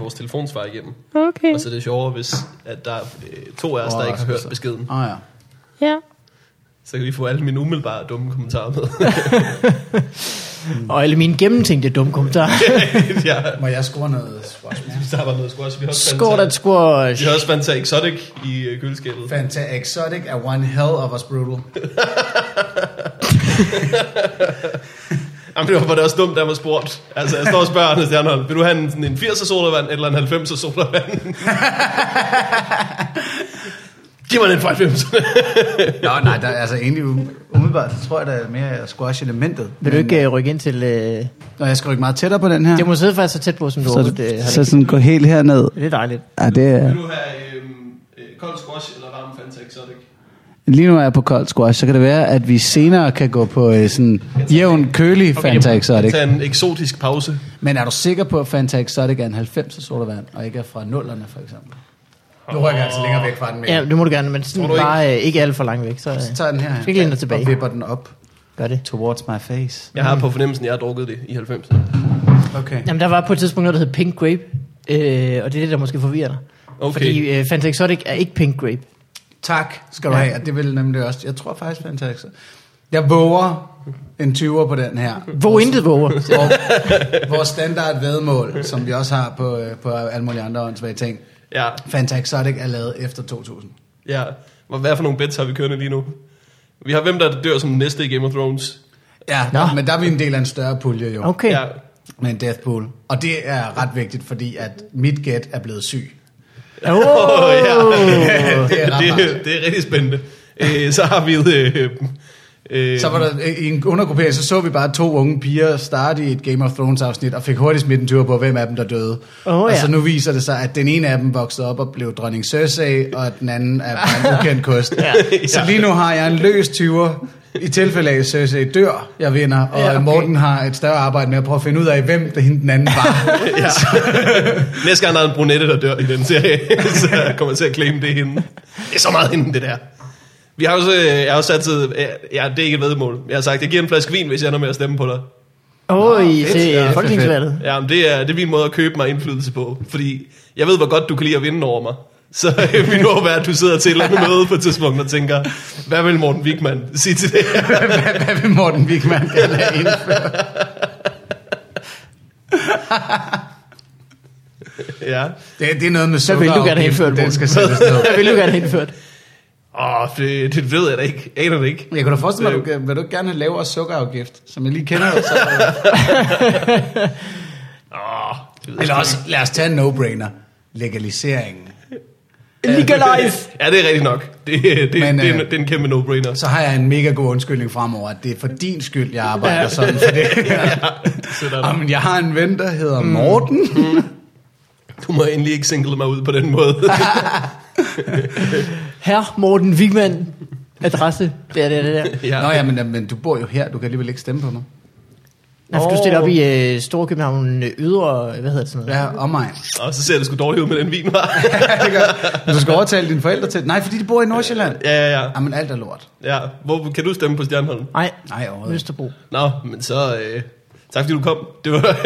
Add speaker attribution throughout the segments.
Speaker 1: vores telefonsvar igennem.
Speaker 2: Okay.
Speaker 1: Og så er det sjovere, hvis at der er øh, to af os, der ikke har hørt beskeden.
Speaker 3: Ah, ja.
Speaker 2: Ja.
Speaker 1: Så kan vi få alle mine umiddelbare dumme kommentarer med.
Speaker 4: Og alle mine gennemtænkte dumme kommentarer.
Speaker 1: ja,
Speaker 3: Må jeg score noget spørgsmål?
Speaker 1: der var noget squash. Vi har også
Speaker 4: Skål at
Speaker 1: Fanta, vi
Speaker 4: squash.
Speaker 1: har også Fanta Exotic i øh, køleskabet.
Speaker 3: Fanta Exotic er one hell of us brutal.
Speaker 1: Jamen, det var, var det også dumt, der var spurgt. Altså, jeg står og spørger Anders Stjernholm, vil du have en, sådan en 80'er sodavand eller en 90'er sodavand? Giv mig den for 90'erne.
Speaker 3: Nå, nej, der, altså egentlig umiddelbart, så tror jeg, der er mere squash-elementet.
Speaker 4: Vil du ikke øh, rykke ind til... Øh...
Speaker 3: Når jeg skal rykke meget tættere på den her,
Speaker 4: Det må sidde faktisk så tæt på, som du
Speaker 3: så,
Speaker 4: overhovedet øh, har
Speaker 3: så
Speaker 4: det.
Speaker 3: sådan gå helt herned.
Speaker 4: Det er dejligt.
Speaker 3: Ja, det er,
Speaker 1: Vil du have øhm, øh, kold squash eller varm Fanta Exotic?
Speaker 3: lige nu er jeg på kold squash, så kan det være, at vi senere kan gå på øh, sådan jævn, kølig Fanta Exotic.
Speaker 1: Tag en eksotisk pause.
Speaker 3: Men er du sikker på, at Fanta Exotic er en 90'er sodavand, og ikke er fra nullerne for eksempel? Nu rykker jeg altså længere væk fra den, men
Speaker 4: Ja, det må du gerne, men sådan
Speaker 1: Tror du
Speaker 4: bare øh, ikke alt for langt væk. Så, øh,
Speaker 3: så tager jeg den her
Speaker 4: Skal ikke læne dig tilbage.
Speaker 3: og vipper den op
Speaker 4: gør det.
Speaker 3: towards my face.
Speaker 1: Jeg har på fornemmelsen, at jeg har drukket det i 90'erne.
Speaker 3: Okay.
Speaker 4: Jamen, der var på et tidspunkt noget, der hed Pink Grape, øh, og det er det, der måske forvirrer dig.
Speaker 1: Okay.
Speaker 4: Fordi øh, Fanta Exotic er ikke Pink Grape.
Speaker 3: Tak skal du have, og det vil nemlig også. Jeg tror faktisk, Fanta Exotic. Jeg våger en 20'er på den her.
Speaker 4: Hvor intet våger.
Speaker 3: Og vores standard vedmål, som vi også har på, øh, på alle mulige andre åndssvage ting.
Speaker 1: Ja,
Speaker 3: Fanta Exotic er lavet efter 2000.
Speaker 1: ja. Hvad- Hvad for nogle bets har vi kørende lige nu? Vi har hvem, der dør som næste i Game of Thrones.
Speaker 3: Ja,
Speaker 4: Nå.
Speaker 3: men der er vi en del af en større pulje jo.
Speaker 4: Okay.
Speaker 1: Ja,
Speaker 3: Med en death pool. Og det er ret vigtigt, fordi at mit gæt er blevet syg.
Speaker 4: Oh,
Speaker 1: Åh, ja.
Speaker 3: Det er ret
Speaker 1: det, det er rigtig spændende. Øh, så har vi... Øh, øh,
Speaker 3: Så var
Speaker 4: Øhm.
Speaker 3: der i en undergruppering, så så vi bare to unge piger starte i et Game of Thrones afsnit, og fik hurtigt smidt en tur på, hvem af dem der døde.
Speaker 4: Åh,
Speaker 3: og
Speaker 4: ja.
Speaker 3: så nu viser det sig, at den ene af dem voksede op og blev dronning Cersei, og den anden er bare en ukendt kost.
Speaker 4: Ja.
Speaker 3: Så lige nu har jeg en løs 20'er. I tilfælde af, at Cersei dør, jeg vinder, og
Speaker 4: Ja,
Speaker 3: ja,
Speaker 4: okay.
Speaker 3: okay. Morten har et større arbejde med at prøve at finde ud af, hvem der hende den anden var.
Speaker 1: Ja. Næste gang der er en brunette, der dør i den serie, så kommer jeg til at claim det er hende. Det er så meget hende, det der. Vi har også, øh, jeg har også sat tid, ja, det er ikke et vedmål. Jeg har sagt, jeg giver en flaske vin, hvis jeg ender med at stemme på dig.
Speaker 4: Åh, i
Speaker 3: fedt.
Speaker 4: til
Speaker 3: Ja,
Speaker 4: øh,
Speaker 3: fedt,
Speaker 4: folketingsvalget.
Speaker 1: Ja, men det er, det er min måde at købe mig indflydelse på, fordi jeg ved, hvor godt du kan lide at vinde over mig. Så øh, vi når være, at du sidder til et eller andet møde på et tidspunkt og tænker, hvad vil Morten Wigman sige til det her?
Speaker 3: hvad, hvad vil Morten Wigman gerne have indført?
Speaker 1: Ja.
Speaker 3: Det, det er noget med
Speaker 4: vil du gerne
Speaker 3: sukkerafgiften,
Speaker 4: have indført, Morten?
Speaker 3: Den skal sættes ned.
Speaker 4: Jeg vil jo gerne have indført.
Speaker 1: Åh, det, det ved jeg da ikke. Aner det ikke.
Speaker 3: Jeg kunne da forestille mig, at du, vil du ikke gerne have lavere sukkerafgift, som jeg lige kender det, så
Speaker 1: Åh, det ved jeg
Speaker 3: Eller
Speaker 1: sgu
Speaker 3: også, lad os tage en no-brainer. Legaliseringen.
Speaker 4: Legalize!
Speaker 1: Ja, det er rigtigt nok. Det, det,
Speaker 3: Men,
Speaker 1: Men, det, er, en,
Speaker 3: øh,
Speaker 1: det er en kæmpe no-brainer.
Speaker 3: Så har jeg en mega god undskyldning fremover, at det er for din skyld, jeg arbejder
Speaker 4: Ja.
Speaker 3: sådan for det.
Speaker 1: Så der,
Speaker 3: Jamen, jeg har en ven, der hedder Morten.
Speaker 4: Mm.
Speaker 1: du må endelig ikke single mig ud på den måde.
Speaker 4: Herr Morten Wigman. Adresse. Det er det, det der.
Speaker 1: ja.
Speaker 3: Nå ja, men, men du bor jo her, du kan alligevel ikke stemme på mig.
Speaker 4: Nej, for du stiller op i øh, Storkøbenhavn øh, ydre, hvad hedder det sådan noget?
Speaker 3: Ja, om mig.
Speaker 1: Og så ser det sgu dårligt ud med den vin, var.
Speaker 3: Det gør- men du skal overtale dine forældre til det. Nej, fordi de bor i Nordsjælland.
Speaker 1: ja, ja, ja.
Speaker 3: Jamen, alt er lort.
Speaker 1: ja. Hvor, kan du stemme på Stjernholm?
Speaker 4: Nej,
Speaker 3: Nej, overhovedet. ikke.
Speaker 4: Østerbro.
Speaker 1: Nå, men så... Øh, tak fordi du kom. Det var...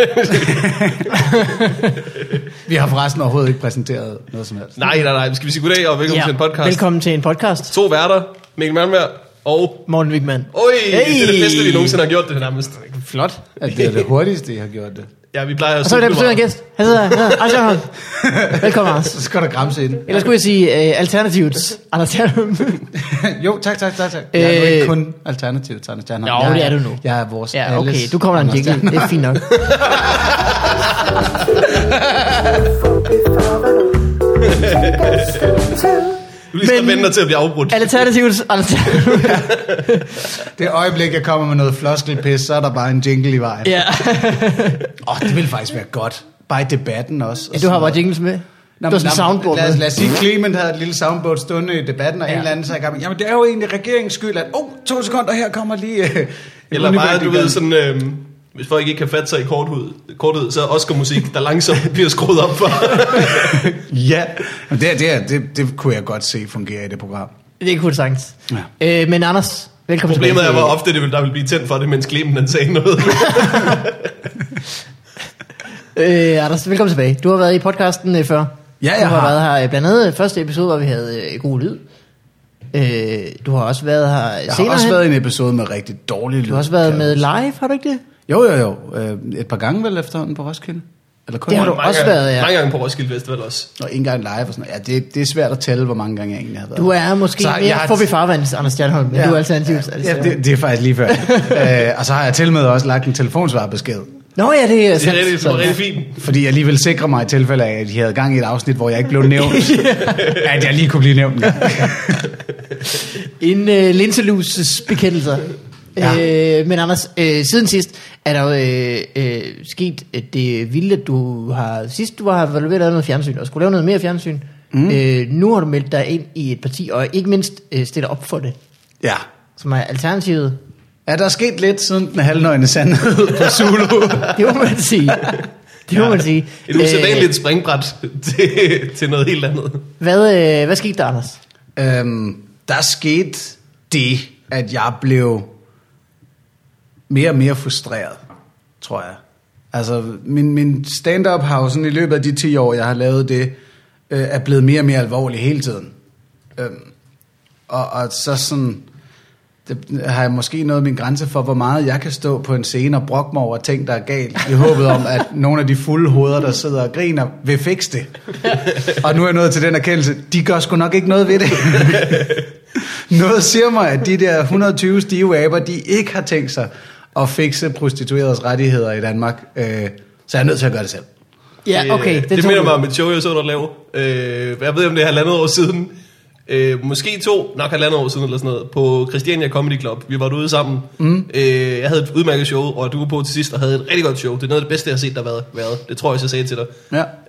Speaker 3: Vi har forresten overhovedet ikke præsenteret noget som helst.
Speaker 1: nej, nej, nej. Skal vi sige goddag og velkommen ja. til en podcast?
Speaker 4: Velkommen til en podcast.
Speaker 1: To værter, Mikkel Malmberg og...
Speaker 4: Morten Wigman.
Speaker 1: Oj, hey. det er det
Speaker 4: Hey!
Speaker 1: bedste, vi nogensinde har gjort det her nærmest.
Speaker 4: Flot.
Speaker 3: At det er det hurtigste, I har gjort det.
Speaker 1: Ja, vi plejer at
Speaker 4: Og så er det besøg af en gæst. Han sidder her. Han hedder Anders Jørgensen. Velkommen, Anders.
Speaker 3: Så skal der græmse ind.
Speaker 4: Eller skulle jeg sige øh, Alternativet. Alternativ.
Speaker 3: jo, tak, tak, tak, tak. Jeg er nu
Speaker 4: Øh,
Speaker 3: ikke kun alternativ til Anders Stjernholm.
Speaker 4: Jo,
Speaker 3: Jeg
Speaker 4: det er du nu.
Speaker 3: Jeg er vores
Speaker 4: ja, okay.
Speaker 3: alles
Speaker 4: Du kommer der en
Speaker 3: Anders
Speaker 4: jingle. Det er fint nok.
Speaker 1: Du er lige så
Speaker 4: Men-
Speaker 1: venter til at blive afbrudt.
Speaker 4: Alternativet. Alternativ.
Speaker 3: Det øjeblik, jeg kommer med noget floskelpis, så er der bare en jingle i vejen. Åh,
Speaker 4: Ja.
Speaker 3: yeah. oh, det ville faktisk være godt. Bare i debatten også. og
Speaker 4: ja. Du
Speaker 3: sådan
Speaker 4: har bare
Speaker 3: noget.
Speaker 4: jingles med.
Speaker 3: Nå,
Speaker 4: du har
Speaker 3: men-
Speaker 4: sådan en
Speaker 3: nå, men
Speaker 4: soundboard
Speaker 3: Lad, os-
Speaker 4: med.
Speaker 3: lad os sige, Clement havde et lille soundboard stående i debatten, og ja.
Speaker 4: Ja.
Speaker 3: en eller anden sagde, i gang med, jamen det er jo egentlig regeringens skyld, at oh, to sekunder, her kommer lige... øh, en
Speaker 1: Eller
Speaker 3: univers-
Speaker 1: bare, du ved, sådan... Øh, hvis folk ikke kan fatte sig i korthed, korthed så er Oscar-musik, der langsomt bliver skruet op for.
Speaker 3: Ja, men det, det, det, det kunne jeg godt se fungere i det program.
Speaker 4: Det kunne det sagtens.
Speaker 3: Ja.
Speaker 4: Øh, men Anders, velkommen
Speaker 1: Problemet er,
Speaker 4: tilbage.
Speaker 1: hvor ofte det vil, der vil blive tændt for det, mens Clemen han sagde noget.
Speaker 4: Øh, Anders, velkommen tilbage. Du har været i podcasten øh, før.
Speaker 3: jeg
Speaker 4: du har,
Speaker 3: har.
Speaker 4: været her øh, blandt andet øh, første episode, hvor vi havde øh, god lyd. Øh, du har også været her øh,
Speaker 3: Jeg har
Speaker 4: senere
Speaker 3: også
Speaker 4: hen.
Speaker 3: været i en episode med rigtig dårlig lyd.
Speaker 4: Du har også været
Speaker 3: kan
Speaker 4: med
Speaker 3: jeg huske.
Speaker 4: live, har du ikke det?
Speaker 3: Jo, jo, jo. Øh, Et par gange vel efterhånden på Roskilde. Eller kun
Speaker 4: Det har
Speaker 3: en-
Speaker 4: du også været, ja.
Speaker 1: Mange gange på Roskilde Festival også.
Speaker 3: Og en gang live og sådan noget. Ja, det, det er svært at tælle, hvor mange gange jeg egentlig har været.
Speaker 4: Du er måske
Speaker 3: Så
Speaker 4: så,
Speaker 3: jeg
Speaker 4: mere
Speaker 3: har-
Speaker 4: forbi farvandet, Anders Stjernholm, men ja. du er altså. alternativt.
Speaker 3: Ja, ja det, det, er faktisk lige før. øh, og så har jeg til med også lagt en telefonsvarbesked.
Speaker 4: Nå ja, det er
Speaker 1: Det er
Speaker 4: sandt.
Speaker 1: rigtig, det
Speaker 4: Så-
Speaker 1: er rigtig fint.
Speaker 3: Fordi jeg lige vil sikre mig i tilfælde af, at de havde gang i et afsnit, hvor jeg ikke blev nævnt. at jeg lige kunne blive nævnt. Ja.
Speaker 4: En øh, linseluses bekendelser. Ja. Øh, men Anders, øh, siden sidst er der jo øh, øh, sket øh, det vilde, at du har... Sidst du var her, var du ved at lave noget fjernsyn, og skulle lave noget mere fjernsyn. Mm. Øh, nu har du meldt dig ind i et parti, og ikke mindst øh, stiller op for det,
Speaker 3: ja.
Speaker 4: som er alternativet.
Speaker 3: Er der sket lidt siden den halvnøgne sandhed på Zulu?
Speaker 4: Det må man sige. Det må man sige. Øh.
Speaker 1: Et usædvanligt springbræt til, til noget helt andet.
Speaker 4: hvad, øh, hvad skete der, Anders?
Speaker 3: øhm, der skete det, at jeg blev mere og mere frustreret, tror jeg. Altså, min, min stand-up har jo sådan i løbet af de 10 år, jeg har lavet det, øh, er blevet mere og mere alvorlig hele tiden. Øhm, og, og så sådan, det har jeg måske nået min grænse for, hvor meget jeg kan stå på en scene og brokke mig over ting, der er galt, i håbet om, at nogle af de fulde hoveder, der sidder og griner, vil fikse det. Og nu er jeg nået til den erkendelse, de gør sgu nok ikke noget ved det. Noget siger mig, at de der 120 stive aber, de ikke har tænkt sig at fikse prostitueredes rettigheder i Danmark. Øh, så jeg er nødt til at gøre det selv.
Speaker 4: Ja, okay.
Speaker 1: det, det
Speaker 4: tog
Speaker 1: minder
Speaker 4: du.
Speaker 1: mig om et show, jeg så dig lave. Øh, jeg ved, om det er halvandet år siden. Øh, måske to, nok halvandet år siden eller sådan noget, på Christiania Comedy Club. Vi var derude sammen. Mm. Øh, jeg havde et udmærket show, og du var på til sidst og havde et rigtig godt show. Det er noget af det bedste, jeg har set, der har været. været. Det tror jeg også, jeg sagde til dig.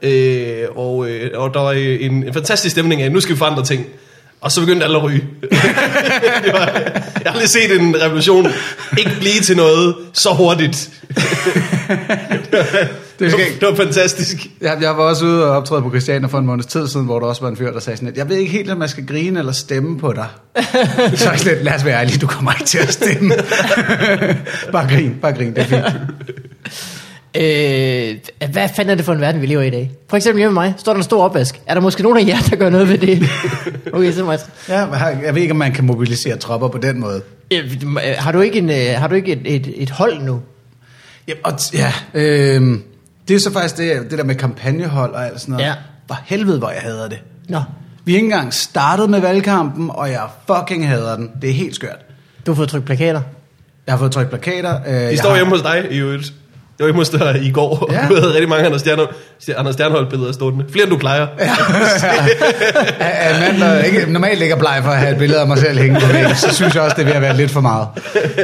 Speaker 3: Ja.
Speaker 1: Øh, og, øh, og der var øh, en, en fantastisk stemning af, nu skal vi forandre ting. Og så begyndte alle at ryge. det var, jeg har aldrig set en revolution ikke blive til noget så hurtigt.
Speaker 3: Det skal-
Speaker 1: det var fantastisk.
Speaker 3: Jeg, jeg var også ude og optræde på Christiania for en måneds tid siden, hvor der også var en fyr, der sagde sådan lidt, jeg ved ikke helt, om man skal grine eller stemme på dig. så er jeg sådan lidt, lad os være ærlige, du kommer ikke til at stemme. bare grin, bare grin, det er fint.
Speaker 4: Øh, hvad fanden er det for en verden, vi lever i i dag? For eksempel hjemme med mig, står der en stor opvask. Er der måske nogen af jer, der gør noget ved det? Okay, så meget.
Speaker 3: Ja, men her- jeg ved ikke, om man kan mobilisere tropper på den måde.
Speaker 4: Øh, har du ikke, en, øh, har du ikke et, et, et hold nu?
Speaker 3: Ja, og t- ja øh, det er så faktisk det, det der med kampagnehold og alt sådan noget.
Speaker 4: Ja.
Speaker 3: For helvede, hvor jeg hader det.
Speaker 4: Nå,
Speaker 3: Vi er ikke engang startet med valgkampen, og jeg fucking hader den. Det er helt skørt.
Speaker 4: du har fået trykt plakater.
Speaker 3: Jeg har fået trykt plakater. Øh,
Speaker 1: De
Speaker 3: jeg
Speaker 1: står
Speaker 3: har-
Speaker 1: hjemme hos dig i øvrigt. Jeg var hjemme hos dig i går,
Speaker 3: Ja.
Speaker 1: ja. og du havde rigtig mange Anders, Stjernholm, Anders Stjernholm-billeder stående. Flere end du plejer. Ja.
Speaker 3: Af af en mand, der ikke normalt ligger bleg for at have et billede af mig selv hængende på væggen, så synes jeg også, det er ved at være lidt for meget.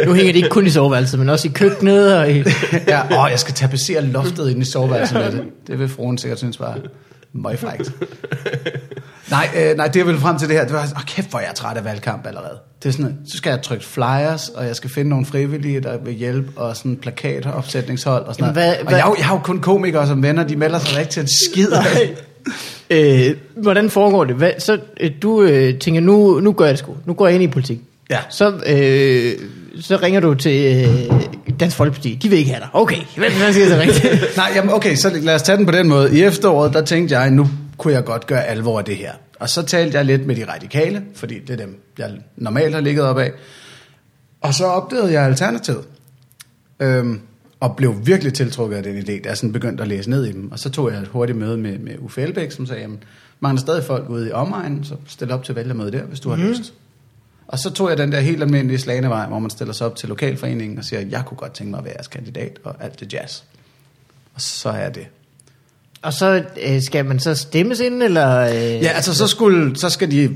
Speaker 4: Nu hænger det ikke kun i soveværelset, men også i køkkenet og i...
Speaker 3: Ja, åh, jeg skal tapetsere loftet ind i soveværelset med det. Det vil fruen sikkert synes var møgfrægt. Nej, øh, nej, det jeg ville frem til det her, det var, åh, kæft, hvor jeg er træt af valgkamp allerede. Det er sådan, så skal jeg trykke flyers, og jeg skal finde nogle frivillige, der vil hjælpe, og sådan plakater, opsætningshold og sådan
Speaker 4: Jamen,
Speaker 3: noget.
Speaker 4: hvad-
Speaker 3: Og jeg, er
Speaker 4: hvad-
Speaker 3: jo- jeg har jo kun komikere som venner, de melder sig da ikke til en skid.
Speaker 4: øh, hvordan foregår det? Hvad, så øh, du øh, tænker, nu, nu gør jeg det sgu. Nu går jeg ind i politik.
Speaker 3: Ja.
Speaker 4: Så, øh, så ringer du til øh, Dansk Folkeparti. De vil ikke have dig. Okay, hvad, hvad siger jeg så rigtigt?
Speaker 3: Nej, jamen okay, så lad os tage den på den måde. I efteråret, der tænkte jeg, nu kunne jeg godt gøre alvor af det her. Og så talte jeg lidt med de radikale, fordi det er dem, jeg normalt har ligget op af. Og så opdagede jeg Alternativet. Øhm, og blev virkelig tiltrukket af den idé, da jeg sådan begyndte at læse ned i dem. Og så tog jeg et hurtigt møde med, med Uffe Elbæk, som sagde, jamen, mangler stadig folk ude i omegnen, så stil op til vælgermøde der, hvis du har mm. lyst. Og så tog jeg den der helt almindelige slanevej, hvor man stiller sig op til lokalforeningen og siger, jeg kunne godt tænke mig at være jeres kandidat, og alt det jazz. Og så er det.
Speaker 4: Og så øh, skal man så stemmes ind, eller... Øh,
Speaker 3: Ja, altså så, skulle, så skal de...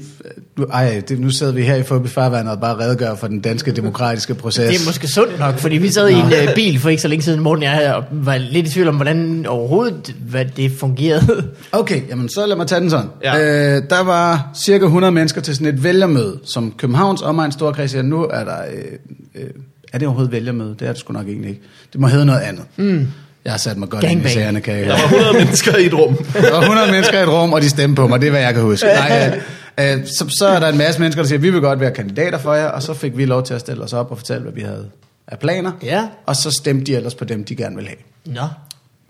Speaker 3: nu- Ej, det, nu sidder vi her i Forbi Farvandet og bare redegør for den danske demokratiske proces.
Speaker 4: Det er måske sundt nok, fordi vi sad i en øh, bil for ikke så længe siden, Morten og jeg havde, og var lidt i tvivl om, hvordan overhovedet hvad det fungerede.
Speaker 3: Okay, jamen så lad mig tage den sådan. Ja.
Speaker 1: Ja.
Speaker 3: Øh, der var cirka 100 mennesker til sådan et vælgermøde, som Københavns omegn Storkreds siger, nu er der... Øh, øh, er det overhovedet vælgermøde? Det er det sgu nok egentlig ikke. Det må hedde noget andet. Mm. Jeg har sat mig godt ind i
Speaker 4: Gangbang.
Speaker 3: sagerne, kan jeg
Speaker 1: Der var 100 mennesker i et rum.
Speaker 3: Der var 100 mennesker i et rum, og de stemte på mig. Det er, hvad jeg kan huske. Nej, øh, øh, så, så er der en masse mennesker, der siger, vi vil godt være kandidater for jer, og så fik vi lov til at stille os op og fortælle, hvad vi havde af planer.
Speaker 4: Ja.
Speaker 3: Og så stemte de ellers på dem, de gerne ville have.
Speaker 4: Nå.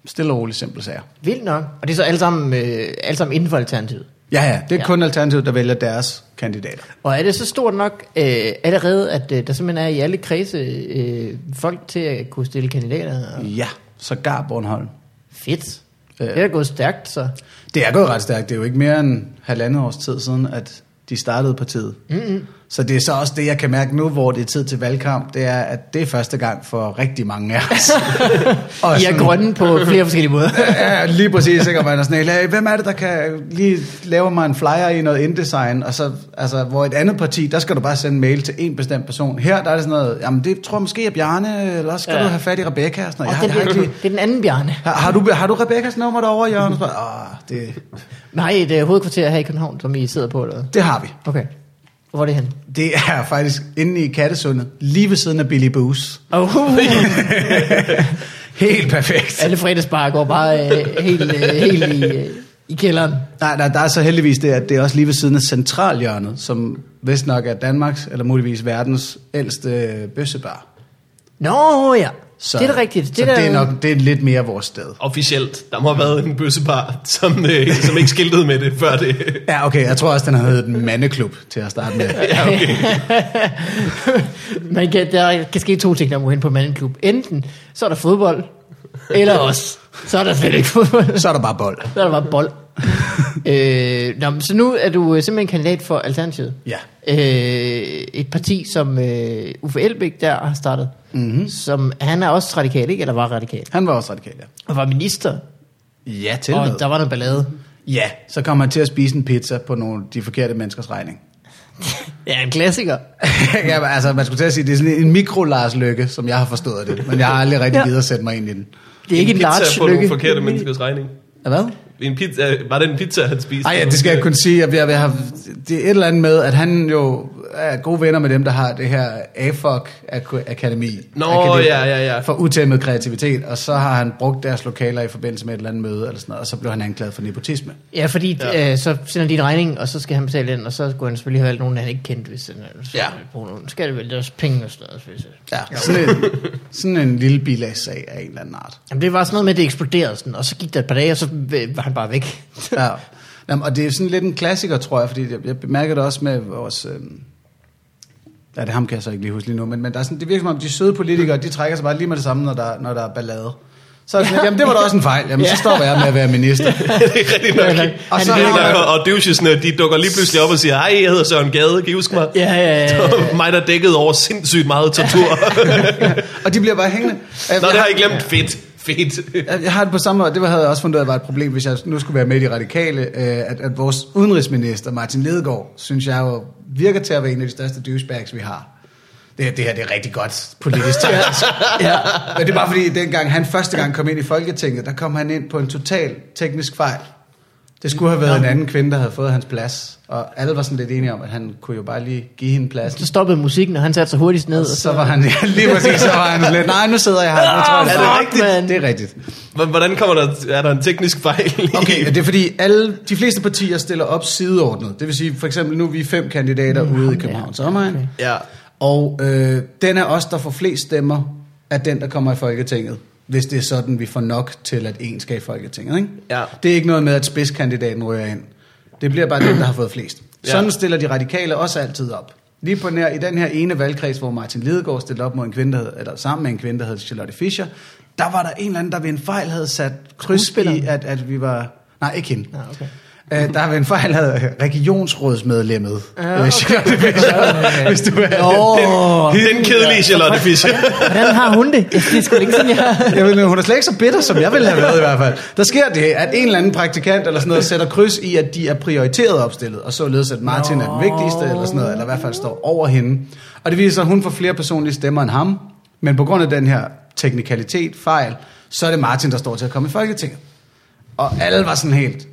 Speaker 3: Stille og roligt, simple sager.
Speaker 4: Vildt nok. Og det er så alle sammen, øh, alle sammen inden for alternativet.
Speaker 3: Ja, ja, det er
Speaker 4: Ja.
Speaker 3: ja. kun Alternativet, der vælger deres kandidater.
Speaker 4: Og er det så stort nok øh, allerede, at øh, der simpelthen er i alle kredse øh, folk til at kunne stille kandidater? Og...
Speaker 3: Ja, sågar Bornholm.
Speaker 4: Fedt.
Speaker 3: Ja.
Speaker 4: Det er gået stærkt, så.
Speaker 3: Det er gået ret stærkt. Det er jo ikke mere end halvandet års tid siden, at de startede partiet.
Speaker 4: Mm-hmm.
Speaker 3: Så det er så også det, jeg kan mærke nu, hvor det er tid til valgkamp, det er, at det er første gang for rigtig mange af os. Og
Speaker 4: I er
Speaker 3: sådan-
Speaker 4: grønne på flere forskellige måder.
Speaker 3: Ja, lige præcis, ikke? Og man er sådan, helt, "Hey, hvem er det, der kan lige lave mig en flyer i noget InDesign? Og så, altså, hvor et andet parti, der skal du bare sende en mail til en bestemt person. Her, der er det sådan noget, jamen det tror jeg måske er Bjarne, eller også skal
Speaker 4: Ja.
Speaker 3: ja. du have fat i Rebecca. Og sådan
Speaker 4: Og
Speaker 3: noget. Jeg,
Speaker 4: den,
Speaker 3: har, jeg har, ikke
Speaker 4: det,
Speaker 3: lige,
Speaker 4: det er den anden bjørne.
Speaker 3: har, har, du, har du Rebekkas nummer derovre, Jørgen? Så, Åh, det,
Speaker 4: Nej, et øh, hovedkvarter her i København, som I sidder på. Eller?
Speaker 3: det har vi.
Speaker 4: Okay. Hvor er det hen?
Speaker 3: Det er faktisk inde i Kattesundet, lige ved siden af Billy Boos.
Speaker 4: Oh, uh,
Speaker 3: Helt perfekt.
Speaker 4: alle fredagsbarer går bare øh, helt, øh, helt i, øh, i kælderen.
Speaker 3: Nej, nej, der er så heldigvis det, at det er også lige ved siden af centralhjørnet, som vist nok er Danmarks, eller muligvis verdens ældste øh, bøssebar.
Speaker 4: Nå ja, så, det er da rigtigt.
Speaker 3: Det så det, er nok, det er lidt mere vores sted.
Speaker 1: Officielt, der må have været en bøssebar, som, øh, som ikke skiltede med det før det.
Speaker 3: Ja, okay, jeg tror også, den har heddet den mandeklub til at starte med.
Speaker 1: Ja, okay.
Speaker 4: Man kan, der kan ske to ting, når man går hen på en anden klub. Enten så er der fodbold, eller også så er der slet ikke fodbold.
Speaker 3: Så er der bare bold.
Speaker 4: Så er der bare bold. øh, nå, men så nu er du øh, simpelthen kandidat for Alternativet.
Speaker 3: Ja.
Speaker 4: Øh, et parti, som øh, Uffe Elbæk der har startet. Mm-hmm. Som, han er også radikal, ikke? Eller var radikal.
Speaker 3: Han var også radikal, ja.
Speaker 4: Og var minister.
Speaker 3: Ja, til
Speaker 4: Og der var noget ballade.
Speaker 3: Ja, så kom han til at spise en pizza på nogle de forkerte menneskers regning.
Speaker 4: Ja, en klassiker.
Speaker 3: ja, men altså, man skulle til at sige, det er sådan en mikro Lars Lykke, som jeg har forstået det. Men jeg har aldrig rigtig
Speaker 4: Ja.
Speaker 3: ja. videre sætte mig ind i den.
Speaker 4: Det er ikke en, en
Speaker 1: pizza på
Speaker 4: large
Speaker 1: nogle
Speaker 4: lykke.
Speaker 1: forkerte menneskers regning.
Speaker 3: Hvad?
Speaker 1: En pizza, øh, var det en pizza, han spiste?
Speaker 3: Ej, ja, det skal jeg kun sige. Jeg, jeg, jeg har, det er et eller andet med, at han jo er gode venner med dem, der har det her AFOC Ak- Akademi.
Speaker 1: Nå,
Speaker 3: Akademi
Speaker 1: ja, ja, ja.
Speaker 3: For utæmmet kreativitet. Og så har han brugt deres lokaler i forbindelse med et eller andet møde, eller sådan noget, og så blev han anklaget for nepotisme.
Speaker 4: Ja, fordi ja.
Speaker 1: Ja.
Speaker 4: Øh, så sender de en regning, og så skal han betale den, og så skulle han selvfølgelig have valgt nogen, han ikke kendte, hvis han hvis
Speaker 3: Ja.
Speaker 4: han ville bruge nogen. Skal det vel deres penge og sådan noget. Hvis,
Speaker 3: Ja, sådan en, sådan en lille bilagssag af en eller anden art.
Speaker 4: Jamen, det var sådan noget med, at det eksploderede sådan, og så gik der et par dage, og så øh, var han bare væk.
Speaker 3: Ja. Jamen, og det er sådan lidt en klassiker, tror jeg, fordi jeg, jeg bemærker det også med vores... Øh... Ja, det ham kan jeg så ikke lige huske lige nu, men, men der er sådan, det virker som om, de søde politikere, de trækker sig bare lige med det samme, når der, når der er ballade. Så er det sådan,
Speaker 4: Ja.
Speaker 3: ja. jamen det var da også en fejl, jamen
Speaker 4: Ja.
Speaker 3: så stopper jeg med at være minister.
Speaker 1: det er rigtigt nok.
Speaker 4: Ja,
Speaker 1: Og
Speaker 3: Og
Speaker 1: så
Speaker 3: så
Speaker 1: det
Speaker 3: har
Speaker 1: er
Speaker 3: man-
Speaker 1: nok, og douchesne, de dukker lige pludselig op og siger, hej, jeg hedder Søren Gade, kan I huske mig?
Speaker 4: Ja, ja, ja,
Speaker 1: Det
Speaker 4: ja.
Speaker 1: var mig, der dækkede over sindssygt meget tortur.
Speaker 3: Og de bliver bare hængende. Jeg,
Speaker 1: Nå, det har
Speaker 3: jeg,
Speaker 1: jeg glemt. Fedt, fedt.
Speaker 3: jeg, jeg har det på samme måde, det havde jeg også fundet ud af var et problem, hvis jeg nu skulle være med i de radikale, øh, at, at vores udenrigsminister, Martin Lidegaard, synes jeg jo virker til at være en af de største douchebags, vi har. Det, her- det her det er rigtig godt politisk tænkt.
Speaker 4: ja.
Speaker 3: Men det er bare fordi, dengang han første gang kom ind i Folketinget, der kom han ind på en total teknisk fejl. Det skulle have været en anden kvinde, der havde fået hans plads. Og alle var sådan lidt enige om, at han kunne jo bare lige give hende
Speaker 4: Så
Speaker 3: plads.
Speaker 4: stoppede musikken, og han satte sig hurtigst ned. Og
Speaker 3: Så var han ja, lige præcis, så var han lidt, nej, nu sidder jeg her. Nu tror jeg,
Speaker 4: Ah,
Speaker 3: det
Speaker 1: fuck,
Speaker 4: mand.
Speaker 3: Det er rigtigt.
Speaker 1: H- Hvordan kommer der, er der en teknisk fejl? i-
Speaker 3: Okay, og det er fordi, alle, de fleste partier stiller op sideordnet. Det vil sige, for eksempel nu er vi fem kandidater mm, ude i
Speaker 4: ja.
Speaker 3: Københavns omegn.
Speaker 4: Okay.
Speaker 1: Ja.
Speaker 3: Og øh, den er os, der får flest stemmer, er den, der kommer i Folketinget. Hvis det er sådan, vi får nok til, at en skal i Folketinget. Ikke?
Speaker 1: Ja.
Speaker 3: Det er ikke noget med, at spidskandidaten ryger ind. Det bliver bare den, der har fået flest.
Speaker 1: Ja.
Speaker 3: Sådan stiller de radikale også altid op. Lige på nær, i den her ene valgkreds, hvor Martin Lidegaard stillede op mod en kvinde, der hed, eller sammen med en kvinde, der hed Charlotte Fischer, der var der en eller anden, der ved en fejl havde sat kryds i,
Speaker 4: Skuespilleren?
Speaker 3: at, at vi var... Nej, ikke hende.
Speaker 4: Ah, okay.
Speaker 3: Øh, der ved en fejl havde regionsrådsmedlemmet.
Speaker 4: Ja,
Speaker 3: øh,
Speaker 4: Ah, okay.
Speaker 3: Charlotte Fischer, hvis du er...
Speaker 4: Åh,
Speaker 1: Den kedelige Charlotte Fischer.
Speaker 4: hvordan har hun det? Det er sgu da ikke sådan, jeg...
Speaker 3: Jeg ved, hun er slet ikke så bitter, som jeg ville have været i hvert fald. Der sker det, at en eller anden praktikant eller sådan noget sætter kryds i, at de er prioriteret opstillet, og således at Martin er den vigtigste, eller sådan noget, eller i hvert fald står over hende. Og det viser sig, at hun får flere personlige stemmer end ham, men på grund af den her teknikalitet, fejl, så er det Martin, der står til at komme i Folketinget. Og alle var sådan helt,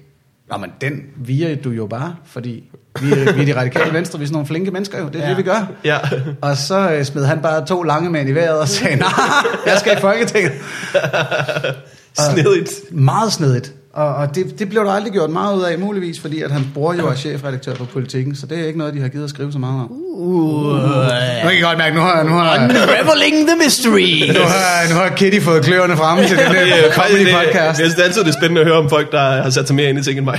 Speaker 3: Nå, men den virer du jo bare, fordi vi er, vi er de radikale venstre, vi er sådan nogle flinke mennesker jo, det er ja.
Speaker 4: Ja.
Speaker 3: det, vi gør.
Speaker 1: Ja.
Speaker 3: Og så øh, smed han bare to lange mænd i vejret og sagde, nej, jeg skal i Folketinget.
Speaker 1: Snedigt.
Speaker 3: Meget snedigt. Og, og det, det blev der aldrig gjort meget ud af, muligvis fordi, at hans bror jo er chefredaktør på Politiken, så det er ikke noget, de har givet at skrive så meget om.
Speaker 4: Uh,
Speaker 3: Nu kan jeg godt mærke, nu har, nu har,
Speaker 4: unraveling the
Speaker 3: nu
Speaker 4: mystery.
Speaker 3: har, nu har Kitty fået kløerne fremme til den her
Speaker 1: Det er faktisk
Speaker 3: comedy
Speaker 1: det,
Speaker 3: podcast.
Speaker 1: jeg synes altid, det er spændende at høre om folk, der har sat sig mere ind i ting end mig.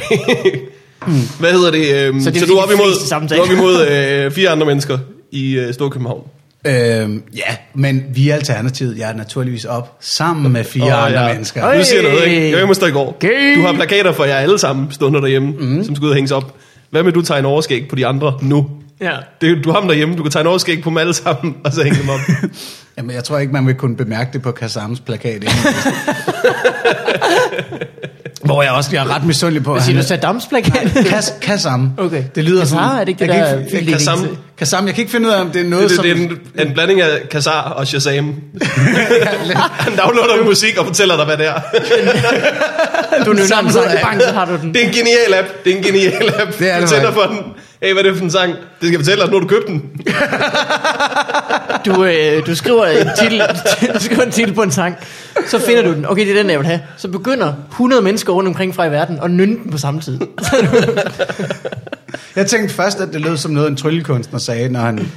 Speaker 1: Hvad hedder det? øhm,
Speaker 4: Så det
Speaker 1: så
Speaker 4: vil
Speaker 1: du
Speaker 4: sige,
Speaker 1: er op
Speaker 4: de
Speaker 1: imod, du
Speaker 4: fleste
Speaker 1: er
Speaker 4: samtaler.
Speaker 1: op imod øh, fire andre mennesker i øh, Storkøbenhavn.
Speaker 3: Øhm, ja, men vi er alternativet. Jeg er naturligvis op sammen med fire
Speaker 1: Og
Speaker 3: andre
Speaker 1: jeg-
Speaker 3: mennesker.
Speaker 4: Øj.
Speaker 1: Nu siger jeg noget, ikke? Jeg var hjemme hos dig i går.
Speaker 4: Okay.
Speaker 1: Du har plakater for jer alle sammen stående derhjemme, mm. som skal ud og hænges op. Hvad med, du tager en overskæg på de andre nu?
Speaker 4: Ja.
Speaker 1: Det, du har dem derhjemme, du kan tage en overskæg på dem alle sammen, og så hænge dem op.
Speaker 3: Jamen, jeg tror ikke, man vil kunne bemærke det på Kazams plakat. inden. Hvor jeg også bliver ret misundelig på.
Speaker 4: Hvad
Speaker 3: at
Speaker 4: siger
Speaker 3: han-
Speaker 4: du, Saddams plakat?
Speaker 3: Kas, Kazam.
Speaker 4: Okay.
Speaker 3: Det lyder
Speaker 4: Kazar,
Speaker 3: sådan...
Speaker 4: er det ikke det
Speaker 3: jeg
Speaker 4: der
Speaker 3: kan ikke- jeg-
Speaker 4: fint
Speaker 1: Kazam.
Speaker 4: engelsk?
Speaker 3: Kazam, jeg kan ikke finde ud af, om det er noget,
Speaker 1: Det, det,
Speaker 3: som...
Speaker 1: det er en, en blanding af Kazar og Shazam. Han downloader musik og fortæller dig, hvad det er.
Speaker 4: Du nynner
Speaker 3: Samme
Speaker 4: den, så
Speaker 3: sang.
Speaker 4: bang, så har du den.
Speaker 1: Det er en genial app. Det er en genial app.
Speaker 3: Det er det
Speaker 1: du tænder
Speaker 3: faktisk.
Speaker 1: for den. Hey, hvad er det for en sang? Det skal fortælle os, når du købte den.
Speaker 4: Du, øh, du, skriver en titel, du skriver en titel på en sang, så finder du den. Okay, det er den, jeg vil have. Så begynder 100 mennesker rundt omkring fra i verden og nynne den på samme tid.
Speaker 3: Jeg tænkte først, at det lød som noget, en tryllekunstner sagde, når han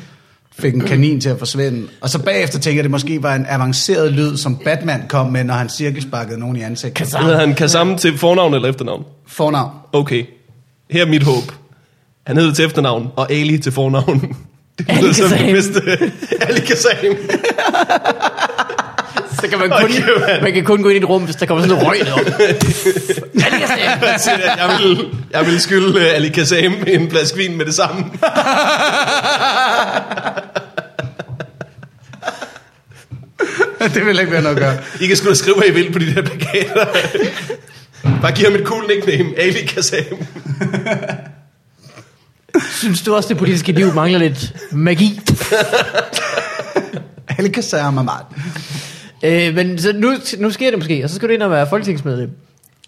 Speaker 3: fik en kanin til at forsvinde. Og så bagefter tænker jeg, at det måske var en avanceret lyd, som Batman kom med, når han cirkelsparkede nogen i ansigtet.
Speaker 1: Så hedder han Kazam til fornavn eller efternavn?
Speaker 3: Fornavn.
Speaker 1: Okay. Her er mit håb. Han hedder til efternavn, og Ali til fornavn. Det
Speaker 4: Ali
Speaker 1: lyder som
Speaker 4: Kazam.
Speaker 1: det bedste. Ali Kazam.
Speaker 4: Så kan man kun,
Speaker 1: Okay, mand.
Speaker 4: man kan kun gå ind i et rum, hvis der kommer sådan en røg derop. Ja, det kan jeg se.
Speaker 1: Jeg siger, at Jeg vil, jeg vil skylde øh, Ali Kazam en flaske vin med det samme.
Speaker 3: det vil ikke være noget at gøre.
Speaker 1: I kan sgu da skrive, hvad I vil på de der plakater. Bare giv ham et cool nickname. Ali Kazam.
Speaker 4: Synes du også, det politiske liv mangler lidt magi?
Speaker 3: Alle kan sige mig meget.
Speaker 4: Øh, men så nu, nu sker det måske, og så skal du ind og være folketingsmedlem.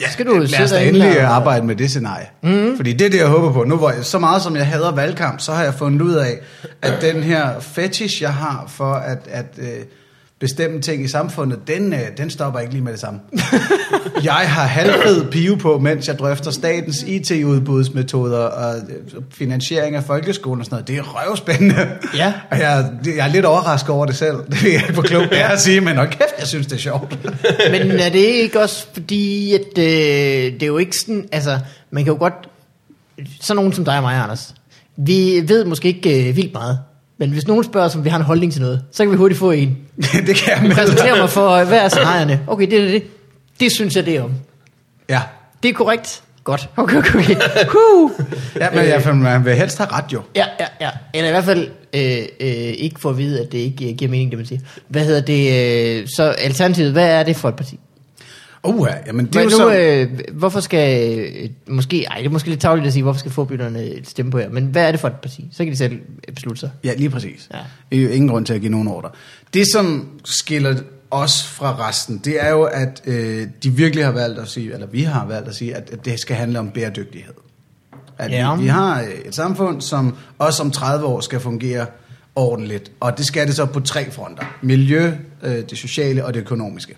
Speaker 4: Ja, så skal du
Speaker 3: Lad os da
Speaker 4: derinde
Speaker 3: endelig
Speaker 4: og- Mhm.
Speaker 3: arbejde med det scenarie. Mm. Fordi det er det, jeg håber på. Nu hvor jeg, så meget som jeg hader valgkamp, så har jeg fundet ud af, at den her fetish, jeg har for at, at øh, bestemme ting i samfundet, den, øh, den stopper ikke lige med det samme. jeg har halvfed pive på, mens jeg drøfter statens IT-udbudsmetoder og øh, finansiering af folkeskolen og sådan noget. Det er røvspændende.
Speaker 4: Ja.
Speaker 3: Og jeg, jeg er lidt overrasket over det selv. Det ved jeg ikke, hvor klogt det er at sige, men hold kæft, jeg synes, det er sjovt.
Speaker 4: Men er det ikke også fordi, at øh, det er jo ikke sådan, altså, man kan jo godt, sådan nogen som dig og mig, Anders, vi ved måske ikke øh, vildt meget, men hvis nogen spørger os, om vi har en holdning til noget, så kan vi hurtigt få en.
Speaker 3: det kan jeg
Speaker 4: Du
Speaker 3: med.
Speaker 4: præsenterer mig for, øh, hvad er scenarierne? Okay, det er det. Det synes jeg, det er om.
Speaker 3: Ja.
Speaker 4: Det er korrekt. Godt. Okay, okay, okay. Huh.
Speaker 3: Ja,
Speaker 4: Øh.
Speaker 3: men jeg, for man vil helst have ret jo.
Speaker 4: Ja, ja, ja. Eller i hvert fald øh, øh, ikke for at vide, at det ikke øh, giver mening, det man siger. Hvad hedder det? Øh, så alternativet, hvad er det for et parti?
Speaker 3: Uh, jamen det
Speaker 4: Det
Speaker 3: er jo
Speaker 4: nu,
Speaker 3: så...
Speaker 4: øh, hvorfor skal, øh, måske, ej, det er måske lidt tavligt at sige, hvorfor skal forbytterne stemme på jer, men hvad er det for et parti? Så kan de selv øh, beslutte sig.
Speaker 3: Ja, lige præcis.
Speaker 4: Ja.
Speaker 3: Det er jo ingen grund til at give nogen ordre. Det, som skiller os fra resten, det er jo, at øh, de virkelig har valgt at sige, eller vi har valgt at sige, at, at det skal handle om bæredygtighed. At
Speaker 4: Ja.
Speaker 3: vi, vi har øh, et samfund, som også om 30 år skal fungere ordentligt, og det skal det så på tre fronter. Miljø, øh, det sociale og det økonomiske.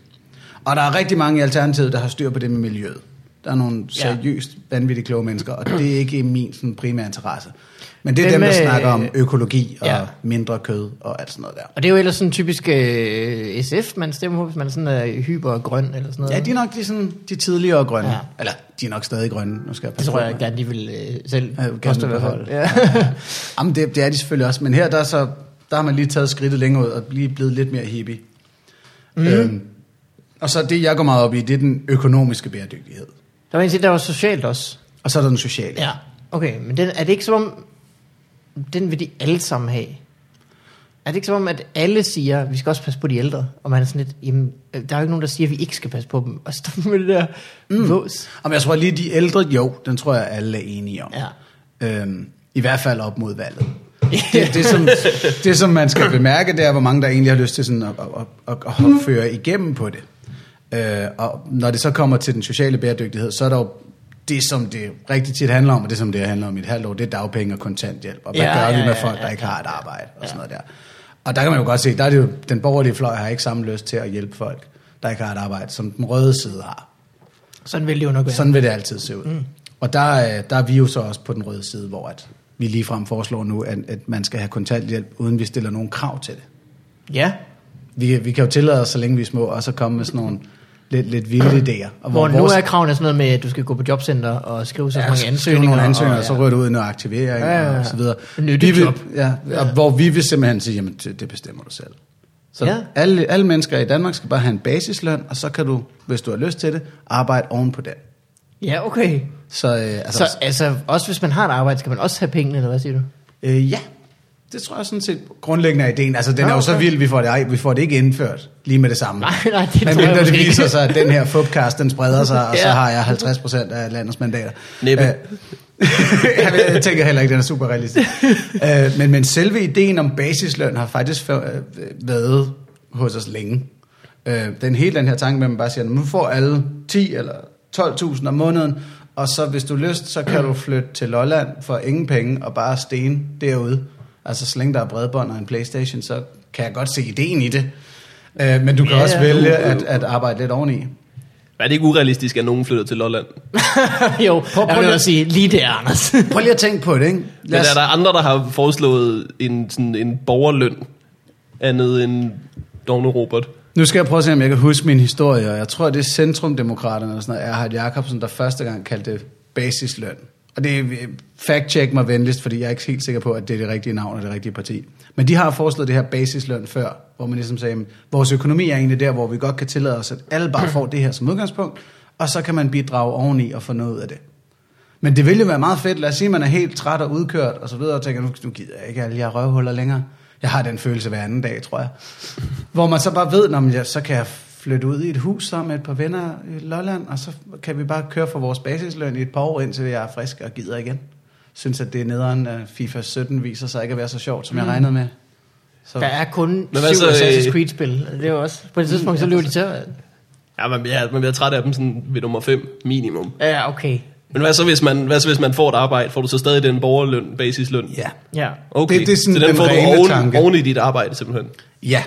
Speaker 3: Og der er rigtig mange i Alternativet, der har styr på det med miljøet. Der er nogle
Speaker 4: Ja.
Speaker 3: seriøst vanvittigt kloge mennesker, og det er ikke min sådan, primære interesse. Men det er
Speaker 4: Hvem,
Speaker 3: dem, der
Speaker 4: øh,
Speaker 3: snakker om økologi og
Speaker 4: Ja.
Speaker 3: ja. mindre kød og alt sådan noget der.
Speaker 4: Og det er jo ellers sådan typisk øh, SF, man stemmer på, hvis man er sådan øh, hypergrøn eller sådan noget.
Speaker 3: Ja, de er nok de, sådan, de tidligere grønne.
Speaker 4: Ja.
Speaker 3: Ja. Eller, de er nok stadig grønne. Nu skal jeg
Speaker 4: Det
Speaker 3: passe
Speaker 4: tror
Speaker 3: på
Speaker 4: jeg
Speaker 3: med.
Speaker 4: gerne, de vil øh, selv
Speaker 3: Ja, jeg vil gerne
Speaker 4: påstå i hvert fald.
Speaker 3: beholde.
Speaker 4: Ja.
Speaker 3: Jamen, det, det er de selvfølgelig også. Men her, der, er så, der har man lige taget skridtet længere ud og lige blevet lidt mere hippie.
Speaker 4: Mhm.
Speaker 3: Mm. Øhm, og så det, jeg går meget op i, det er den økonomiske bæredygtighed.
Speaker 4: Der var en ting, der var socialt også.
Speaker 3: Og så er der den sociale.
Speaker 4: Ja, okay, men den, er det ikke som om, den vil de alle sammen have? Er det ikke som om, at alle siger, at vi skal også passe på de ældre? Og man er sådan lidt, jamen, øh, der er jo ikke nogen, der siger, at vi ikke skal passe på dem. Og stå med det der mm. vås.
Speaker 3: Jamen, jeg tror lige, de ældre, jo, den tror jeg, alle er enige om.
Speaker 4: Ja.
Speaker 3: Øhm, I hvert fald op mod valget. Det, det, som, det, som man skal bemærke, det er, hvor mange der egentlig har lyst til sådan at, at, at, at føre igennem på det. Øh, og når det så kommer til den sociale bæredygtighed, så er der jo det, som det rigtig tit handler om, og det, som det handler om i et halvt år, det er dagpenge og kontanthjælp. Og hvad
Speaker 4: Ja,
Speaker 3: ja, gør vi
Speaker 4: ja,
Speaker 3: med
Speaker 4: ja,
Speaker 3: folk,
Speaker 4: ja,
Speaker 3: der ikke har et arbejde og sådan noget der. Og der kan man jo godt se, der er det jo, den borgerlige fløj har ikke samme lyst til at hjælpe folk, der ikke har et arbejde, som den røde side har.
Speaker 4: Sådan vil det jo nok være.
Speaker 3: Sådan vil det altid se ud. Mm. Og der, er- der er vi jo så også på den røde side, hvor at vi ligefrem foreslår nu, at, at man skal have kontanthjælp, uden vi stiller nogen krav til det.
Speaker 4: Ja,
Speaker 3: Vi, vi kan jo tillade os, så længe vi er små, også at komme med sådan nogle lidt, lidt vilde idéer. Og
Speaker 4: hvor, hvor nu
Speaker 3: vores-
Speaker 4: er kravene sådan noget med, at du skal gå på jobcenter og skrive så
Speaker 3: Ja,
Speaker 4: mange
Speaker 3: skrive
Speaker 4: ansøgninger.
Speaker 3: nogle ansøgninger, og,
Speaker 4: og,
Speaker 3: så rører du ud i noget aktivering
Speaker 4: Ja, ja, ja.
Speaker 3: og så videre.
Speaker 4: Nyttig
Speaker 3: vi vil,
Speaker 4: job.
Speaker 3: ja, og hvor vi vil simpelthen sige, jamen det, det bestemmer du selv. Så
Speaker 4: Ja.
Speaker 3: ja. alle, alle mennesker i Danmark skal bare have en basisløn, og så kan du, hvis du har lyst til det, arbejde oven på den.
Speaker 4: Ja, okay.
Speaker 3: Så, øh, altså,
Speaker 4: Så altså, også hvis man har et arbejde, skal man også have pengene, eller hvad siger du?
Speaker 3: øh, ja, det tror jeg sådan set grundlæggende er ideen. Altså den
Speaker 4: Nå,
Speaker 3: er jo så
Speaker 4: okay.
Speaker 3: vild, vi får det, ej, vi får det ikke indført lige med det samme.
Speaker 4: Nej, nej, det
Speaker 3: Men
Speaker 4: tror jeg
Speaker 3: mindre det
Speaker 4: måske
Speaker 3: viser
Speaker 4: ikke.
Speaker 3: sig, at den her fupcast, den spreder sig, og så
Speaker 4: Ja.
Speaker 3: har jeg 50% af landets mandater.
Speaker 1: Næppe.
Speaker 3: Øh, jeg tænker heller ikke, den er super realistisk. Øh, men, men selve ideen om basisløn har faktisk fa- øh, været hos os længe. Øh, den hele den her tanke med, at man bare siger, nu får alle 10 eller 12.000 om måneden, og så hvis du har lyst, så kan du flytte til Lolland for ingen penge og bare sten derude. Altså så længe der er bredbånd og en Playstation, så kan jeg godt se ideen i det. Øh, men du kan
Speaker 4: Ja,
Speaker 3: ja, også
Speaker 4: ja.
Speaker 3: vælge at, at arbejde lidt oveni.
Speaker 1: Er det ikke urealistisk, at nogen flytter til Lolland?
Speaker 4: jo,
Speaker 3: prøv
Speaker 4: jeg vil
Speaker 3: lige-
Speaker 4: også sige, lige der, Anders.
Speaker 3: Prøv lige at tænke på det, ikke?
Speaker 1: Men er der andre, der har foreslået en, sådan en borgerløn andet end Dogne Robert?
Speaker 3: Nu skal jeg prøve at se, om jeg kan huske min historie, og jeg tror, det er Centrumdemokraterne eller sådan noget, Erhard Jacobsen, der første gang kaldte det basisløn. Og det er- fact-check mig venligst, fordi jeg er ikke helt sikker på, at det er det rigtige navn og det rigtige parti. Men de har foreslået det her basisløn før, hvor man ligesom sagde, at vores økonomi er egentlig der, hvor vi godt kan tillade os, at alle bare får det her som udgangspunkt, og så kan man bidrage oveni og få noget ud af det. Men det ville jo være meget fedt, lad os sige, at man er helt træt og udkørt og så videre, og tænker, nu, nu gider jeg ikke alle de her røvhuller længere. Jeg har den følelse hver anden dag, tror jeg. Hvor man så bare ved, når man, ja, så kan jeg flytte ud i et hus sammen med et par venner i Lolland, og så kan vi bare køre for vores basisløn i et par år, indtil jeg er frisk og gider igen. Synes, at det er nederen, at FIFA 17 viser sig ikke at være så sjovt, som mm. jeg regnede med. Så,
Speaker 4: Der er kun
Speaker 1: hvad
Speaker 4: syv
Speaker 1: så, øh,
Speaker 4: Assassin's Creed-spil. Det er jo også, på et tidspunkt, så løber de til.
Speaker 1: Ja, man bliver, man bliver træt af dem sådan ved nummer 5 minimum.
Speaker 4: Ja, okay.
Speaker 1: Men hvad så, hvis man, hvad så, hvis man får et arbejde? Får du så stadig den borgerløn, basisløn?
Speaker 3: ja.
Speaker 4: Ja.
Speaker 1: Okay,
Speaker 3: Det- det er sådan
Speaker 1: så den,
Speaker 3: den
Speaker 1: får du
Speaker 3: rene
Speaker 1: oven,
Speaker 3: tanke.
Speaker 1: oven i dit arbejde simpelthen?
Speaker 3: Ja.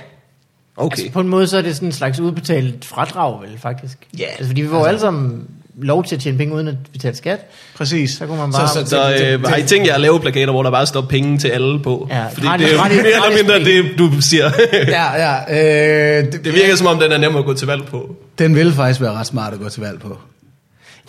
Speaker 1: Okay.
Speaker 4: Okay. Altså, på en måde, så er det sådan en slags udbetalt fradrag, vel, faktisk.
Speaker 3: Ja.
Speaker 4: Altså, fordi vi får altså, alle sammen lov til at tjene penge, uden at betale skat.
Speaker 3: Præcis.
Speaker 4: Så kunne man bare-
Speaker 3: Så, så,
Speaker 1: Så øh, har I tænkt jer at lave plakater, hvor der bare står penge til alle på?
Speaker 4: Ja,
Speaker 1: Fordi
Speaker 4: gratis-
Speaker 1: det er
Speaker 4: gratis-
Speaker 1: mere eller mindre
Speaker 4: gratis
Speaker 1: det, du siger.
Speaker 3: ja, ja. Øh, det,
Speaker 1: det virker som om, den er nem at gå til valg på.
Speaker 3: Den vil faktisk være ret smart at gå til valg på.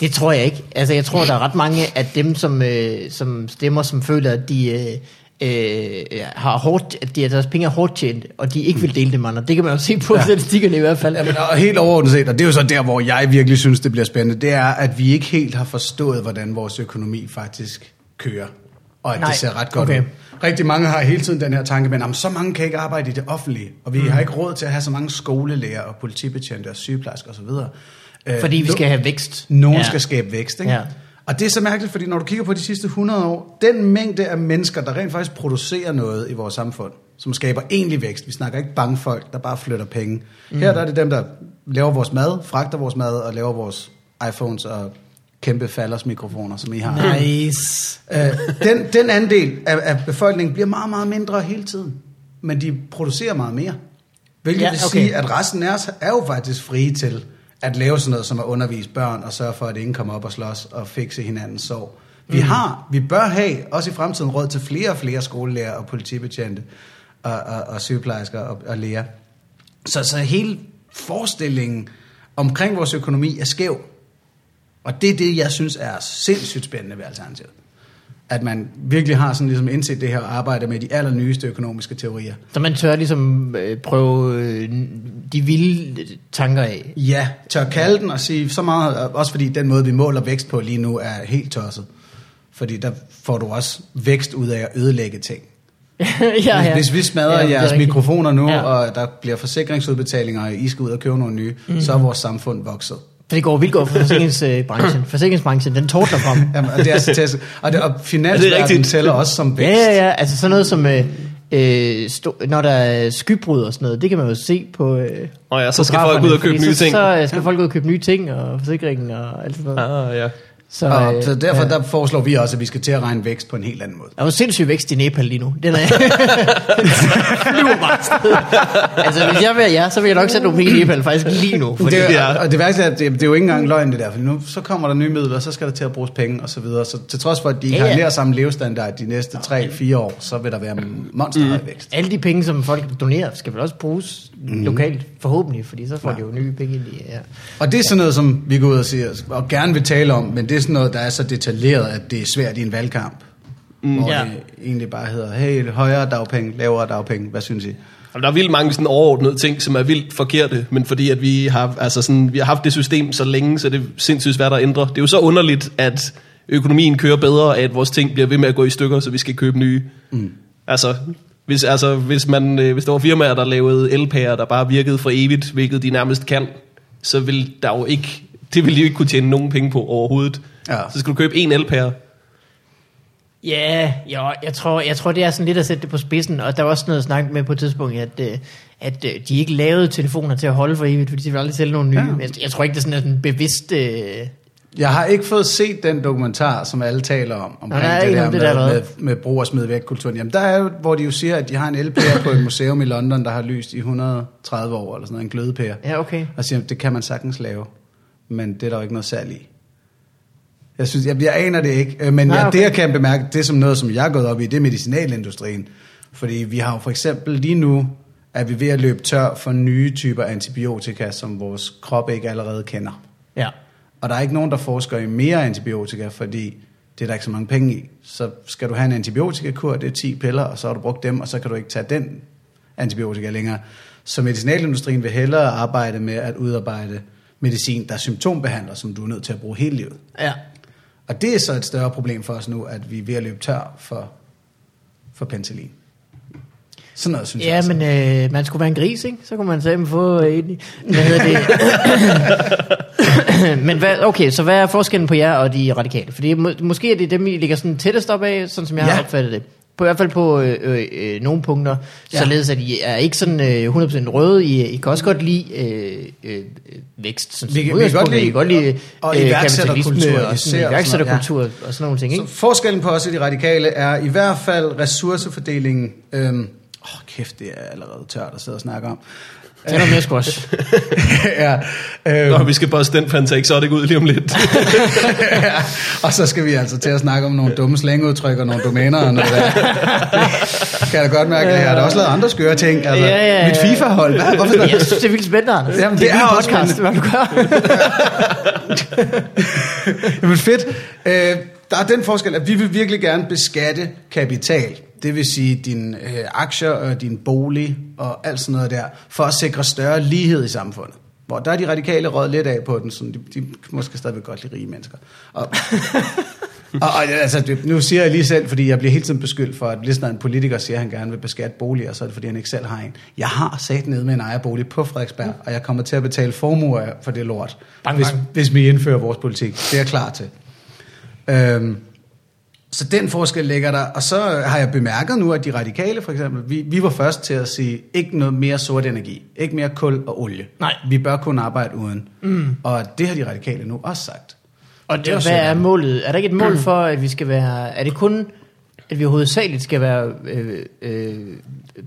Speaker 4: Det tror jeg ikke. Altså, jeg tror, der er ret mange af dem, som, øh, som stemmer, som føler, at de øh, øh, har hårdt, at de, at deres penge er hårdt tjent, og de ikke vil dele dem, og det kan man jo se på ja. statistikkerne i hvert fald.
Speaker 3: Jamen, og helt overordnet set, og det er jo så der, hvor jeg virkelig synes, det bliver spændende, det er, at vi ikke helt har forstået, hvordan vores økonomi faktisk kører. Og at
Speaker 4: Nej,
Speaker 3: det ser ret godt
Speaker 4: okay.
Speaker 3: okay. ud. Rigtig mange har hele tiden den her tanke, men jamen, så mange kan ikke arbejde i det offentlige, og vi mm. har ikke råd til at have så mange skolelærer og politibetjente og sygeplejersker osv.
Speaker 4: Fordi vi skal have vækst.
Speaker 3: øh, Nogen
Speaker 4: ja.
Speaker 3: ja. skal skabe vækst, ikke?
Speaker 4: Ja.
Speaker 3: Ja. Og det er så mærkeligt, fordi når du kigger på de sidste 100 år, den mængde af mennesker, der rent faktisk producerer noget i vores samfund, som skaber egentlig vækst. Vi snakker ikke bankfolk, der bare flytter penge. Mm. Her der er det dem, der laver vores mad, fragter vores mad og laver vores iPhones og kæmpe falders mikrofoner, som I har.
Speaker 4: Nice.
Speaker 3: Øh, den, den andel af, af befolkningen bliver meget, meget mindre hele tiden. Men de producerer meget mere. Hvilket
Speaker 4: Ja,
Speaker 3: ja, okay. vil
Speaker 4: okay.
Speaker 3: sige, at resten af os er jo faktisk frie til at lave sådan noget som at undervise børn og sørge for, at ingen kommer op og slås og fikse hinandens sorg. Vi har, vi bør have, også i fremtiden, råd til flere og flere skolelærer og politibetjente og, og, og sygeplejersker og, og læger. Så, så hele forestillingen omkring vores økonomi er skæv. Og det er det, jeg synes er sindssygt spændende ved Alternativet. At man virkelig har sådan ligesom indset det her og arbejder med de allernyeste økonomiske teorier.
Speaker 4: Så man tør ligesom øh, prøve øh, de vilde tanker af.
Speaker 3: Ja, tør kalde den og sige så meget, også fordi den måde, vi måler vækst på lige nu, er helt tosset. Fordi der får du også vækst ud af at ødelægge ting.
Speaker 4: ja,
Speaker 3: ja. Hvis vi smadrer
Speaker 4: det
Speaker 3: ja,
Speaker 4: er
Speaker 3: jeres
Speaker 4: rigtigt.
Speaker 3: mikrofoner nu,
Speaker 4: Ja.
Speaker 3: ja. og der bliver forsikringsudbetalinger, og I skal ud og købe nogle nye, mm. så er vores samfund vokset.
Speaker 4: For det går vildt godt for forsikringsbranchen. forsikringsbranchen, den tordner frem.
Speaker 3: Jamen, og det er så tæsket. Og, det, og finansverdenen
Speaker 1: rigtigt?
Speaker 3: tæller også som vækst.
Speaker 4: ja, ja, ja. Altså sådan noget som, øh, øh, sto- når der er skybrud og sådan noget, det kan man jo se på... Øh,
Speaker 1: Og ja,
Speaker 4: på
Speaker 1: så skal
Speaker 4: graferne,
Speaker 1: folk ud og købe
Speaker 4: fordi
Speaker 1: nye
Speaker 4: så,
Speaker 1: ting.
Speaker 4: Så øh, skal folk ud og købe nye ting, og forsikringen og alt sådan noget.
Speaker 1: Ah, ja.
Speaker 4: Så,
Speaker 3: Og,
Speaker 4: øh,
Speaker 3: så derfor
Speaker 4: ja.
Speaker 3: der foreslår vi også, at vi skal til at regne vækst på en helt anden måde.
Speaker 4: Der er jo sindssyg vækst i Nepal lige nu. Den er flyver bare afsted. Altså, hvis jeg var jer, så vil jeg nok sætte nogle penge i Nepal faktisk lige nu. Fordi,
Speaker 3: det,
Speaker 1: det
Speaker 3: er,
Speaker 1: er-
Speaker 3: og det værste er, at det, det er jo ikke engang løgn det der, for nu så kommer der nye midler, så skal der til at bruges penge og så videre. Så til trods for, at de ikke
Speaker 4: Ja,
Speaker 3: ja, ja.
Speaker 4: ja.
Speaker 3: har nær samme levestandard de næste 3-4 år, så vil der være
Speaker 4: Mm.
Speaker 3: monsterhøj vækst.
Speaker 4: alle de penge, som folk donerer, skal vel også bruges mm. lokalt, forhåbentlig, fordi så får ja. de jo nye penge ind i ja.
Speaker 3: Og det er sådan noget, som vi går ud og siger, og gerne vil tale om, men det er sådan noget, der er så detaljeret, at det er svært i en valgkamp. Mm. Hvor
Speaker 4: Ja.
Speaker 3: ja. det egentlig bare hedder, hey, højere dagpenge, lavere dagpenge, hvad synes I?
Speaker 1: Jamen, Der er vildt mange sådan overordnede ting, som er vildt forkerte, men fordi at vi har, altså sådan, vi har haft det system så længe, så det er sindssygt svært at ændre. Det er jo så underligt, at økonomien kører bedre, at vores ting bliver ved med at gå i stykker, så vi skal købe nye. Mm. Altså, hvis, altså hvis, man, øh, hvis der var firmaer, der lavede elpærer, der bare virkede for evigt, hvilket de nærmest kan, så vil der jo ikke, det vil de jo ikke kunne tjene nogen penge på overhovedet.
Speaker 3: Ja.
Speaker 1: Ja. Så skal du købe en elpære.
Speaker 4: Ja, jo, jeg tror, jeg tror, det er sådan lidt at sætte det på spidsen, og der var også noget snak med på et tidspunkt, at, øh, at øh, de ikke lavede telefoner til at holde for evigt, fordi de ville aldrig sælge nogle nye.
Speaker 3: Ja.
Speaker 4: Ja. Jeg, jeg tror ikke, det er sådan at en bevidst... Øh,
Speaker 3: Jeg har ikke fået set den dokumentar, som alle taler om, omkring
Speaker 4: der er
Speaker 3: Nej, det
Speaker 4: en
Speaker 3: der,
Speaker 4: om
Speaker 3: med,
Speaker 4: det der,
Speaker 3: med,
Speaker 4: hvad?
Speaker 3: med, med brug og smid væk kulturen. Jamen, der er jo, hvor de jo siger, at de har en elpære på et museum i London, der har lyst i 130 år, eller sådan noget, en glødepære.
Speaker 4: ja, okay.
Speaker 3: Og siger, det kan man sagtens lave, men det er der jo ikke noget særligt i. Jeg, synes, jeg, jeg aner det ikke, øh, men
Speaker 4: Nej,
Speaker 3: Nej, okay.
Speaker 4: okay.
Speaker 3: jeg, det jeg kan bemærke, det er som noget, som jeg er gået op i, det er medicinalindustrien. Fordi vi har jo for eksempel lige nu, er vi ved at løbe tør for nye typer antibiotika, som vores krop ikke allerede kender.
Speaker 4: Ja.
Speaker 3: Og der er ikke nogen, der forsker i mere antibiotika, fordi det er der ikke så mange penge i. Så skal du have en antibiotikakur, det er 10 piller, og så har du brugt dem, og så kan du ikke tage den antibiotika længere. Så medicinalindustrien vil hellere arbejde med at udarbejde medicin, der symptombehandler, som du er nødt til at bruge hele livet.
Speaker 4: ja.
Speaker 3: Og det er så et større problem for os nu, at vi er ved at løbe tør for, for penicillin. Sådan noget, synes jeg.
Speaker 4: Ja,
Speaker 3: altså.
Speaker 4: men øh, man skulle være en gris, ikke? Så kunne man sammen få øh, en... Hvad hedder det? men hvad, okay, så hvad er forskellen på jer og de radikale? Fordi må, måske er det dem, I ligger sådan tættest op af, sådan som jeg ja. har
Speaker 3: Ja.
Speaker 4: opfattet det. På i hvert fald på øh, øh, øh, nogle punkter, ja.
Speaker 3: Ja.
Speaker 4: således at I er ikke sådan øh, 100% røde. I, I kan også godt lide øh, øh, vækst. Sådan,
Speaker 3: Vi kan- vi kan
Speaker 4: udgangspunkt.
Speaker 3: godt lide-
Speaker 4: I kan godt lide
Speaker 3: og- og
Speaker 4: øh,
Speaker 3: iværksætterkultur
Speaker 4: kapitalisme
Speaker 3: især
Speaker 4: og
Speaker 3: og sådan
Speaker 4: sådan,
Speaker 3: noget,
Speaker 4: iværksætterkultur og sådan nogle ting, ikke?
Speaker 3: Så forskellen på os og de radikale er i hvert fald ressourcefordelingen. Øhm, åh, kæft, det er allerede tørt at sidde og snakke om.
Speaker 4: Tag noget mere squash.
Speaker 3: ja,
Speaker 1: Nå,
Speaker 3: øhm,
Speaker 1: vi skal bare den Fanta Exotic ud lige om lidt.
Speaker 3: ja, og så skal vi altså til at snakke om nogle dumme slangudtryk og nogle domæner og noget der. Det kan jeg da godt mærke, at jeg har da også lavet andre skøre ting. Altså,
Speaker 4: Ja, ja, ja.
Speaker 3: Mit FIFA-hold, hvad? Hvorfor
Speaker 4: Jeg synes, det er vildt spændende, Anders.
Speaker 3: Jamen, det
Speaker 4: en
Speaker 3: er også
Speaker 4: podcast, hvad du gør.
Speaker 3: Jamen fedt. Øh, der er den forskel, at vi vil virkelig gerne beskatte kapital. Det vil sige dine øh, aktier og din bolig og alt sådan noget der, for at sikre større lighed i samfundet. Hvor der er de radikale råd lidt af på den, sådan de, de kan måske stadigvæk godt lide rige mennesker. Og, og, og altså, det- nu siger jeg lige selv, fordi jeg bliver hele tiden beskyldt for, at hvis når en politiker siger, at han gerne vil beskatte boliger, så er det fordi, han ikke selv har en. Jeg har sat ned med en ejerbolig på Frederiksberg, og jeg kommer til at betale formuer for det lort,
Speaker 4: Bang,
Speaker 3: hvis,
Speaker 4: bang.
Speaker 3: hvis vi indfører vores politik. Det er jeg klar til. Øhm, så den forskel ligger der. Og så har jeg bemærket nu, at de radikale for eksempel, vi, vi var først til at sige, ikke noget mere sort energi, ikke mere kul og olie.
Speaker 4: Nej.
Speaker 3: Vi bør kun arbejde uden. Mm. Og det har de radikale nu også sagt.
Speaker 4: Og
Speaker 3: er
Speaker 4: det, hvad
Speaker 3: sådan. Mm.
Speaker 4: er målet? Er der ikke et mål for, at vi skal være... Er det kun, at vi hovedsageligt skal være øh, øh,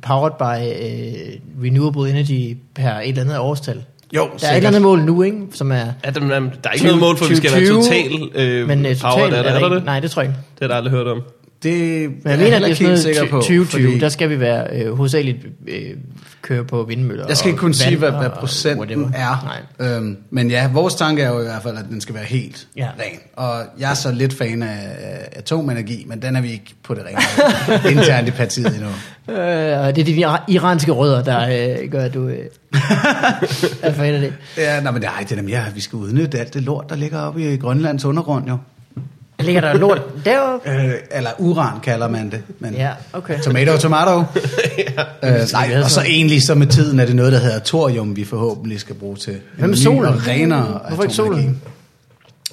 Speaker 4: powered by øh, renewable energy per et eller andet årstal?
Speaker 3: Jo,
Speaker 4: Der er et eller andet mål nu, ikke? Som er...
Speaker 1: Ja, der, der er ikke
Speaker 4: 20
Speaker 1: noget mål for, at vi skal være
Speaker 4: 2020,
Speaker 1: total øh,
Speaker 4: men øh,
Speaker 1: power,
Speaker 4: totalt
Speaker 1: der,
Speaker 4: er
Speaker 1: er, der,
Speaker 4: der
Speaker 1: er
Speaker 4: ikke,
Speaker 1: det?
Speaker 4: Nej, det tror jeg ikke.
Speaker 1: Det har jeg aldrig hørt om.
Speaker 3: Det
Speaker 4: Men jeg
Speaker 3: er
Speaker 4: mener,
Speaker 3: heller
Speaker 4: det er
Speaker 3: ikke helt
Speaker 4: sådan noget
Speaker 3: sikker på.
Speaker 4: 2020,
Speaker 3: fordi-
Speaker 4: der skal vi være øh, hovedsageligt øh, køre på vindmøller.
Speaker 3: Jeg skal ikke
Speaker 4: og
Speaker 3: kunne sige,
Speaker 4: vand
Speaker 3: hvad,
Speaker 4: og
Speaker 3: hvad procenten
Speaker 4: whatever.
Speaker 3: er.
Speaker 4: Nej.
Speaker 3: Øhm, men ja, vores tanke er jo i hvert fald, at den skal være helt
Speaker 4: Ja.
Speaker 3: ja. ren. Og jeg er så lidt fan af af atomenergi, men den er vi ikke på det rene internt i partiet endnu.
Speaker 4: Øh, og det er de ira- iranske rødder, der øh, gør, at du øh, er fan af det.
Speaker 3: Ja, nej, men det er, ej, det er da mere, at vi skal udnytte alt det lort, der ligger oppe i Grønlands undergrund jo.
Speaker 4: Der ligger der lort deroppe.
Speaker 3: Øh, eller uran kalder man det. Men
Speaker 4: Ja, okay.
Speaker 3: Tomato, tomato. ja. øh, nej, og så egentlig så med tiden er det noget, der hedder thorium, vi forhåbentlig skal bruge til. en
Speaker 4: Hvad med
Speaker 3: ny
Speaker 4: solen?
Speaker 3: og renere
Speaker 4: Hvorfor ikke solen?
Speaker 3: atomenergi.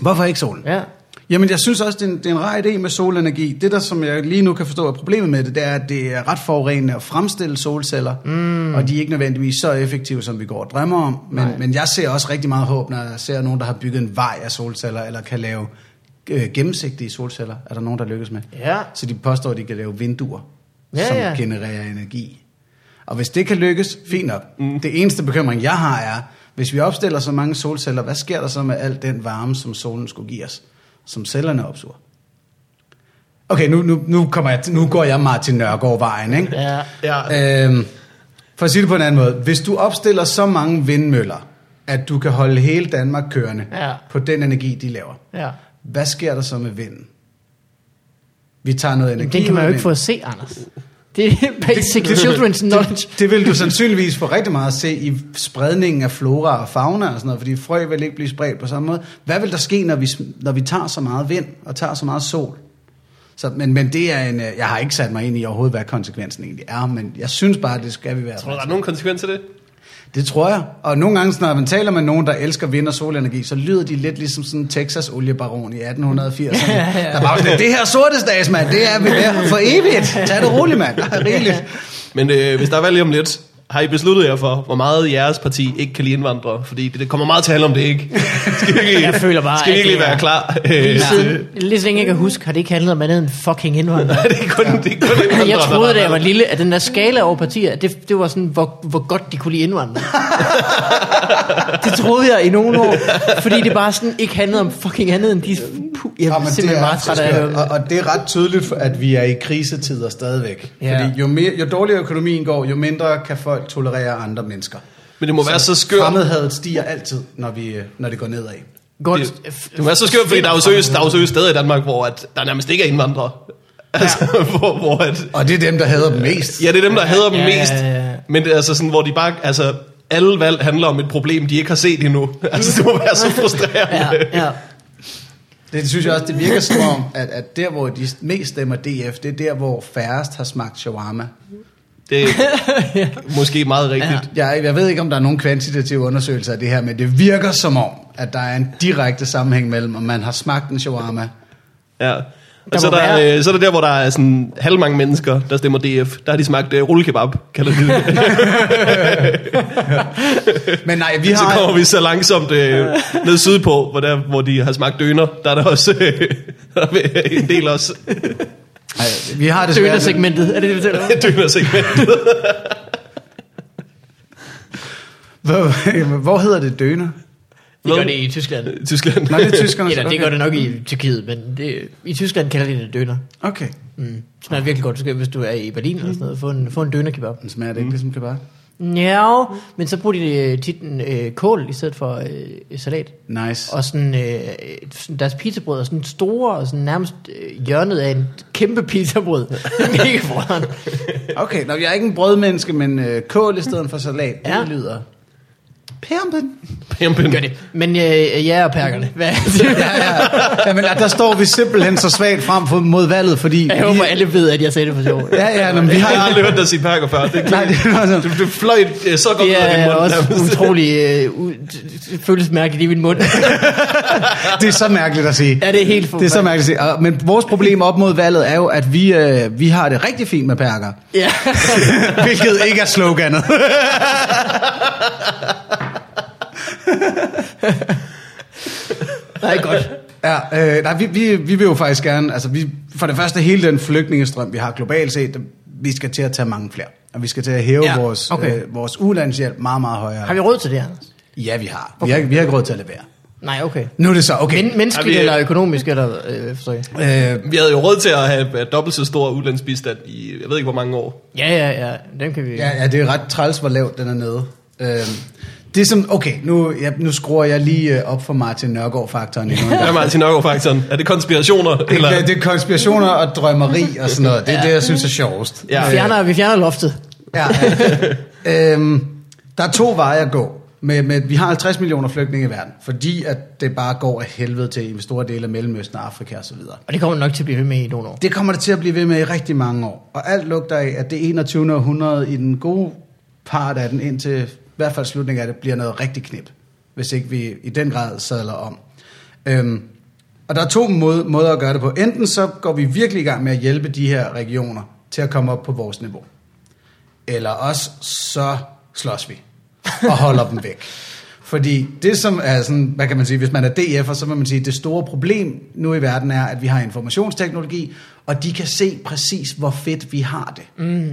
Speaker 3: Hvorfor ikke solen?
Speaker 4: Ja.
Speaker 3: Jamen, jeg synes også, det er, en, det er en rar idé med solenergi. Det der, som jeg lige nu kan forstå er problemet med det, det er, at det er ret forurenende at fremstille solceller, mm. og de er ikke nødvendigvis så effektive, som vi går og drømmer om. Men, men jeg ser også rigtig meget håb, når jeg ser nogen, der har bygget en vej af solceller, eller kan lave øh, gennemsigtige solceller, er der nogen, der lykkes med.
Speaker 4: Ja.
Speaker 3: Så de påstår, at de kan lave vinduer,
Speaker 4: Ja,
Speaker 3: ja, som
Speaker 4: ja.
Speaker 3: ja. genererer energi. Og hvis det kan lykkes, fint nok. Mm. Det eneste bekymring, jeg har, er, hvis vi opstiller så mange solceller, hvad sker der så med al den varme, som solen skulle give os, som cellerne opsuger? Okay, nu, nu, nu, kommer jeg, nu går jeg Martin Nørgaard-vejen, ikke?
Speaker 4: Ja.
Speaker 1: Ja,
Speaker 3: Øhm, for at sige det på en anden måde. Hvis du opstiller så mange vindmøller, at du kan holde hele Danmark kørende
Speaker 4: Ja.
Speaker 3: på den energi, de laver,
Speaker 4: ja.
Speaker 3: hvad sker der så med vinden? Vi tager noget energi.
Speaker 4: Jamen, den kan man
Speaker 3: ud
Speaker 4: jo
Speaker 3: af
Speaker 4: ikke få
Speaker 3: vinden.
Speaker 4: at se, Anders. Det er basic
Speaker 3: det-
Speaker 4: children's knowledge.
Speaker 3: Det vil du sandsynligvis få rigtig meget at se i spredningen af flora og fauna og sådan noget, fordi frø vil ikke blive spredt på samme måde. Hvad vil der ske, når vi, sm- når vi tager så meget vind og tager så meget sol? Så, men, men det er en... øh, Jeg har ikke sat mig ind i overhovedet, hvad konsekvensen egentlig er, men jeg synes bare, det skal vi være.
Speaker 1: tror du, der er nogen konsekvens til det?
Speaker 3: Det tror jeg. Og nogle gange, når man taler med nogen, der elsker vind og solenergi, så lyder de lidt ligesom sådan en Texas-oliebaron i 1880'erne.
Speaker 4: Ja, ja, ja.
Speaker 3: Der bare sådan, det her sortestads, mand, det er vi der for evigt. Tag det roligt, mand. Der er rigeligt.
Speaker 1: Men øh, hvis der er valg lige om lidt, har I besluttet jer for, hvor meget jeres parti ikke kan lide indvandrere? Fordi det, det kommer meget til at handle om det, ikke? Skal vi ikke
Speaker 4: Jeg føler bare,
Speaker 1: skal vi
Speaker 4: at
Speaker 1: ikke lige
Speaker 4: det er-
Speaker 1: være klar? Øh, til-
Speaker 4: Lige, siden, lige så længe jeg kan huske, har det ikke handlet om andet end fucking indvandrere.
Speaker 1: Nej, det er kun, det er kun indvandrere,
Speaker 4: Jeg
Speaker 1: der-
Speaker 4: troede, da jeg var lille, at den der skala over partier, at det, det var sådan, hvor, hvor godt de kunne lide indvandrere. det troede jeg i nogle år, fordi det bare sådan ikke handlede om fucking andet end de... Puh, jeg
Speaker 3: Ja,
Speaker 4: er
Speaker 3: men det
Speaker 4: simpelthen
Speaker 3: er
Speaker 4: meget
Speaker 3: så
Speaker 4: træt af at høre
Speaker 3: skørt.
Speaker 4: dem.
Speaker 3: og, og det er ret tydeligt, for- at vi er i krisetider stadigvæk.
Speaker 4: Ja.
Speaker 3: Ja. Fordi jo, mere, jo dårligere økonomien går, jo mindre kan folk tolerere andre mennesker.
Speaker 1: Men det må være så skørt.
Speaker 3: Fremmedhadet stiger altid, når, vi, øh, når det går nedad.
Speaker 4: Godt.
Speaker 1: Det, det må være så skørt, fordi der er jo seriøst, der er jo seriøst steder i Danmark, hvor at der nærmest ikke er indvandrere. Altså, hvor, hvor at,
Speaker 3: Og det er dem, der hader dem mest.
Speaker 1: Ja, det er dem, der hader dem
Speaker 4: Ja, ja,
Speaker 1: mest.
Speaker 4: ja, ja.
Speaker 1: Men det er altså sådan, hvor de bare... Altså, alle valg handler om et problem, de ikke har set endnu. Altså, det må være så frustrerende.
Speaker 4: Ja, ja.
Speaker 3: Det synes jeg også, det virker som om, at, at der hvor de mest stemmer DF, det er der hvor færrest har smagt shawarma.
Speaker 1: Det er måske meget rigtigt.
Speaker 3: Jeg, jeg ved ikke, om der er nogen kvantitative undersøgelser af det her, men det virker som om, at der er en direkte sammenhæng mellem, om man har smagt en shawarma.
Speaker 1: Ja. ja.
Speaker 4: Der
Speaker 1: Og så er,
Speaker 4: må
Speaker 1: der,
Speaker 4: være-
Speaker 1: øh, så er der der, hvor der er sådan halvmange mennesker, der stemmer DF. Der har de smagt øh, rullekebab, kalder de det.
Speaker 3: Men nej, vi
Speaker 1: Så
Speaker 3: har...
Speaker 1: kommer vi så langsomt øh, ned sydpå, hvor, der, hvor de har smagt døner. Der er der også øh, der er en del også
Speaker 3: Nej, vi har desværre...
Speaker 4: Dønersegmentet, er det det, vi taler om?
Speaker 1: dønersegmentet.
Speaker 3: Hvor, hvor hedder det døner?
Speaker 4: Det gør det i Tyskland.
Speaker 1: Tyskland.
Speaker 3: Nej, det er tyskerne.
Speaker 4: Eller det
Speaker 3: okay.
Speaker 4: gør det nok i Tyrkiet, men det, i Tyskland kalder de det døner.
Speaker 3: Okay.
Speaker 4: Mm. Smager virkelig godt, Du skal, hvis du er i Berlin eller sådan noget. Få en, få en dønerkebab.
Speaker 3: Den smager det ikke, ligesom kebab?
Speaker 4: Ja, men så bruger de øh, tit en øh, kål i stedet for øh, salat.
Speaker 3: Nice.
Speaker 4: Og sådan, øh, sådan deres pizzabrød er sådan store, og sådan nærmest øh, hjørnet af en kæmpe pizzabrød. Mega foran.
Speaker 3: Okay, nå, jeg er ikke en brødmenneske, men øh, kål i stedet for salat, ja.
Speaker 4: Ja.
Speaker 3: det lyder... Pampen.
Speaker 1: Pimpen.
Speaker 4: Gør det. Men øh, ja, og perkerne. Hvad?
Speaker 3: ja, ja. ja men der står vi simpelthen så svagt frem for, mod valget, fordi...
Speaker 4: Jeg håber, alle ved, at jeg sagde det for sjov.
Speaker 3: Ja, ja, men vi
Speaker 1: Jeg har
Speaker 3: har...
Speaker 1: aldrig hørt dig sige perker før. Det,
Speaker 3: Nej, det var
Speaker 1: du,
Speaker 3: sådan...
Speaker 1: du fløj øh, så godt
Speaker 4: Det
Speaker 1: ud af din
Speaker 4: er
Speaker 1: mund.
Speaker 4: også
Speaker 1: nærmest.
Speaker 4: utrolig øh, u- følelsesmærkeligt i min mund.
Speaker 3: Det er så mærkeligt at sige.
Speaker 4: Ja, det er helt
Speaker 3: Det er så mærkeligt at sige. Og- Men vores problem op mod valget er jo, at vi, øh, vi har det rigtig fint med perker.
Speaker 4: Ja.
Speaker 3: Hvilket ikke er sloganet.
Speaker 4: Nej, godt.
Speaker 3: Ja, øh, nej, vi, vi, vi vil jo faktisk gerne, altså vi, for det første hele den flygtningestrøm, vi har globalt set, vi skal til at tage mange flere. Og vi skal til at hæve
Speaker 4: Ja,
Speaker 3: ja, vores,
Speaker 4: okay.
Speaker 3: okay. øh, vores ulandshjælp meget, meget højere.
Speaker 4: Har vi råd til det, Anders?
Speaker 3: Ja, vi har. Okay.
Speaker 4: Okay.
Speaker 3: Vi, har. vi har ikke råd til at levere.
Speaker 4: Nej, okay.
Speaker 3: Nu er det så, okay.
Speaker 4: Men, menneskeligt
Speaker 1: Har vi-
Speaker 4: eller økonomisk, eller øh, forstår jeg?
Speaker 3: øh,
Speaker 1: Vi havde jo råd til at have øh, dobbelt så stor udlandsbistand i, jeg ved ikke hvor mange år.
Speaker 4: Ja, ja, ja. Dem kan vi...
Speaker 3: Ja, ja, det er ret træls, hvor lavt den er nede. Øhm, det er som, okay, nu, ja, nu skruer jeg lige øh, op for Martin Nørgaard-faktoren endnu en gang.
Speaker 1: Hvad er Martin Nørgaard-faktoren? Er det konspirationer?
Speaker 3: Det,
Speaker 1: eller?
Speaker 3: er- det er konspirationer og drømmeri og sådan noget. Det er det, jeg synes er sjovest.
Speaker 1: Ja.
Speaker 4: Vi fjerner, vi fjerner loftet.
Speaker 3: Ja, ja. øhm, der er to veje at gå. Med, med, vi har 50 millioner flygtninge i verden, fordi at det bare går af helvede til i store dele af Mellemøsten og Afrika osv.
Speaker 4: Og det kommer nok til at blive ved med i nogle år.
Speaker 3: Det kommer det til at blive ved med i rigtig mange år. Og alt lugter af, at det 21. århundrede i den gode part af den, indtil i hvert fald slutningen af det, bliver noget rigtig knip. Hvis ikke vi i den grad sadler om. Øhm, og der er to måde, måder at gøre det på. Enten så går vi virkelig i gang med at hjælpe de her regioner til at komme op på vores niveau. Eller også så slås vi og holder dem væk. Fordi det som er sådan, hvad kan man sige, hvis man er DF'er, så må man sige, at det store problem nu i verden er, at vi har informationsteknologi, og de kan se præcis, hvor fedt vi har det. Mm.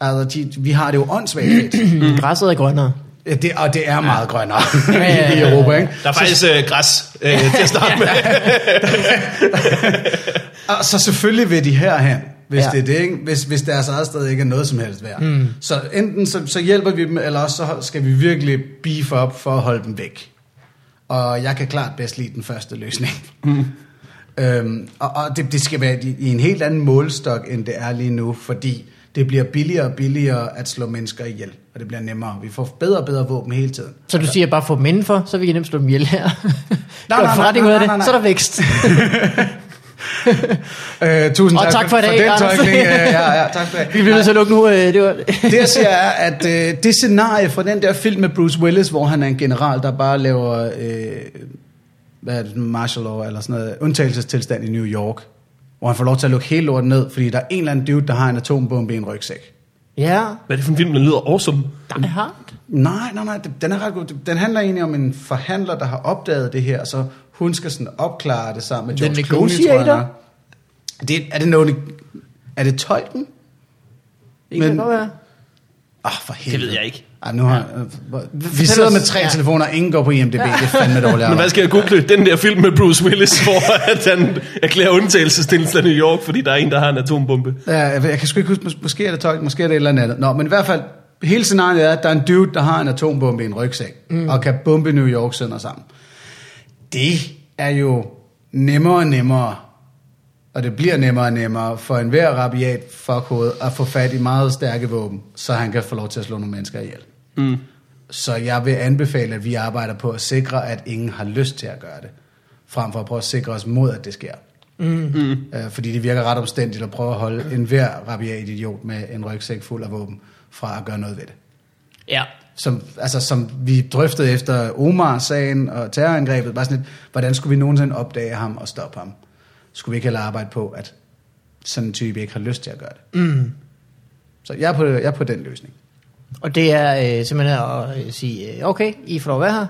Speaker 3: Altså, de, vi har det jo åndssvagt fedt.
Speaker 4: Mm. Græsset er grønnere.
Speaker 3: Ja, Det, og det er meget grønnere
Speaker 4: Ja, ja,
Speaker 3: i
Speaker 4: ja.
Speaker 3: Europa, ikke?
Speaker 1: Der er faktisk øh, græs øh, til at starte med.
Speaker 3: Og så selvfølgelig vil de herhen, hvis
Speaker 4: Ja.
Speaker 3: ja. det er det, ikke? Hvis, hvis deres eget sted ikke er noget som helst værd. Mm. Så enten så, så hjælper vi dem, eller også så skal vi virkelig beef op for at holde dem væk. Og jeg kan klart bedst lide den første løsning. Mm. Øhm, og og det, det skal være i, i en helt anden målestok, end det er lige nu, fordi det bliver billigere og billigere at slå mennesker ihjel, og det bliver nemmere. Vi får bedre og bedre våben hele tiden.
Speaker 4: Så du siger bare få dem indenfor, så vi kan nemt slå dem ihjel her.
Speaker 3: nej,
Speaker 4: Gør en
Speaker 3: nej,
Speaker 4: forretning
Speaker 3: nej,
Speaker 4: ud af
Speaker 3: nej,
Speaker 4: det,
Speaker 3: nej.
Speaker 4: Så er der vækst.
Speaker 3: Øh, tusind
Speaker 4: Og tak for i dag,
Speaker 3: den
Speaker 4: Anders.
Speaker 3: tolkning. Ja, ja, ja, tak for det.
Speaker 4: Vi bliver nødt til at lukke nu. Øh, det var det.
Speaker 3: Det jeg siger er, at øh, det scenarie fra den der film med Bruce Willis, hvor han er en general, der bare laver øh, hvad er det, martial law eller sådan noget, undtagelsestilstand i New York, hvor han får lov til at lukke hele lorten ned, fordi der er en eller anden dude, der har en atombombe i en rygsæk.
Speaker 4: Ja,
Speaker 1: Hvad er det for en film, der lyder awesome?
Speaker 4: det er hardt.
Speaker 3: Nej, nej, nej, det- den er ret god. Den handler egentlig om en forhandler, der har opdaget det her, og så hun skal sådan opklare det sammen med
Speaker 4: The
Speaker 3: George Clooney, tror jeg.
Speaker 4: Negotiator?
Speaker 3: nok. Det, er det noget, er det tolken?
Speaker 4: Det kan
Speaker 3: Men-
Speaker 4: godt være.
Speaker 3: Ah, for helvede.
Speaker 1: ved jeg ikke.
Speaker 3: Ej, nu har, øh, vi
Speaker 4: Fortæl
Speaker 3: sidder
Speaker 4: os.
Speaker 3: med tre
Speaker 4: Ja.
Speaker 3: ja. telefoner, og ingen går på IMDb. Det er fandme dårligt
Speaker 1: Men hvad
Speaker 3: arbejde.
Speaker 1: skal jeg google? Den der film med Bruce Willis, hvor at han erklærer undtagelsestilstand i New York, fordi der er en, der har en atombombe.
Speaker 3: Ja, jeg, ved- jeg kan sgu ikke huske, mås- måske er det tolk, måske er det et eller andet. Nå, men i hvert fald, hele scenariet er, at der er en dude, der har en atombombe i en rygsæk, mm. og kan bombe New York sønder sammen. Det er jo nemmere og nemmere, og det bliver nemmere og nemmere for enhver rabiat fuckhoved at få fat i meget stærke våben, så han kan få lov til at slå nogle mennesker ihjel.
Speaker 1: Mm.
Speaker 3: Så jeg vil anbefale, at vi arbejder på at sikre, at ingen har lyst til at gøre det, frem for at prøve at sikre os mod, at det sker.
Speaker 1: Mm.
Speaker 3: Øh, fordi det virker ret omstændigt at prøve at holde enhver rabiat idiot med en rygsæk fuld af våben fra at gøre noget ved det.
Speaker 4: Ja.
Speaker 3: Som, altså, som vi drøftede efter Omar-sagen og terrorangrebet, bare sådan lidt, hvordan skulle vi nogensinde opdage ham og stoppe ham? Skulle vi ikke heller arbejde på, at sådan en type ikke har lyst til at gøre det?
Speaker 4: Mm.
Speaker 3: Så jeg er på, jeg er på den løsning.
Speaker 4: Og det er øh, simpelthen at øh, sige, øh, okay, I får lov at være her.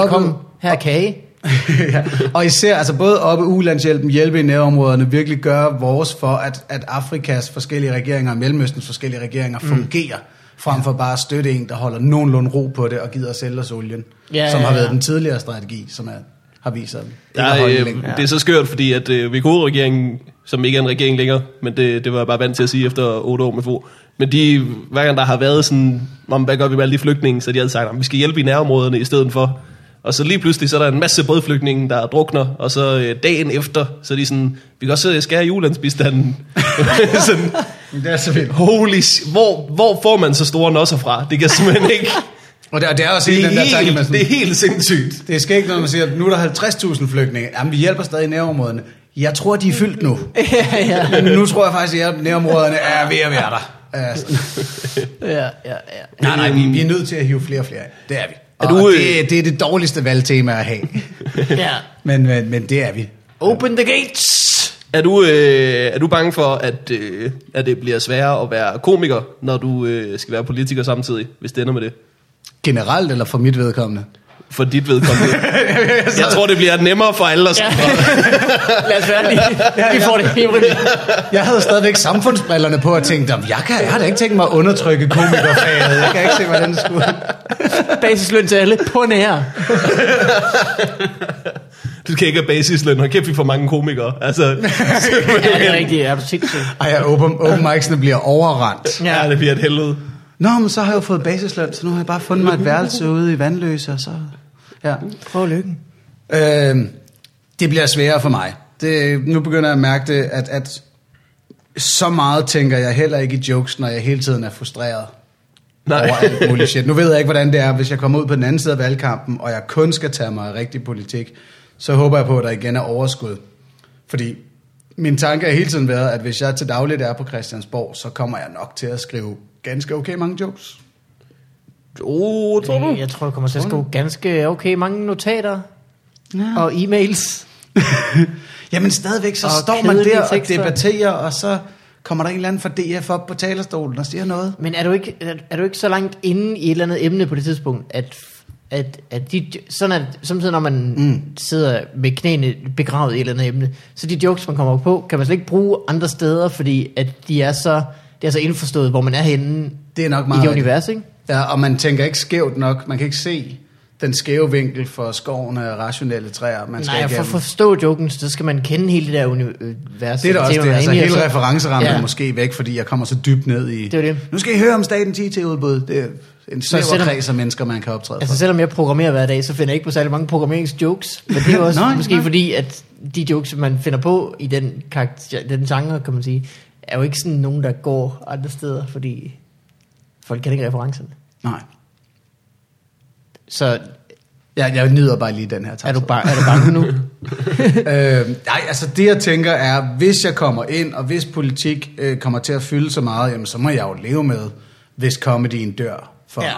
Speaker 4: Velkommen.
Speaker 3: Oppe-
Speaker 4: Her er kage.
Speaker 3: ja. Og især altså både oppe ulandshjælpen, hjælpe i nærområderne, virkelig gøre vores for, at, at Afrikas forskellige regeringer og Mellemøstens forskellige regeringer mm. fungerer, frem for bare at støtte en, der holder nogenlunde ro på det og gider at sælge os olien,
Speaker 4: Ja,
Speaker 3: ja, som
Speaker 4: ja,
Speaker 3: har
Speaker 4: ja.
Speaker 3: været den tidligere strategi, som er, har vist sig. ikke
Speaker 1: Der,
Speaker 3: at
Speaker 1: er,
Speaker 3: holde
Speaker 1: øh,
Speaker 3: længe.
Speaker 1: det er så skørt, fordi at øh, VK-regeringen, som ikke er en regering længere, men det, det var jeg bare vant til at sige efter otte år med få, men de, hver gang der har været sådan, om hvad gør vi med alle de flygtninge, så de havde sagt, at vi skal hjælpe i nærområderne i stedet for. Og så lige pludselig, så er der en masse brødflygtninge, der drukner, og så øh, dagen efter, så er de sådan, vi kan også øh, skære i ulandsbistanden. sådan,
Speaker 3: Men det er så vildt.
Speaker 1: holy sh- hvor, hvor får man så store nosser fra? Det kan jeg simpelthen ikke.
Speaker 3: Og det, og det er også
Speaker 1: Det
Speaker 3: hele den der
Speaker 1: er
Speaker 3: tanke med
Speaker 1: helt,
Speaker 3: sådan,
Speaker 1: det er helt sindssygt.
Speaker 3: det skal ikke, når man siger, at nu er der 50.000 flygtninge, jamen vi hjælper stadig i nærområderne. Jeg tror, de er fyldt nu.
Speaker 4: ja, ja.
Speaker 3: Men nu tror jeg faktisk, at nærområderne er ved at være der. Altså.
Speaker 4: ja, ja, ja.
Speaker 3: Nej, nej, vi, vi er nødt til at hive flere og flere ind. Det Øhm, er vi.
Speaker 1: Er
Speaker 3: Og
Speaker 1: du,
Speaker 3: du,
Speaker 1: øh,
Speaker 3: det, det er det dårligste valgtema at have.
Speaker 4: ja.
Speaker 3: men, men, men det er vi.
Speaker 4: Open the gates.
Speaker 1: Er du, øh, er du bange for, at, øh, at det bliver sværere at være komiker, når du øh, skal være politiker samtidig, hvis det ender med det?
Speaker 3: Generelt eller for mit vedkommende?
Speaker 1: For dit vedkommende. jeg tror, det bliver nemmere for alle os.
Speaker 4: Ja.
Speaker 1: Ja.
Speaker 4: Lad os være lige. Vi får det helt rimeligt.
Speaker 3: Jeg havde stadigvæk samfundsbrillerne på og tænkte, "Jamen, jeg, kan, jeg har da ikke tænkt mig at undertrykke komikerfaget. Jeg kan ikke se, hvordan det skulle.
Speaker 4: Basisløn til alle på nær.
Speaker 1: Du kan ikke have basisløn. Hold kæft, vi får mange komikere. Altså,
Speaker 4: Ja, det er rigtigt. Er du sindssyg?
Speaker 3: Ej, ja, open, open mics'ene bliver overrendt.
Speaker 1: ja, det bliver et helvede.
Speaker 3: Nå, men så har jeg jo fået basisløn, så nu har jeg bare fundet mig et værelse ude i Vandløse, og så... Ja.
Speaker 4: Prøv lykken.
Speaker 3: Øh, det bliver sværere for mig. Det, nu begynder jeg at mærke det, at, at så meget tænker jeg heller ikke i jokes, når jeg hele tiden er frustreret
Speaker 1: Nej.
Speaker 3: over alt muligt shit. Nu ved jeg ikke, hvordan det er, hvis jeg kommer ud på den anden side af valgkampen, og jeg kun skal tage mig af rigtig politik, så håber jeg på, at der igen er overskud. Fordi min tanke har hele tiden været, at hvis jeg til dagligt er på Christiansborg, så kommer jeg nok til at skrive ganske okay mange jokes.
Speaker 1: oh, tror du?
Speaker 4: Jeg tror, du kommer til at skrive ganske okay mange notater
Speaker 3: Ja.
Speaker 4: og e-mails.
Speaker 3: Jamen stadigvæk, så
Speaker 4: Og
Speaker 3: og står man
Speaker 4: kedelige
Speaker 3: der og
Speaker 4: tekster.
Speaker 3: debatterer, og så kommer der en eller anden fra DF op på talerstolen og siger noget.
Speaker 4: Men er du ikke, er, er du ikke så langt inde i et eller andet emne på det tidspunkt, at, at, at de, sådan at samtidig når man mm. sidder med knæene begravet i et eller andet emne, så de jokes, man kommer på, kan man slet ikke bruge andre steder, fordi at de er så, det er så indforstået, hvor man er henne
Speaker 3: Det er nok
Speaker 4: i
Speaker 3: meget
Speaker 4: det
Speaker 3: rigtigt.
Speaker 4: univers, ikke?
Speaker 3: Ja, og man tænker ikke skævt nok. Man kan ikke se den skæve vinkel for skoven af rationelle træer. Man skal
Speaker 4: Nej, for
Speaker 3: igennem.
Speaker 4: at forstå joken, så skal man kende hele det der øh, univers.
Speaker 3: Det er da også
Speaker 4: man
Speaker 3: det,
Speaker 4: er
Speaker 3: altså
Speaker 4: inde i, og
Speaker 3: hele
Speaker 4: så-
Speaker 3: referencerammen ja.
Speaker 4: Ja.
Speaker 3: er måske væk, fordi jeg kommer så dybt ned i...
Speaker 4: Det er jo det.
Speaker 3: Nu skal I høre om staten IT-udbud. Det er en snæver
Speaker 4: selvom-
Speaker 3: kreds af mennesker, man kan optræde
Speaker 4: Altså
Speaker 3: for.
Speaker 4: selvom jeg programmerer hver dag, så finder jeg ikke på særlig mange programmeringsjokes. Men det er jo også
Speaker 3: Nej,
Speaker 4: nej, måske
Speaker 3: nej.
Speaker 4: nej. fordi, at de jokes, man finder på i den, karakter, den genre, kan man sige, er jo ikke sådan nogen, der går andre steder, fordi folk kan ikke referencerne.
Speaker 3: Nej.
Speaker 4: Så
Speaker 3: Jeg, jeg nyder bare lige den her tak.
Speaker 4: er du, bare, er du bange nu?
Speaker 3: øh, nej, altså det jeg tænker er, hvis jeg kommer ind, og hvis politik øh, kommer til at fylde så meget, jamen, så må jeg jo leve med, hvis comedyen dør for
Speaker 4: Ja.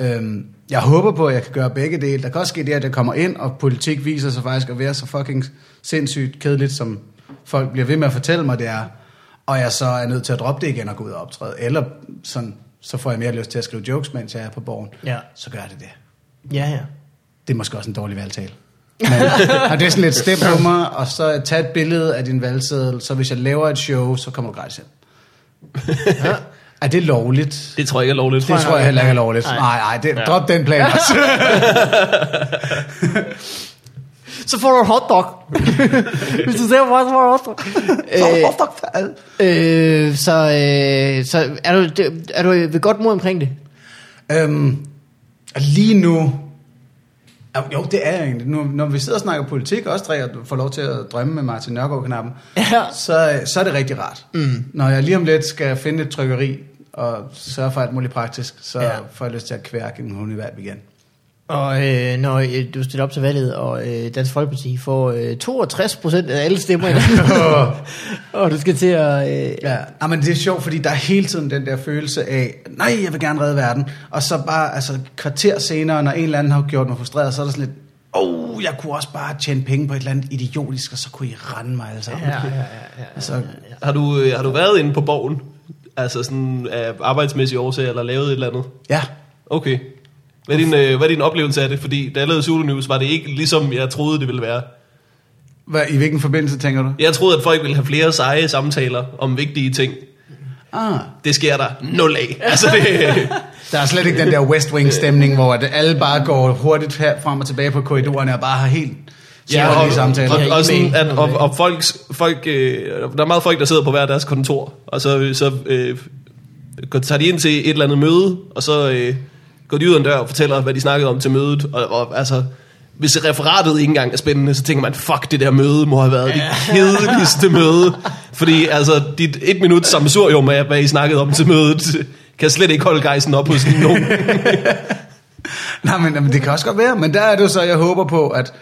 Speaker 3: ja. mig. Øhm, jeg håber på, at jeg kan gøre begge dele. Der kan også ske det, at jeg kommer ind, og politik viser sig faktisk at være så fucking sindssygt kedeligt, som folk bliver ved med at fortælle mig, det er. Og jeg så er nødt til at droppe det igen og gå ud og optræde. Eller sådan, så får jeg mere lyst til at skrive jokes, mens jeg er på borgen.
Speaker 4: Ja.
Speaker 3: Så gør det det.
Speaker 4: ja, ja.
Speaker 3: Det er måske også en dårlig valgtale. Men har det er sådan lidt step på mig, og så tag et billede af din valgseddel, så hvis jeg laver et show, så kommer du gratis ind. Ja. Er det lovligt?
Speaker 1: Det tror jeg ikke er lovligt.
Speaker 3: Det
Speaker 4: jeg
Speaker 3: tror jeg
Speaker 4: nok
Speaker 3: heller
Speaker 4: ikke.
Speaker 3: ikke er lovligt.
Speaker 4: Nej.
Speaker 3: Nej, nej, det,
Speaker 1: Ja.
Speaker 3: drop den plan. Altså.
Speaker 4: Så får du en hotdog. Hvis du ser mig, så får du en hotdog. Øh, øh, så øh, så er, du, det- er du ved godt mod omkring det?
Speaker 3: Øhm, og lige nu... Jo, Jo, det er jeg egentlig. Nu, når vi sidder og snakker politik, og også drikker, får lov til at drømme med Martin Nørgaard-knappen,
Speaker 4: Ja.
Speaker 3: så, så er det rigtig rart. Mm. Når jeg lige om lidt skal finde et trykkeri, og sørge for alt muligt praktisk, så
Speaker 4: Ja.
Speaker 3: ja. får jeg lyst til at kværke en hundevalp igen.
Speaker 4: Og øh, når øh, du stiller op til valget, og øh, Dansk Folkeparti får øh, 62 procent af alle stemmer i landet, og du skal til at... Øh,
Speaker 3: Ja, ja men det er sjovt, fordi der er hele tiden den der følelse af, nej, jeg vil gerne redde verden. Og så bare, altså et kvarter senere, når en eller anden har gjort mig frustreret, så er der sådan lidt, åh, oh, jeg kunne også bare tjene penge på et eller andet idiotisk, og så kunne I rende mig alle sammen.
Speaker 4: ja, ja, ja.
Speaker 3: Så,
Speaker 1: Har du, øh, har du været inde på borgen? Altså sådan af arbejdsmæssige årsager, eller lavet et eller andet?
Speaker 3: ja.
Speaker 1: Okay. Hvad er, din, øh, hvad er din oplevelse af det? Fordi da jeg lavede Zulu News, var det ikke ligesom jeg troede, det ville være.
Speaker 3: Hvad, I hvilken forbindelse tænker du?
Speaker 1: Jeg troede, at folk ville have flere seje samtaler om vigtige ting.
Speaker 3: Ah,
Speaker 1: Det sker der nul af. Altså, det,
Speaker 3: der er slet ikke den der West Wing-stemning, hvor at alle bare går hurtigt her frem og tilbage på korridorerne og bare har helt ja, og, samtaler.
Speaker 1: og,
Speaker 4: Ja,
Speaker 1: og, og, sådan,
Speaker 4: ikke
Speaker 1: at,
Speaker 4: med.
Speaker 1: og, og folks, folk, øh, der er meget folk, der sidder på hver deres kontor, og så, så øh, går, tager de ind til et eller andet møde, og så øh, går de ud ad en dør og fortæller, hvad de snakkede om til mødet. Og, og altså, hvis referatet ikke engang er spændende, så tænker man, fuck, det der møde må have været det kedeligste møde. Fordi altså, dit et minut samsurium af, hvad I snakkede om til mødet, kan slet ikke holde gejsen op hos nogen.
Speaker 3: Nej, men, men det kan også godt være, men der er det jo så, jeg håber på, at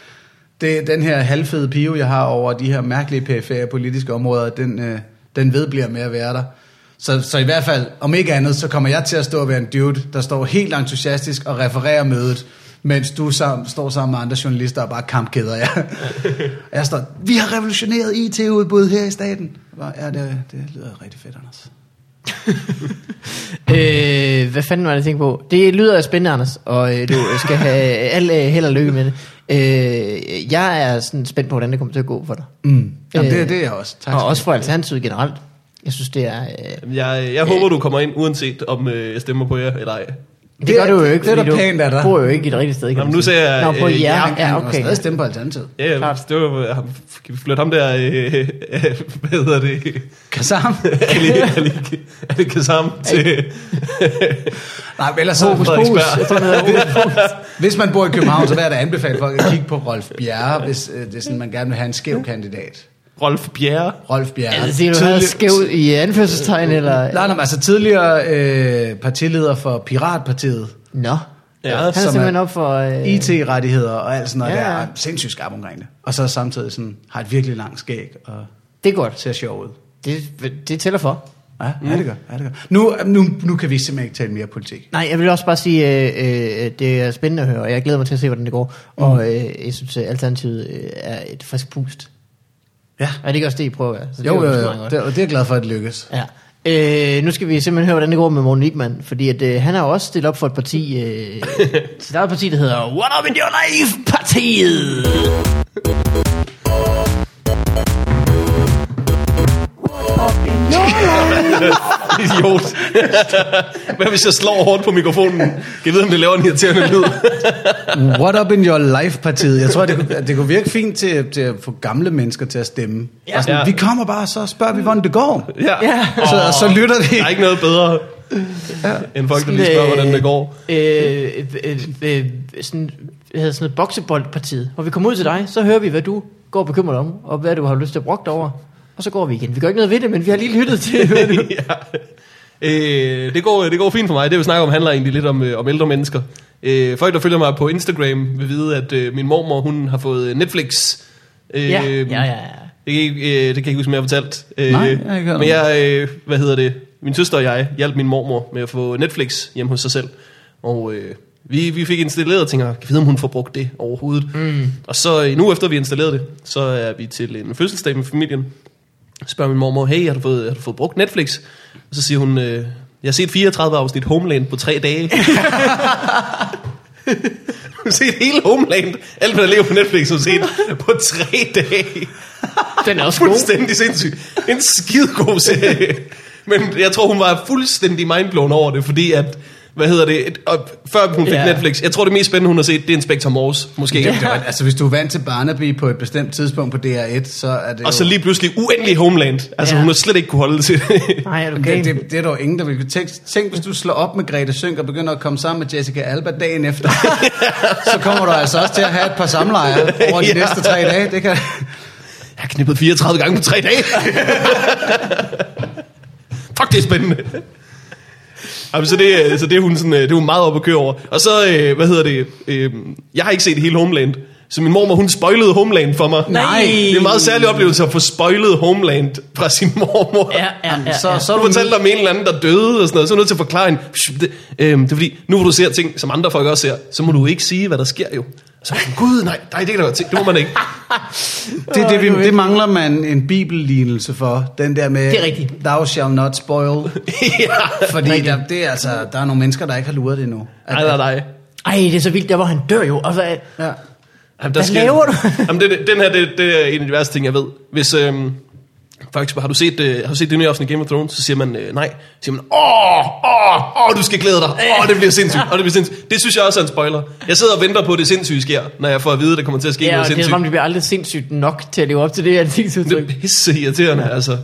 Speaker 3: det, den her halvfede pive, jeg har over de her mærkelige perifære politiske områder, den, øh, den vedbliver med at være der. Så, så i hvert fald, om ikke andet, så kommer jeg til at stå og være en dude, der står helt entusiastisk og refererer mødet, mens du sammen, står sammen med andre journalister og bare kampkeder jer. Og jeg står, vi har revolutioneret IT-udbud her i staten. Bare, Ja, det, det lyder rigtig fedt, Anders.
Speaker 4: Øh, hvad fanden var det, jeg tænkte på? Det lyder spændende, Anders, og øh, du skal have al øh, held og lykke med det. Øh, jeg er sådan spændt på, hvordan det kommer til at gå for dig.
Speaker 3: Mm. Jamen, det,
Speaker 4: Øh,
Speaker 3: det er jeg også. Tak.
Speaker 4: og
Speaker 3: skal
Speaker 4: også
Speaker 3: du
Speaker 4: for Alternativet generelt. Jeg synes, det er... Øh, det,
Speaker 1: Jeg, jeg håber, du kommer ind, uanset om øh, jeg stemmer på jer eller ej.
Speaker 4: det gør
Speaker 3: er-
Speaker 4: du jo
Speaker 3: det-
Speaker 4: ikke,
Speaker 3: det er da
Speaker 4: fordi
Speaker 3: pænt af
Speaker 4: du
Speaker 3: dig.
Speaker 4: bor jo ikke i det rigtige sted. Kan
Speaker 1: Nå,
Speaker 4: man
Speaker 1: men nu
Speaker 4: sige.
Speaker 1: sagde jeg,
Speaker 4: Nå, på
Speaker 1: øh,
Speaker 4: jer.
Speaker 3: have.
Speaker 4: Ja,
Speaker 3: Han må
Speaker 4: okay.
Speaker 3: stadig stemme på Alternativet.
Speaker 1: Ja, ja,
Speaker 4: Klart.
Speaker 1: det var, ham- kan vi flytte ham der, øh, øh, hvad hedder det,
Speaker 3: Kazam.
Speaker 1: Ali, Ali, Ali Kazam til,
Speaker 3: Nej, men ellers så...
Speaker 1: Hokus
Speaker 4: Frederiksberg. Jeg tror, han hedder Hokus Pokus.
Speaker 3: Hvis man bor i København, så vil jeg da anbefale folk at kigge på Rolf Bjerre, hvis øh, det er sådan, man gerne vil have en skæv kandidat.
Speaker 1: Rolf Bjerre.
Speaker 3: Rolf Bjerre.
Speaker 4: Altså, siger du, han er skæv i anførselstegn, eller...
Speaker 3: Nej, nej, men altså tidligere øh, partileder for Piratpartiet.
Speaker 4: Nå.
Speaker 1: Ja,
Speaker 4: Han er
Speaker 3: som
Speaker 4: simpelthen
Speaker 3: er
Speaker 4: op for... Øh,
Speaker 3: IT-rettigheder og alt sådan noget
Speaker 4: Ja,
Speaker 3: ja.
Speaker 4: ja.
Speaker 3: der. Er sindssygt skarp omkring det. Og så samtidig sådan, har et virkelig langt skæg og
Speaker 4: det er godt.
Speaker 3: ser sjov ud.
Speaker 4: Det, det tæller for.
Speaker 3: Ja, mm. ja det gør. Ja, det gør. Nu, nu, nu kan vi simpelthen ikke tale mere politik.
Speaker 4: Nej, jeg vil også bare sige, øh, øh, det er spændende at høre, og jeg glæder mig til at se, hvordan det går. Mm. Og øh, jeg synes, at Alternativet øh, er et frisk pust.
Speaker 3: Ja.
Speaker 4: Er det ikke også det, I prøver at være? Så det
Speaker 3: Jo,
Speaker 4: er ligesom
Speaker 3: jo,
Speaker 4: også
Speaker 3: jo.
Speaker 4: meget godt.
Speaker 3: Det, og det er jeg glad for, at det lykkes.
Speaker 4: Ja. Øh, nu skal vi simpelthen høre, hvordan det går med Morten Wigman, fordi at, øh, han har jo også stillet op for et parti, øh, sit eget parti, der hedder What Up In Your Life-partiet.
Speaker 1: Idiot. Hvad hvis jeg slår hårdt på mikrofonen? Kan jeg vide, om det laver en irriterende lyd?
Speaker 3: What up in your life-partiet? Jeg tror, det kunne, det kunne virke fint til, til at få gamle mennesker til at stemme. Ja. Sådan,
Speaker 1: Ja.
Speaker 3: Vi kommer bare, så spørger vi, hvordan det går.
Speaker 4: Ja.
Speaker 3: Så, og så lytter
Speaker 1: Der er
Speaker 3: de.
Speaker 1: ikke noget bedre, end folk, der lige spørger, hvordan det går.
Speaker 4: Øh, øh, øh, øh, sådan, hvad hedder sådan noget bokseboldpartiet. Hvor vi kommer ud til dig, så hører vi, hvad du går bekymret om, og hvad du har lyst til at brokke dig over. Og så går vi igen. Vi gør ikke noget ved det, men vi har lige lyttet til, hvad du
Speaker 1: ja. øh, det, går, det går fint for mig. Det vi snakker om handler egentlig lidt om, øh, om ældre mennesker. Øh, folk, der følger mig på Instagram, vil vide, at øh, min mormor hun har fået Netflix. Øh,
Speaker 4: ja, ja, ja.
Speaker 1: Det kan, ikke, øh, det kan jeg ikke huske, om jeg har fortalt. Øh,
Speaker 3: Nej, jeg har ikke hørt
Speaker 1: Men
Speaker 3: om
Speaker 1: jeg, øh, hvad hedder det? Min søster og jeg hjalp min mormor med at få Netflix hjem hos sig selv. Og øh, vi, vi fik installeret og tænker, kan jeg vide, om hun får brugt det overhovedet? Mm. Og så øh, nu efter vi installerede det, så er vi til en fødselsdag med familien. Spørger min mormor, hey, har du fået, har du fået brugt Netflix? Og så siger hun, øh, jeg har set 34 afsnit Homeland på tre dage. Hun har set hele Homeland. Alt, hvad der ligger på Netflix, har hun set på tre dage.
Speaker 4: Den er også god.
Speaker 1: Fuldstændig sindssyg. En skidegod serie. Men jeg tror, hun var fuldstændig mindblown over det, fordi at, hvad hedder det, et, og før hun fik
Speaker 4: Ja.
Speaker 1: yeah. Netflix, jeg tror det mest spændende, hun har set, det er Inspector Morse, måske.
Speaker 3: Det var- Altså, hvis du er vant til Barnaby på et bestemt tidspunkt på DR1, så er det
Speaker 1: Og så
Speaker 3: jo...
Speaker 1: lige pludselig uendelig Homeland. Altså,
Speaker 4: Ja.
Speaker 1: hun har slet ikke kunne holde det til det.
Speaker 4: Nej, er du
Speaker 3: Okay. Det,
Speaker 4: gal?
Speaker 3: det, det er der jo ingen, der vil kunne tænke. Tænk, hvis du slår op med Grete Sønk og begynder at komme sammen med Jessica Alba dagen efter. så kommer du altså også til at have et par samlejer over de
Speaker 1: Ja.
Speaker 3: ja. næste tre dage. Det kan...
Speaker 1: Jeg har knippet 34 gange på tre dage. Fuck, det er spændende. Jamen, så, det, så det, er hun sådan, øh, det er hun meget op at køre over. Og så, øh, hvad hedder det, øh, jeg har ikke set hele Homeland. Så min mormor, hun spoilede Homeland for mig.
Speaker 3: Nej.
Speaker 1: Det er en meget særlig oplevelse at få spoilet Homeland fra sin mormor.
Speaker 4: Ja, ja, ja,
Speaker 3: så,
Speaker 4: ja.
Speaker 3: så
Speaker 1: Du
Speaker 3: er du
Speaker 1: fortalte om en eller anden, der døde og sådan noget, så er du nødt til at forklare en, "Psh, det, øhm, det er fordi, nu hvor du ser ting, som andre folk også ser, så må du ikke sige, hvad der sker jo. Så er jeg sådan, gud, nej, nej, det kan jeg godt se, det må man ikke.
Speaker 3: Det, det, det, det mangler man en bibellignelse for, den der med,
Speaker 4: Det er rigtigt.
Speaker 3: thou shall not spoil,
Speaker 1: ja.
Speaker 3: fordi der, det er, altså, der er nogle mennesker, der ikke har luret det endnu. At-
Speaker 1: Nej, nej, nej.
Speaker 4: Ej, det er så vildt, der hvor han dør jo. Og hvad,
Speaker 3: Ja.
Speaker 1: Jamen, der
Speaker 4: Hvad laver du?
Speaker 1: Jamen, det, den her, det, det er en af de værste ting, jeg ved. Hvis, øhm, faktisk, har du set, øh, har du set det nye afsnit af Game of Thrones, så siger man øh, nej. Så siger man, åh, åh, åh, du skal glæde dig. Åh, det bliver sindssygt. Åh, det bliver sindssygt. Det synes jeg også er en spoiler. Jeg sidder og venter på, at det sindssyge sker, når jeg får at vide, at der kommer til at ske
Speaker 4: Ja,
Speaker 1: noget
Speaker 4: og det er
Speaker 1: sindssygt.
Speaker 4: som om, det bliver aldrig sindssygt nok til at leve op til det ansigtsudtryk.
Speaker 1: Det er pisse irriterende, altså.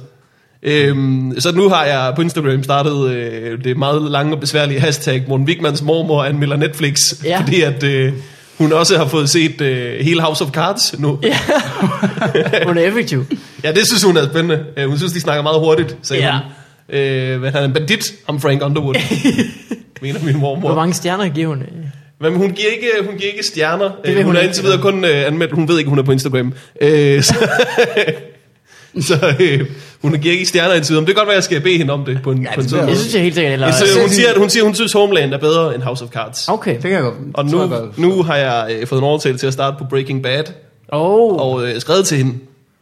Speaker 1: Øhm, så nu har jeg på Instagram startet øh, det meget lange og besværlige hashtag Morten Wigmans mormor anmelder Netflix,
Speaker 4: Ja.
Speaker 1: ja. fordi at øh, hun også har fået set øh, hele House of Cards nu. Ja.
Speaker 4: Hun er effektiv.
Speaker 1: ja, det synes hun er spændende. Øh, hun synes, de snakker meget hurtigt, sagde
Speaker 4: Ja.
Speaker 1: ja. hun. Øh, men han er en bandit, om Frank Underwood, mener min
Speaker 4: Hvor
Speaker 1: mormor.
Speaker 4: mange stjerner giver hun? øh?
Speaker 1: Men hun giver ikke, øh, hun giver ikke stjerner.
Speaker 4: vil
Speaker 1: Øh, hun,
Speaker 4: hun
Speaker 1: hun er
Speaker 4: ikke.
Speaker 1: indtil videre kun øh, anmeldt. Hun ved ikke, hun er på Instagram. Øh, så så øh, hun giver ikke stjerner indtil videre. Men det kan godt være, jeg skal bede hende om det på en, ja, på en sådan
Speaker 3: det bliver
Speaker 1: måde.
Speaker 4: Jeg synes jeg helt sikkert, eller...
Speaker 1: Men Så,
Speaker 3: jeg-
Speaker 1: øh, hun, siger, at, hun siger, at hun synes, Homeland er bedre end House of Cards.
Speaker 4: Okay.
Speaker 3: Det kan jeg godt.
Speaker 1: Og
Speaker 3: tror jeg
Speaker 1: nu,
Speaker 3: godt.
Speaker 1: nu har jeg øh, fået en overtagelse til at starte på Breaking Bad.
Speaker 4: Oh.
Speaker 1: Og øh, skrevet til hende,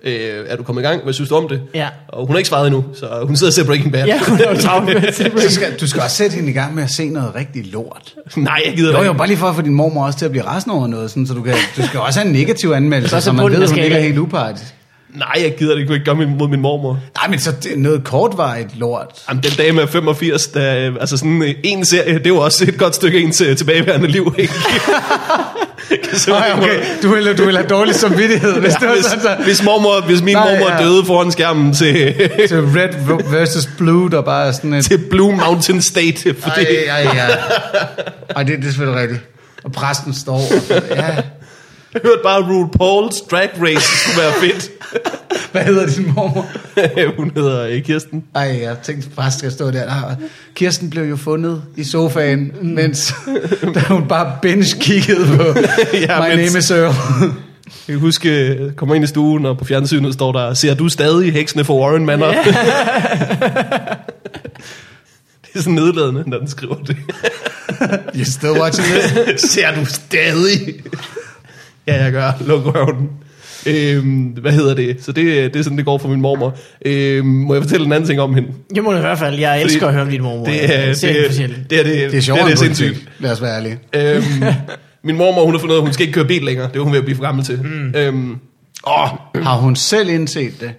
Speaker 1: øh, er du kommet i gang? Hvad synes du om det?
Speaker 4: Ja.
Speaker 1: Og hun har ikke svaret endnu, så hun sidder og ser Breaking Bad.
Speaker 4: Ja, hun er jo travlt med at se
Speaker 3: Du
Speaker 4: Breaking
Speaker 3: skal, du skal også sætte hende i gang med at se noget rigtig lort.
Speaker 1: Nej, jeg gider
Speaker 3: Jo,
Speaker 1: det
Speaker 3: jo,
Speaker 1: ikke.
Speaker 3: bare lige for at få din mormor også til at blive rasende over noget, sådan, så du, kan, du skal også have en negativ
Speaker 4: Så er
Speaker 3: anmeldelse,
Speaker 4: så
Speaker 3: så man
Speaker 4: bunden
Speaker 3: ved, at
Speaker 4: af
Speaker 3: hun ikke er
Speaker 4: skalaen.
Speaker 3: helt upartisk.
Speaker 1: Nej, jeg gider det ikke. Jeg kunne ikke gøre min- mod min mormor.
Speaker 3: Nej, men så det er noget kortvarigt lort.
Speaker 1: Jamen, den dame er 85, der, øh, altså sådan øh, en serie, det er jo også et godt stykke ens øh, tilbageværende liv, ikke? Kan simpelthen
Speaker 3: Nej,
Speaker 1: ikke holde-
Speaker 3: okay, du vil, du vil have dårlig samvittighed, hvis det var
Speaker 1: Hvis,
Speaker 3: sådan, så...
Speaker 1: hvis, mormor, hvis min
Speaker 3: Nej,
Speaker 1: mormor
Speaker 3: ja.
Speaker 1: døde foran skærmen til,
Speaker 3: Så red versus blue, der bare er sådan et...
Speaker 1: til Blue Mountain State, fordi
Speaker 3: Ej, ej, ej. Ej, det, det er selvfølgelig rigtigt. Og præsten står og, ja.
Speaker 1: jeg hørte bare, at RuPaul's Drag Race skulle være fedt.
Speaker 3: Hvad hedder din mormor?
Speaker 1: Hun hedder øh, Kirsten.
Speaker 3: Ej, jeg tænkte, præsten skal stå der. Ah, Kirsten blev jo fundet i sofaen, mm. mens da hun bare binge-kiggede på
Speaker 1: Ja,
Speaker 3: My
Speaker 1: mens-
Speaker 3: Name is Earl.
Speaker 1: Jeg kan huske, øh, kommer ind i stuen, og på fjernsynet står der, ser du stadig heksene for Warren Manor? Yeah. det er sådan nedladende, når den skriver det.
Speaker 3: You still watching this?
Speaker 1: Ser du stadig? ja, jeg gør. Luk røven. Øhm, hvad hedder det? Så det, det er sådan, det går for min mormor. Øhm, må jeg fortælle en anden ting om hende?
Speaker 4: Jeg må i hvert fald, jeg elsker at høre om din mormor.
Speaker 1: Det, er-
Speaker 4: jeg
Speaker 1: det,
Speaker 4: ser
Speaker 1: er-
Speaker 4: hende for
Speaker 1: det,
Speaker 4: sjældent.
Speaker 1: er- det, er- det, er-
Speaker 3: Det er sjovt.
Speaker 1: det, er- det er sindssygt.
Speaker 3: Lad os være ærlige.
Speaker 1: Øhm, min mormor, hun har fundet ud af, at hun skal ikke køre bil længere. Det er hun ved at blive for gammel til. Mm. Øhm, åh,
Speaker 3: Har hun selv indset det?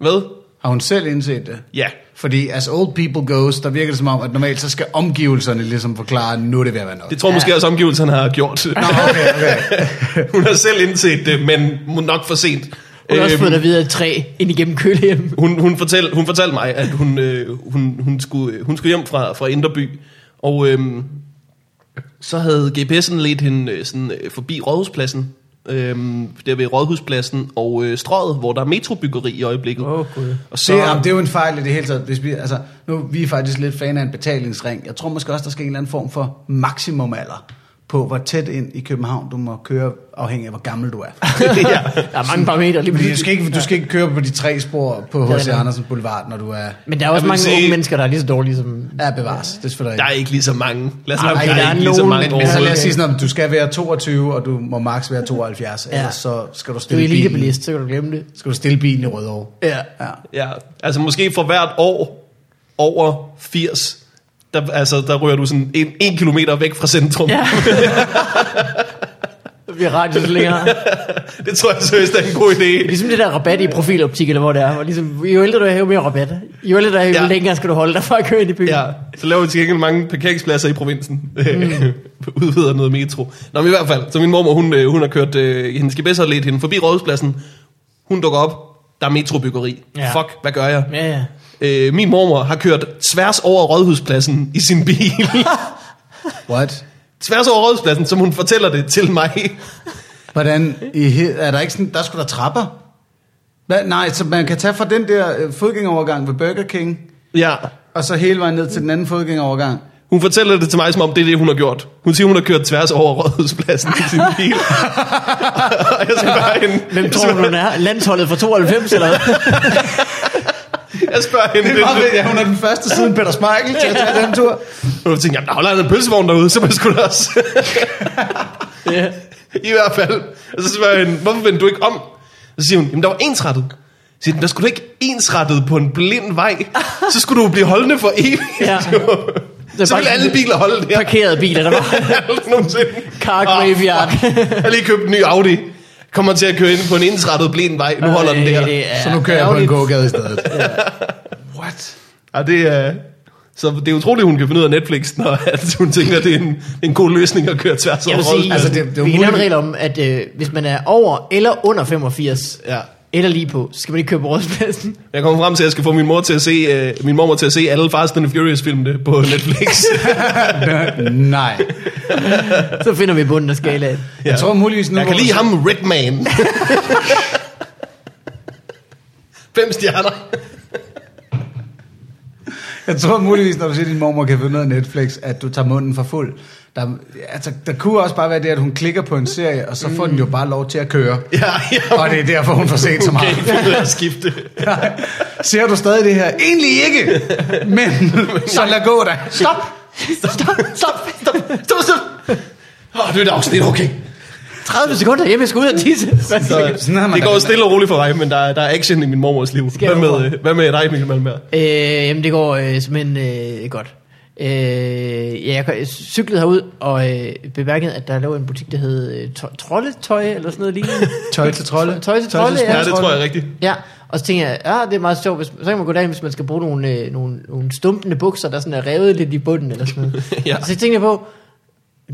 Speaker 1: hvad?
Speaker 3: Har hun selv indset det?
Speaker 1: Ja.
Speaker 3: Fordi as old people goes, der virker det som om, at normalt så skal omgivelserne ligesom forklare, nu er det ved at være nok.
Speaker 1: Det tror jeg måske også omgivelserne har gjort.
Speaker 3: Nå, okay, okay.
Speaker 1: hun har selv indset det, men må nok for sent.
Speaker 4: Hun har også
Speaker 1: Øhm,
Speaker 4: fået dig videre et træ ind igennem kølehjem.
Speaker 1: hun, hun, fortæl, hun fortalte mig, at hun, øh, hun, hun, skulle, hun skulle hjem fra, fra Inderby, og øhm, så havde GPS'en ledt hende øh, sådan, øh, forbi Rådhuspladsen, øhm, der ved Rådhuspladsen og øh, Strøget, hvor der er metrobyggeri i øjeblikket.
Speaker 4: Åh, Gud.
Speaker 1: Og
Speaker 3: Så,
Speaker 1: så,
Speaker 3: det, er, det er jo en fejl i det hele taget. Hvis vi, altså, nu, vi er faktisk lidt fan af en betalingsring. Jeg tror måske også, der skal en eller anden form for maksimumalder på, hvor tæt ind i København du må køre, afhængig af, hvor gammel du er.
Speaker 1: ja.
Speaker 4: Der er mange parametre lige
Speaker 3: Fordi du
Speaker 4: pludselig.
Speaker 3: skal ikke, du skal ikke køre på de tre spor på
Speaker 4: Ja,
Speaker 3: H.C.
Speaker 4: ja.
Speaker 3: Andersen Boulevard, når du er,
Speaker 4: Men der er også
Speaker 1: Jeg vil
Speaker 4: mange
Speaker 1: sige-
Speaker 4: unge mennesker, der er lige så dårlige som...
Speaker 3: er bevares. Det er selvfølgelig
Speaker 1: Der er
Speaker 3: rigtigt.
Speaker 1: ikke lige så mange. Lad os
Speaker 4: Ej,
Speaker 1: lade, der,
Speaker 4: der
Speaker 1: er
Speaker 4: er
Speaker 1: ikke lige så
Speaker 4: nogen,
Speaker 1: mange
Speaker 4: men-
Speaker 3: Men så lad os
Speaker 1: overhovedet.
Speaker 3: sige sådan noget, du skal være 22, og du må maks være 72, ja.
Speaker 4: Ja.
Speaker 3: ellers så skal du
Speaker 4: Du er
Speaker 3: stille bilen.
Speaker 4: elitebilist, så kan du glemme det.
Speaker 3: Skal du stille bilen i Rødovre.
Speaker 4: Ja.
Speaker 3: Ja.
Speaker 1: Ja, altså måske for hvert år over 80, der, altså, der rører du sådan en, en kilometer væk fra centrum.
Speaker 4: Ja. Vi har radius længere.
Speaker 1: Det tror jeg seriøst er en god idé.
Speaker 4: Ligesom det der rabat i profiloptik, eller hvor det er. Hvor ligesom, jo ældre du er, jo mere rabat. Jo ældre du er, jo
Speaker 1: Ja.
Speaker 4: ja. længere skal du holde dig fra at køre ind i byen.
Speaker 1: Ja, så laver vi til gengæld mange parkeringspladser i provinsen. Mm. Udvider noget metro. Nå, men i hvert fald, så min mormor, hun, øh, hun har kørt, øh, hendes gebæs har ledt hende forbi rådhuspladsen. Hun dukker op, der er metrobyggeri.
Speaker 4: Ja.
Speaker 1: Ja. Fuck, hvad gør jeg?
Speaker 4: Ja, ja.
Speaker 1: Øh, min mormor har kørt tværs over rådhuspladsen i sin bil.
Speaker 3: What?
Speaker 1: tværs over rådhuspladsen, som hun fortæller det til mig.
Speaker 3: Hvordan, i, he- er der ikke sådan, der skulle der trapper? Hvad, nej, så man kan tage fra den der øh, fodgængerovergang ved Burger King,
Speaker 1: ja.
Speaker 3: og så hele vejen ned til den anden fodgængerovergang.
Speaker 1: Hun fortæller det til mig, som om det er det, hun har gjort. Hun siger, hun har kørt tværs over rådhuspladsen i sin bil. Og jeg spørger hende,
Speaker 4: Hvem
Speaker 1: jeg
Speaker 4: tror du,
Speaker 1: spørger,
Speaker 4: den er? Landsholdet fra 92, eller hvad?
Speaker 1: jeg spørger hende,
Speaker 3: Det er meget fedt, ja, hun er den første siden Peter Smeichel til at tage den tur.
Speaker 1: Og jeg tænkte, jamen der holder altså en pølsevogn derude, så man skulle da også.
Speaker 4: ja.
Speaker 1: I hvert fald. Og så spørger jeg hende, hvorfor vendte du ikke om? Og så siger hun, jamen der var ensrettet. Så siger den, der skulle du ikke ensrettet på en blind vej. Så skulle du blive holdende for evigt.
Speaker 4: Ja.
Speaker 1: Ja. så ville alle biler holde der.
Speaker 4: Parkerede biler, der var
Speaker 1: Aldrig Nogensinde.
Speaker 4: car
Speaker 1: Ah,
Speaker 4: graveyard.
Speaker 1: Jeg har lige købt en ny Audi. Kommer til at køre ind på en ensrettet blind vej. Nu holder den
Speaker 4: Ej,
Speaker 1: der.
Speaker 4: det er
Speaker 3: Så nu kører jeg på en
Speaker 4: ærgerligt.
Speaker 3: gågade i stedet. What?
Speaker 1: Ja, det er... Så det er utroligt, hun kan finde ud af Netflix, når at hun tænker, at det er en, en god løsning at køre tværs
Speaker 4: Jeg
Speaker 1: over
Speaker 4: vil sige,
Speaker 1: Rådhuspladsen.
Speaker 4: altså,
Speaker 3: Altså,
Speaker 4: det,
Speaker 3: det- det er
Speaker 4: vi kan lave en
Speaker 3: umuligt.
Speaker 4: regel om, at øh, hvis man er over eller under 85,
Speaker 1: Ja.
Speaker 4: eller lige på, så skal man ikke køre på rådspladsen.
Speaker 1: Jeg kommer frem til, at jeg skal få min mor til at se, øh, min mormor til at se alle Fast and Furious filmene på Netflix.
Speaker 3: Nej.
Speaker 4: Så finder vi bunden af skalaen.
Speaker 1: Ja.
Speaker 3: Jeg tror muligvis nu...
Speaker 1: jeg
Speaker 3: hvor
Speaker 1: kan
Speaker 3: du
Speaker 1: lide
Speaker 3: så-
Speaker 1: ham, Redman. Fem stjerner.
Speaker 3: Jeg tror muligvis, når du siger, at din mormor kan finde noget af Netflix, at du tager munden for fuld. Der, altså, der kunne også bare være det, at hun klikker på en serie, og så får den jo bare lov til at køre.
Speaker 1: Ja, ja.
Speaker 3: Og det er derfor, hun får set så
Speaker 1: Okay,
Speaker 3: meget.
Speaker 1: det vil jeg skifte.
Speaker 3: Nej. Ser du stadig det her? Egentlig ikke, men så lad gå da.
Speaker 1: Stop! Stop, stop, stop, stop, stop, stop. Åh, det er et afsnit, okay.
Speaker 4: 30 sekunder hjemme, jeg skal ud og tisse.
Speaker 1: Så,
Speaker 3: Sådan har man
Speaker 1: det
Speaker 3: da-
Speaker 1: går stille og roligt for dig, men der, er- der er action i min mormors liv.
Speaker 4: jeg
Speaker 1: Hvad med, øh, hvad med dig, Mikkel Malmær?
Speaker 4: Øh, jamen, det går øh, simpelthen øh, godt. Øh, ja, jeg, jeg cyklede herud og øh, bemærkede, at der lå en butik, der hed øh, to- Trolletøj, eller sådan noget lignende.
Speaker 3: Tøj til trolde.
Speaker 4: Tøj til trolde,
Speaker 1: Ja, det tror jeg er rigtigt.
Speaker 4: Ja, og så tænker jeg, ja, det er meget sjovt, hvis, så kan man gå derind, hvis man skal bruge nogle, øh, nogle, nogle stumpende bukser, der sådan er revet lidt i bunden eller sådan noget.
Speaker 1: Ja.
Speaker 4: Så tænkte jeg på,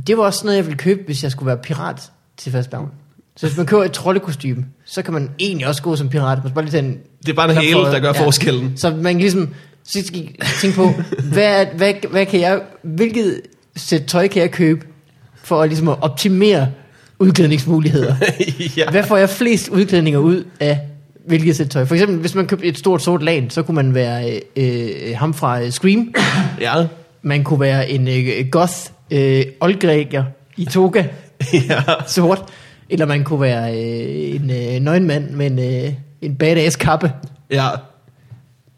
Speaker 4: det var også sådan noget, jeg ville købe, hvis jeg skulle være pirat til fastbavn. Så hvis man køber et troldekostyme, så kan man egentlig også gå som pirat. Man skal bare lige tage en
Speaker 1: Det er bare en
Speaker 4: knap
Speaker 1: hæle,
Speaker 4: for-
Speaker 1: der gør forskellen.
Speaker 4: Så man kan ligesom så skal I tænke på, hvad, er- hvad, hvad kan jeg, hvilket sæt tøj kan jeg købe, for at ligesom at optimere udklædningsmuligheder.
Speaker 1: ja.
Speaker 4: Hvad får jeg flest udklædninger ud af hvilket sæt tøj? For eksempel, hvis man købte et stort sort lagen, så kunne man være øh, øh, ham fra øh, Scream.
Speaker 1: Ja.
Speaker 4: Man kunne være en øh, goth øh, oldgræker i toga,
Speaker 1: ja.
Speaker 4: sort. Eller man kunne være øh, en øh, nøgenmand med en, øh, en badass kappe.
Speaker 1: Ja.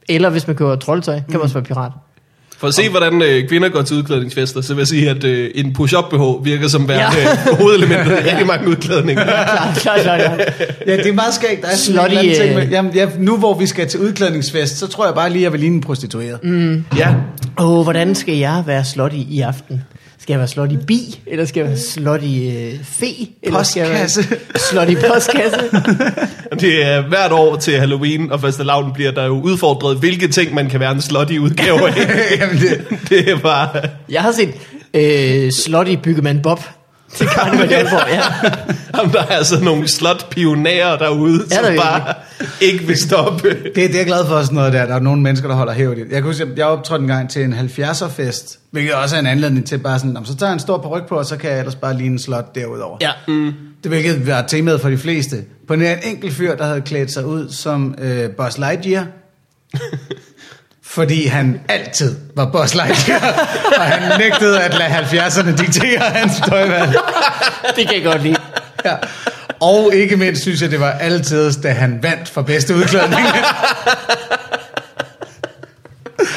Speaker 4: Eller hvis man køber troldtøj, kan man også være pirat.
Speaker 1: For at se, hvordan øh, kvinder går til udklædningsfester, så vil jeg sige, at øh, en push-up-BH virker som værende ja. hovedelementet i rigtig mange udklædninger.
Speaker 4: Klart, klart, klart, klart.
Speaker 3: Ja, det er meget skægt. Der er sådan
Speaker 4: Slutty,
Speaker 3: en eller anden ting
Speaker 4: øh,
Speaker 3: med, jamen, ja, nu hvor vi skal til udklædningsfest, så tror jeg bare lige, at jeg vil ligne en prostitueret. Mm.
Speaker 1: Ja,
Speaker 4: Åh, hvordan skal jeg være slot i, i aften? Skal jeg være slot i bi, eller skal jeg være slot i øh, fe? Eller skal jeg være
Speaker 3: Postkasse.
Speaker 4: slot i postkasse?
Speaker 1: det er hvert år til Halloween og fastelavn bliver der jo udfordret, hvilke ting man kan være en slutty udgave af.
Speaker 3: jamen, det,
Speaker 1: det er bare...
Speaker 4: Jeg har set øh, slot i byggemand Bob. Til Carnival i Aalborg, ja.
Speaker 1: Jamen, der er altså nogle slot-pionærer derude, ja,
Speaker 4: Ja,
Speaker 1: som
Speaker 4: der er
Speaker 1: bare ikke vil stoppe.
Speaker 3: Det, det er jeg glad for sådan noget der. Der er nogle mennesker, der holder hævet i det. Jeg kan huske, jeg optrådte en gang til en 70'er fest, hvilket også er en anledning til bare sådan, "Nå, men så tager jeg en stor paryk på, og så kan jeg ellers bare ligne en slot derudover.
Speaker 4: ja.
Speaker 3: Det hvilket var temaet for de fleste. På nær en enkelt fyr, der havde klædt sig ud som øh, Buzz Lightyear. fordi han altid var Buzz Lightyear, og han nægtede at lade 70'erne diktere hans tøjvalg.
Speaker 4: Det kan jeg godt lide.
Speaker 3: Ja. Og ikke mindst synes jeg, det var altid, da han vandt for bedste udklædning.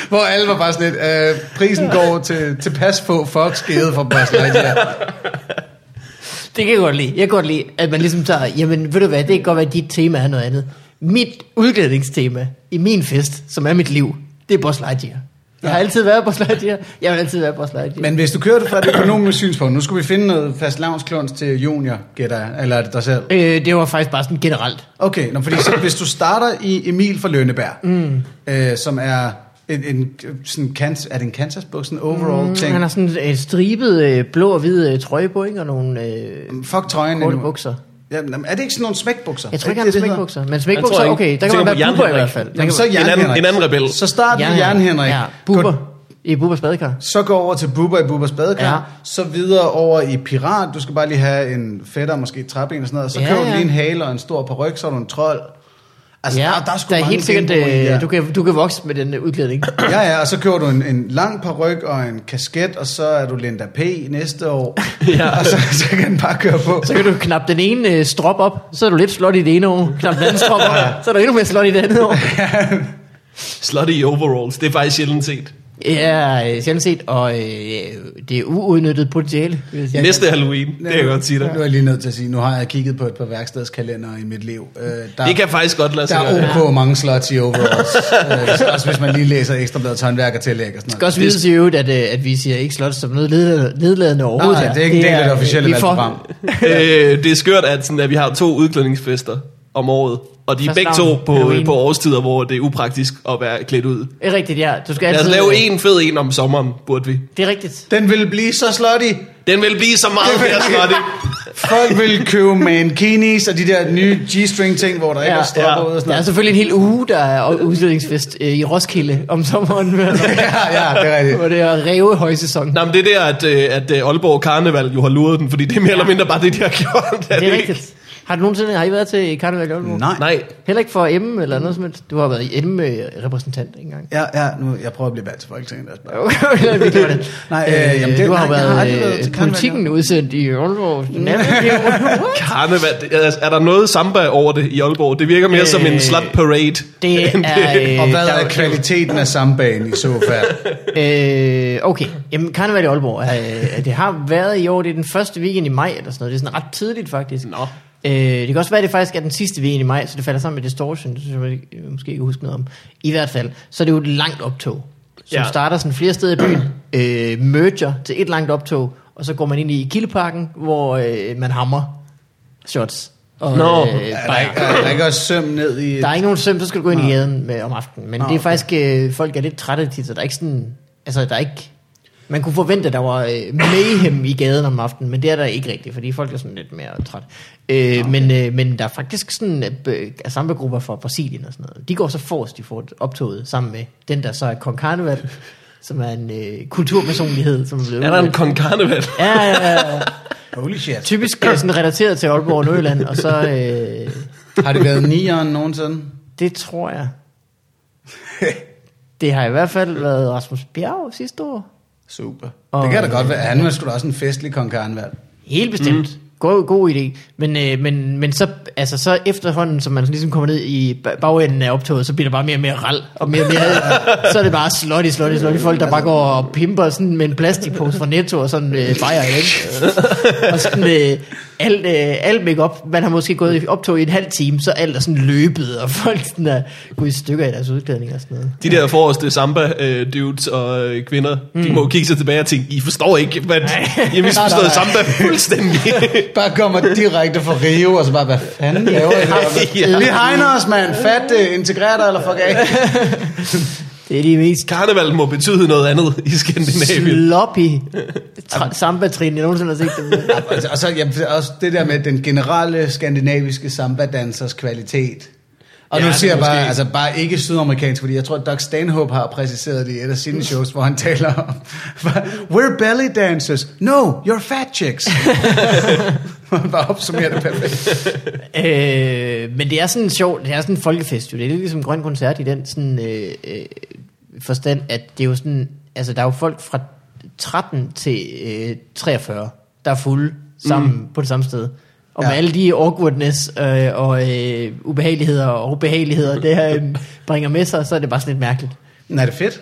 Speaker 3: Hvor alle var bare sådan lidt, øh, prisen går til, til pas på Fox givet for Buzz Lightyear.
Speaker 4: Det kan jeg godt lide. Jeg kan godt lide, at man ligesom tager, jamen ved du hvad, det kan godt være, at dit tema er noget andet. Mit udklædningstema i min fest, som er mit liv, det er Boss Lightyear. Jeg har altid været Boss Lightyear. Jeg vil altid være Boss Lightyear.
Speaker 3: Men hvis du kører det fra det økonomiske synspunkt, nu skal vi finde noget fast lavnsklunds til junior, gætter jeg, eller er det dig selv?
Speaker 4: Øh, det var faktisk bare sådan generelt.
Speaker 3: Okay, nå, fordi så, hvis du starter i Emil fra Lønneberg, mm. øh, som er en, en sådan kans, er det en Kansas buks, sådan en overall mm, ting.
Speaker 4: Han har sådan en stribet øh, blå og hvid øh, trøje på, ikke? Og nogle øh,
Speaker 3: Fuck trøjen
Speaker 4: korte
Speaker 3: endnu.
Speaker 4: bukser.
Speaker 3: Jamen, er det ikke sådan nogle smækbukser?
Speaker 4: Jeg tror
Speaker 3: Er
Speaker 4: ikke, han har
Speaker 3: det det, det hedder?
Speaker 4: smækbukser. Men
Speaker 1: Jeg
Speaker 4: smækbukser,
Speaker 1: tror ikke.
Speaker 4: okay. Der
Speaker 1: Jeg
Speaker 4: kan man
Speaker 1: tænker
Speaker 4: være
Speaker 1: på Jan
Speaker 4: buber i
Speaker 1: Henrik.
Speaker 4: hvert fald. Der
Speaker 3: Jamen,
Speaker 4: kan
Speaker 3: så
Speaker 4: man-
Speaker 1: En
Speaker 3: Jan
Speaker 1: anden,
Speaker 3: Henrik.
Speaker 1: en anden rebel.
Speaker 3: Så start med Jan Henrik.
Speaker 4: Ja,
Speaker 3: Gå-
Speaker 4: buber. I Bubers badekar.
Speaker 3: Så gå over til Bubber i Bubbers badekar.
Speaker 4: Ja.
Speaker 3: Ja. Så videre over i Pirat. Du skal bare lige have en fætter, måske et træben og sådan noget. Så
Speaker 4: Ja,
Speaker 3: ja, køber du
Speaker 4: ja.
Speaker 3: lige en hale og en stor paryk, så er du en trold. Altså,
Speaker 4: Ja,
Speaker 3: der, der er sgu
Speaker 4: der er
Speaker 3: mange
Speaker 4: helt sikkert,
Speaker 3: genbruger i det her.
Speaker 4: øh, du, kan, du kan vokse med den øh, udklædning.
Speaker 3: Ja, ja, og så køber du en, en lang paryk og en kasket, og så er du Linda P. næste år.
Speaker 1: Ja.
Speaker 3: Og så, så kan den bare køre på.
Speaker 4: Så kan du knappe den ene øh, strop op, så er du lidt slot i det ene år. Knap den anden strop op, så er du endnu mere slot i det andet år.
Speaker 1: Slutty overalls, det er faktisk sjældent set.
Speaker 4: Ja, øh, sjældent set, og øh, det er uudnyttet potentiale. vil jeg sige.
Speaker 1: Næste Halloween, det kan jeg godt sige dig.
Speaker 3: Nu er jeg lige nødt til at sige, nu har jeg kigget på et par værkstedskalendere i mit liv. Øh, der,
Speaker 1: Det kan faktisk godt lade
Speaker 3: der
Speaker 1: sig gøre.
Speaker 3: er ok mange slots i overalls. øh, også hvis man lige læser ekstrabladet håndværk og tillæg og sådan
Speaker 4: Det skal
Speaker 3: noget.
Speaker 4: også vides i øvrigt, at, øh, at vi siger ikke slot som noget nedla- nedladende overhovedet.
Speaker 3: Nej,
Speaker 4: her.
Speaker 3: det er ikke en del af det
Speaker 4: er,
Speaker 3: officielle
Speaker 4: vi er for-
Speaker 3: valgprogram.
Speaker 1: øh, det er skørt, at, sådan, at vi har to udklædningsfester om året, og de er
Speaker 4: Fast
Speaker 1: begge to
Speaker 4: navn,
Speaker 1: på,
Speaker 4: Halloween.
Speaker 1: på årstider, hvor det er upraktisk at være klædt ud.
Speaker 4: Det er rigtigt, ja. Du skal
Speaker 1: Lad os
Speaker 4: altid,
Speaker 1: lave en fed en om sommeren, burde vi.
Speaker 4: Det er rigtigt.
Speaker 3: Den vil blive så slutty.
Speaker 1: Den vil blive så meget mere slutty.
Speaker 3: Folk vil købe mankinis og de der nye G-string ting, hvor der ikke
Speaker 4: Ja,
Speaker 3: er stropper
Speaker 1: ja.
Speaker 3: ud og
Speaker 4: Der er
Speaker 3: sådan
Speaker 4: selvfølgelig en hel uge, der er udstillingsfest øh, i Roskilde om sommeren.
Speaker 3: noget. ja, ja, det er rigtigt.
Speaker 4: Hvor det er ræve højsæson.
Speaker 1: Nå, men det er der, at, øh, at øh, Aalborg Karneval jo har luret den, fordi det er mere eller mindre bare det, de har gjort.
Speaker 4: det er
Speaker 1: ikke?
Speaker 4: rigtigt. Har du nogensinde har I været til Karneval i Aalborg?
Speaker 3: Nej.
Speaker 1: Nej,
Speaker 4: Heller ikke for M eller noget som helst. Du har været M-repræsentant engang.
Speaker 3: Ja, ja, nu, jeg prøver at blive valgt til Folketinget. altså.
Speaker 4: Okay, vi klarer det.
Speaker 3: Nej, øh, jamen, det-
Speaker 4: du har
Speaker 3: nej, jeg har aldrig
Speaker 4: været
Speaker 3: været
Speaker 4: øh,
Speaker 3: til Karneval i
Speaker 4: politikken udsendt i Aalborg. Natten-
Speaker 1: Karneval. det- altså, Er der noget samba over det i Aalborg? Det virker mere øh, som en
Speaker 4: Øh,
Speaker 1: slut parade.
Speaker 4: Det
Speaker 1: end
Speaker 4: er... øh,
Speaker 3: Og hvad
Speaker 4: der-
Speaker 3: er kvaliteten af sambagen i så fald?
Speaker 4: Øh, okay, jamen karneval i Aalborg, øh, det har været i år, det er den første weekend i maj eller sådan noget, det er sådan ret tidligt faktisk.
Speaker 1: Nå.
Speaker 4: Øh, det kan også være, at det faktisk er den sidste weekend i maj, så det falder sammen med Distortion, det synes jeg jeg måske ikke huske noget om. I hvert fald, så er det jo et langt optog, som ja.
Speaker 1: Ja.
Speaker 4: starter sådan flere steder i byen, øh, merger til et langt optog, og så går man ind i Kildeparken, hvor øh, man hammer shots. Og, øh,
Speaker 1: Nå.
Speaker 3: Er der,
Speaker 4: bajer.
Speaker 3: ikke, er der ikke også søm ned i...
Speaker 4: Der er ikke nogen søm, så skal du gå ind i gaden med, om aftenen. Men
Speaker 3: Nå,
Speaker 4: det er
Speaker 3: okay.
Speaker 4: faktisk, øh, folk er lidt trætte tit, så der er ikke sådan, altså der er ikke, man kunne forvente, at der var øh, mayhem i gaden om aftenen, men det er der ikke rigtigt, fordi folk er sådan lidt mere trætte. Øh, men, øh, men der er faktisk sådan øh, b- samlegrupper fra Brasilien og sådan noget. De går så forrest, de får optoget sammen med den, der så er Kong Karneval, som er en øh, kulturpersonlighed, som er blevet...
Speaker 1: Er der en kong karneval?
Speaker 4: Ja, ja, ja, ja.
Speaker 3: Holy shit.
Speaker 4: Typisk øh, sådan relateret til Aalborg og Nordjylland, og så... Øh,
Speaker 3: Har det været nieren nogensinde?
Speaker 4: Det tror jeg. det har i hvert fald været Rasmus Bjerg sidste år.
Speaker 3: Super.
Speaker 4: Og-
Speaker 3: Det kan da godt være. Han var sgu da også en festlig kong Karneval.
Speaker 4: Helt bestemt. Mm. God, god idé. Men, øh, men, men så, altså, så efterhånden, som man ligesom kommer ned i ba- bagenden af optoget, så bliver der bare mere og mere ral. Og mere og mere, så er det bare slotty, slotty, slotty. Folk, der bare går og pimper sådan med en plastikpose fra Netto og sådan øh, bajer igen. og sådan øh, alt, øh, alt make op. Man har måske gået i optog i en halv time, så alt er sådan løbet, og folk sådan er gået i stykker i deres udklædning og sådan noget.
Speaker 1: De der forreste samba-dudes og øh, kvinder, mm. de må jo kigge sig tilbage og tænke, I forstår ikke, hvad I har misforstået
Speaker 3: Nej,
Speaker 1: samba fuldstændig.
Speaker 3: Bare kommer direkte fra Rio, og så bare, hvad fanden laver jeg
Speaker 1: Ja.
Speaker 3: her? Vi hegner os, mand. Fat det, integrer dig, eller fuck af.
Speaker 4: Det er de mest
Speaker 1: Karneval må betyde noget andet i Skandinavien.
Speaker 4: sloppy tra- samba-trin, jeg nogensinde har set dem. med.
Speaker 3: Og- Og så jamen, også det der med den generelle skandinaviske samba-dansers kvalitet. Og
Speaker 1: Ja,
Speaker 3: ja, nu
Speaker 1: det
Speaker 3: siger
Speaker 1: er
Speaker 3: jeg bare,
Speaker 1: måske-
Speaker 3: altså bare ikke sydamerikansk, fordi jeg tror, at Doug Stanhope har præciseret det i et af sine shows, hvor han taler om, we're belly dancers, no, you're fat chicks. Hvor han bare opsummerer det perfekt.
Speaker 4: Øh, men det er sådan sjovt, det er sådan en folkefest jo. Det er lidt ligesom Grøn Koncert i den sådan, øh, øh, forstand, at det er jo sådan, altså der er jo folk fra 13 til øh, 43, der er fulde sammen mm. på det samme sted. Og ja. med
Speaker 3: Ja.
Speaker 4: alle de awkwardness øh, og øh, ubehageligheder og ubehageligheder, det her øh, bringer med sig, så er det bare sådan lidt mærkeligt.
Speaker 3: Nej, det er fedt.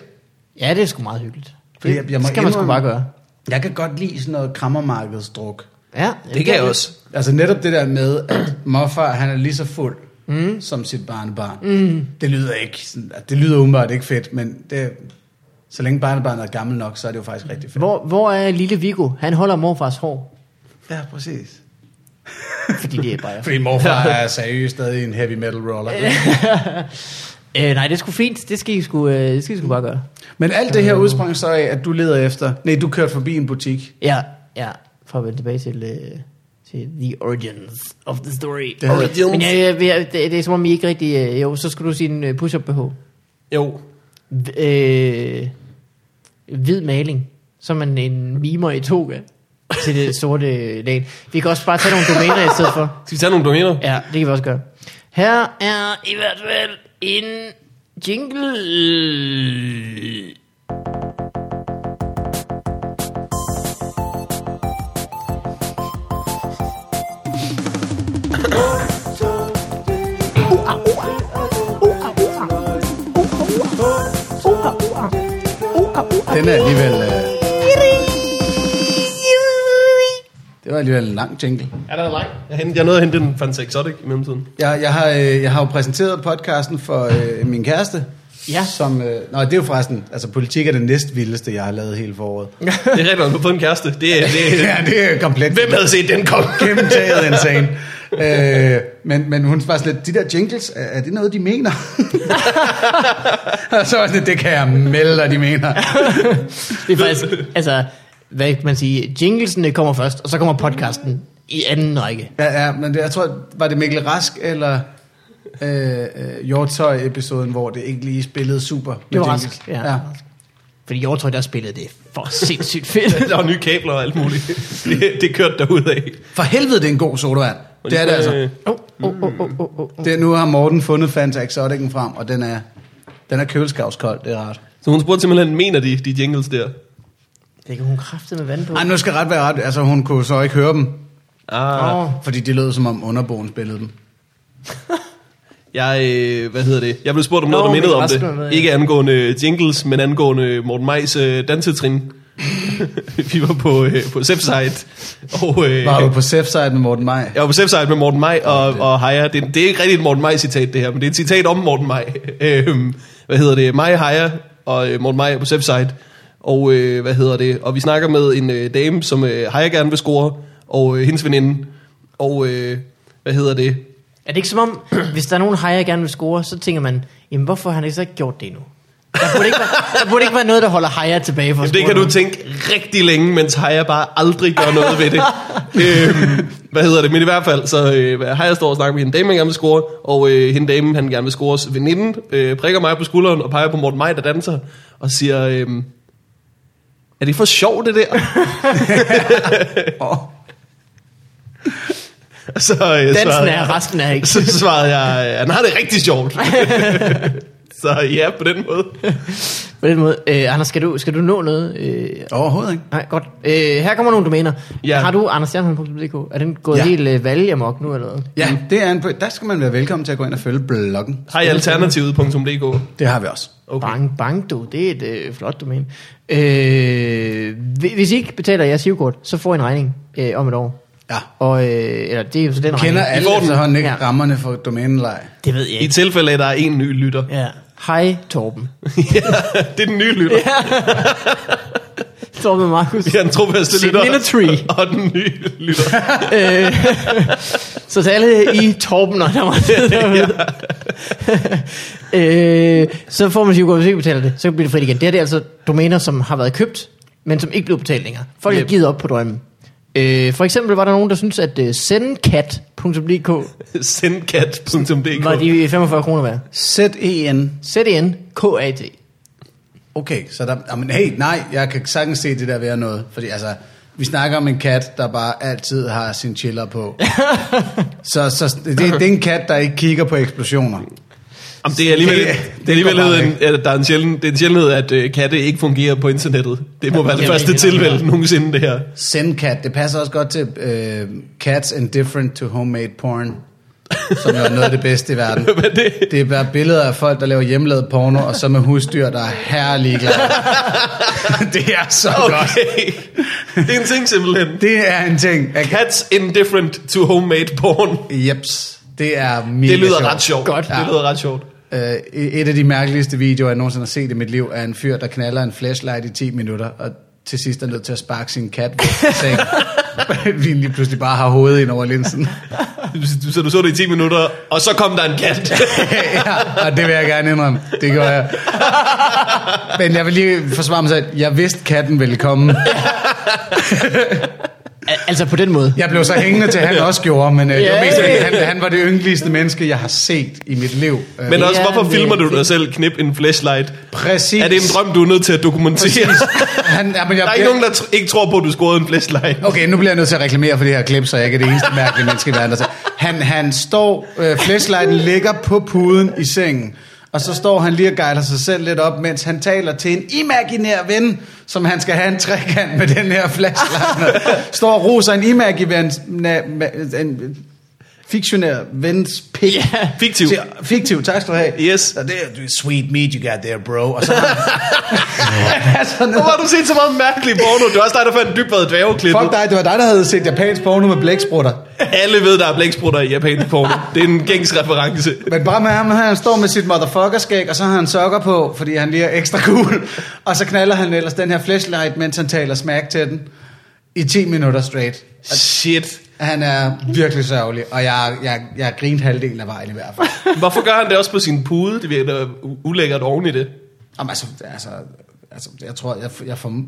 Speaker 4: Ja, det er sgu meget hyggeligt.
Speaker 3: Fordi jeg- jeg må
Speaker 4: det skal man sgu
Speaker 3: indrømme-
Speaker 4: bare gøre.
Speaker 3: Jeg kan godt lide sådan noget krammermarkedsdruk.
Speaker 4: Ja,
Speaker 1: Det kan jeg også.
Speaker 3: Altså netop det der med, at morfar han er lige så fuld mm. som sit barnebarn. Mm. Det lyder ikke, sådan- det lyder umiddelbart ikke fedt, men det, så længe barnebarnet er gammel nok, så er det jo faktisk rigtig fedt.
Speaker 4: Hvor, hvor er lille Viggo? Han holder morfars hår,
Speaker 3: Ja, præcis.
Speaker 4: fordi det er bare...
Speaker 3: Fordi morfar er seriøst stadig en heavy metal roller.
Speaker 4: Øh, nej, det er sgu fint. Det skal I sgu, øh, det skal I sgu bare gøre.
Speaker 3: Men alt det her udsprang så af, at du leder efter, nej, du kørte forbi en butik.
Speaker 4: Ja, ja. For at vende tilbage til, øh, til the origins of the story.
Speaker 3: Det havde-
Speaker 4: Origins. Men ja, ja, det, det er som om I ikke rigtig... Øh, jo, så skulle du sige en øh, push-up BH.
Speaker 1: Jo,
Speaker 4: Øh, hvid maling. Så er man en mimer i toga til det sorte lag. Vi kan også bare tage nogle domæner i stedet for.
Speaker 1: skal vi tage nogle domæner?
Speaker 4: Ja, det kan vi også gøre. Her er i hvert fald en jingle.
Speaker 3: Den er alligevel... Øh... Det var alligevel en lang jingle.
Speaker 1: Er der lang? Jeg, hent, jeg nåede at hente en Fanta Exotic i mellemtiden.
Speaker 3: Jeg, jeg, har, øh, jeg har jo præsenteret podcasten for øh, min kæreste.
Speaker 4: Ja.
Speaker 3: Som, øh, nå, det er jo forresten, altså politik er det næst vildeste, jeg har lavet hele foråret.
Speaker 1: Det er rigtigt, man har fået en kæreste. Det, er- det, er-
Speaker 3: ja, det er komplet
Speaker 1: hvem havde set den komme?
Speaker 3: gennemtaget insane. Øh, men, men hun var sådan lidt, de der jingles, er, er det noget, de mener? og så var jeg sådan, det kan jeg melde dig, de mener.
Speaker 4: Det er faktisk, altså, hvad kan man sige, jinglesene kommer først, og så kommer podcasten i anden række.
Speaker 3: Ja, ja, men det, jeg tror, var det Mikkel Rask eller øh, øh, Hjortøj-episoden, hvor det ikke lige spillede super med
Speaker 4: var
Speaker 3: jingles?
Speaker 4: Rask, ja. Fordi jeg tror, der spillede det for sindssygt fedt.
Speaker 1: Der var nye kabler og alt muligt. Det, det kørte derudad. Øh,
Speaker 3: For helvede, det er en god sodavand. Det er det altså.
Speaker 4: Åh, åh, åh, åh, åh, åh.
Speaker 3: Det, nu har Morten fundet Fanta Exotic'en frem, og den er, den er køleskabskold, det er rart.
Speaker 1: Så hun spurgte simpelthen, mener de, de jingles der?
Speaker 4: Det kan hun kræfte med vand på.
Speaker 3: Ej, nu skal ret være ret. Altså, hun kunne så ikke høre dem,
Speaker 1: Ah,
Speaker 4: Åh,
Speaker 3: fordi det lød som om underboen spillede dem.
Speaker 1: jeg, øh, hvad hedder det? Jeg blev spurgt om
Speaker 4: Nå,
Speaker 1: noget, der mindede om
Speaker 4: Mikkel Rask var med,
Speaker 1: det.
Speaker 4: ja.
Speaker 1: Ikke angående jingles, men angående Morten Majs øh, dansetrin. Vi var på, øh, på Sefside. Og, øh,
Speaker 3: Var du på Sefside med Morten Maj?
Speaker 1: Jeg var på Sefside med Morten Maj og, og Heja. Det, det er ikke rigtigt et Morten Maj-citat, det her, men det er et citat om Morten Maj. Øhm, hvad hedder det? Maj, Heja og øh, Morten Maj er på Sefside. Og øh, hvad hedder det? Og vi snakker med en øh, dame, som øh, Heja gerne vil score, og øh, hendes veninde. Og øh, hvad hedder det?
Speaker 4: Er det ikke som om, hvis der er nogen hej, jeg gerne vil score, så tænker man, jamen hvorfor har han ikke så ikke gjort det endnu? Der burde ikke være, der burde ikke være noget, der holder hejer tilbage for
Speaker 1: Jamen, det kan du tænke rigtig længe, mens Heja bare aldrig gør noget ved det. øhm, hvad hedder det? Men i hvert fald, så øh, Heja står og snakker med hende dame, han gerne vil score, og øh, hende dame, han gerne vil scores veninde, øh, prikker mig på skulderen og peger på Morten Maj, der danser, og siger, øh, er det for sjovt det der?
Speaker 3: Åh.
Speaker 1: Og så, øh,
Speaker 4: Dansen
Speaker 1: svarede- øh,
Speaker 4: er, resten er ikke.
Speaker 1: så svarede jeg, han har det rigtig sjovt. Så ja, på den måde.
Speaker 4: På den måde. Øh, Anders, skal du, skal du nå noget? Øh,
Speaker 3: Overhovedet ikke.
Speaker 4: nej, godt. Øh, her kommer nogle domæner.
Speaker 1: Ja.
Speaker 4: Ja. Har du andersjernholm.dk? Er den gået
Speaker 3: Ja.
Speaker 4: ja. helt øh, valgamok nu eller hvad?
Speaker 3: Ja,
Speaker 1: Mm.
Speaker 3: det er en, der skal man være velkommen til at gå ind og følge bloggen.
Speaker 1: Har I alternativet.dk?
Speaker 3: Det har vi også.
Speaker 1: Okay.
Speaker 4: Okay. Bang, bang, du. Det er et øh, flot domæne. Øh, hvi- hvis I ikke betaler jeres hivkort, så får I en regning øh, om et år.
Speaker 3: Ja.
Speaker 4: Og, øh, eller det er jo så den
Speaker 3: Kender
Speaker 4: regning.
Speaker 3: alle
Speaker 1: får den.
Speaker 3: efterhånden ikke
Speaker 4: Ja.
Speaker 3: rammerne for domæneleje?
Speaker 4: Det ved jeg
Speaker 1: I
Speaker 4: ikke.
Speaker 1: tilfælde af, at der er en ny lytter.
Speaker 4: Ja. Hej, Torben.
Speaker 1: ja, det er den nye lytter.
Speaker 4: Ja. Torben og Markus.
Speaker 1: Ja, den trofaste
Speaker 4: Sit
Speaker 1: lytter.
Speaker 4: in a tree.
Speaker 1: Og den nye lytter.
Speaker 4: Øh, så til alle i Torben, og der var øh, så får man sige, hvis ikke betaler det, så bliver det frit igen. Det her det er altså domæner, som har været købt, men som ikke blev betalt længere. Folk har
Speaker 1: Yep.
Speaker 4: givet op på drømmen. Øh, for eksempel var der nogen, der synes at uh, sendkat.dk
Speaker 1: Sendkat.dk
Speaker 4: var de 45 kroner værd.
Speaker 3: Z-E-N.
Speaker 4: Z-E-N-K-A-T.
Speaker 3: Okay, så der... Jamen, hey, nej, jeg kan sagtens se det der være noget. Fordi altså, vi snakker om en kat, der bare altid har sin chiller på. så så det, det, er en kat, der ikke kigger på eksplosioner.
Speaker 1: Jamen, det er alligevel,
Speaker 3: Det-
Speaker 1: det, det
Speaker 3: det
Speaker 1: er alligevel
Speaker 3: går bare
Speaker 1: en, ja, der er en, sjælden, det er en sjældenhed, at øh, katte ikke fungerer på internettet. Det må være det
Speaker 4: Jamen,
Speaker 1: første
Speaker 4: det er
Speaker 1: tilfælde
Speaker 4: rigtigt.
Speaker 1: nogensinde, det her.
Speaker 3: Send cat, det passer også godt til øh, cats indifferent to homemade porn, som jo er noget af det bedste i verden.
Speaker 1: Hvad er det?
Speaker 3: Det er bare billeder af folk, der laver hjemmelavet porno, og så med husdyr, der er herlige glade. det er så okay. godt.
Speaker 1: Okay. Det er en ting simpelthen.
Speaker 3: Det er en ting. Jeg kan...
Speaker 1: Cats indifferent to homemade porn.
Speaker 3: Jeps. Det er mega
Speaker 1: Det lyder
Speaker 3: sjovt.
Speaker 1: ret sjovt.
Speaker 4: Godt.
Speaker 1: Det lyder ret sjovt.
Speaker 3: Øh, et af de mærkeligste videoer, jeg nogensinde har set i mit liv, er en fyr, der knaller en flashlight i 10 minutter, og til sidst er nødt til at sparke sin kat væk fra sengen. Vi lige pludselig bare har hovedet ind over linsen.
Speaker 1: Du- Så du så det i 10 minutter, og så kom der en kat.
Speaker 3: ja, og det vil jeg gerne indrømme. Det gør jeg. Men jeg vil lige forsvare mig selv. Jeg vidste, katten ville komme.
Speaker 4: Al- altså på den måde.
Speaker 3: Jeg blev så hængende til, at han også gjorde, men øh, det var
Speaker 4: Ja.
Speaker 3: mest, fordi han, han var det yndligste menneske, jeg har set i mit liv. Øh,
Speaker 1: Men også,
Speaker 4: Ja,
Speaker 1: hvorfor
Speaker 4: det-
Speaker 1: filmer du dig selv knip en flashlight?
Speaker 3: præcis.
Speaker 1: Er det en drøm, du er nødt til at dokumentere?
Speaker 3: Præcis. Han, ja, men jeg,
Speaker 1: Der er ikke nogen, der tr- ikke tror på, at du scorede en flashlight.
Speaker 3: Okay, nu bliver jeg nødt til at reklamere for det her klip, så jeg ikke er det eneste mærkelige menneske, der er der. til. Han, han står, øh, flashlighten ligger på puden i sengen, og så står han lige og guider sig selv lidt op, mens han taler til en imaginær ven, som han skal have en trekant med den her flashlight. med. Står og roser en imaginær en fiktionær vens pik.
Speaker 4: Ja,
Speaker 1: fiktiv.
Speaker 3: Siger, Fiktiv, tak skal du have.
Speaker 1: Yes.
Speaker 3: Og det er det er sweet meat you got there, bro. Og så har han, sådan noget.
Speaker 1: Hvorfor har du set så meget mærkelig porno? Det var også dig, der fandt dybvad dværgeklippet.
Speaker 3: Fuck dig, det var dig, der havde set japansk porno med blæksprutter.
Speaker 1: Alle ved, der er blæksprutter i japansk porno. Det er en gængs reference.
Speaker 3: Men bare med ham, han står med sit motherfucker-skæg, og så har han sokker på, fordi han lige er ekstra cool. Og så knaller han ellers den her flashlight, mens han taler smack til den. I 10 minutter straight.
Speaker 1: Shit.
Speaker 3: Han er virkelig sørgelig, og jeg, jeg, jeg grinte halvdelen af vejen i hvert fald.
Speaker 1: Hvorfor gør han det også på sin pude? Det virker da u- ulækkert oven i det.
Speaker 3: Jamen, altså, altså, altså, jeg tror, jeg, jeg, får,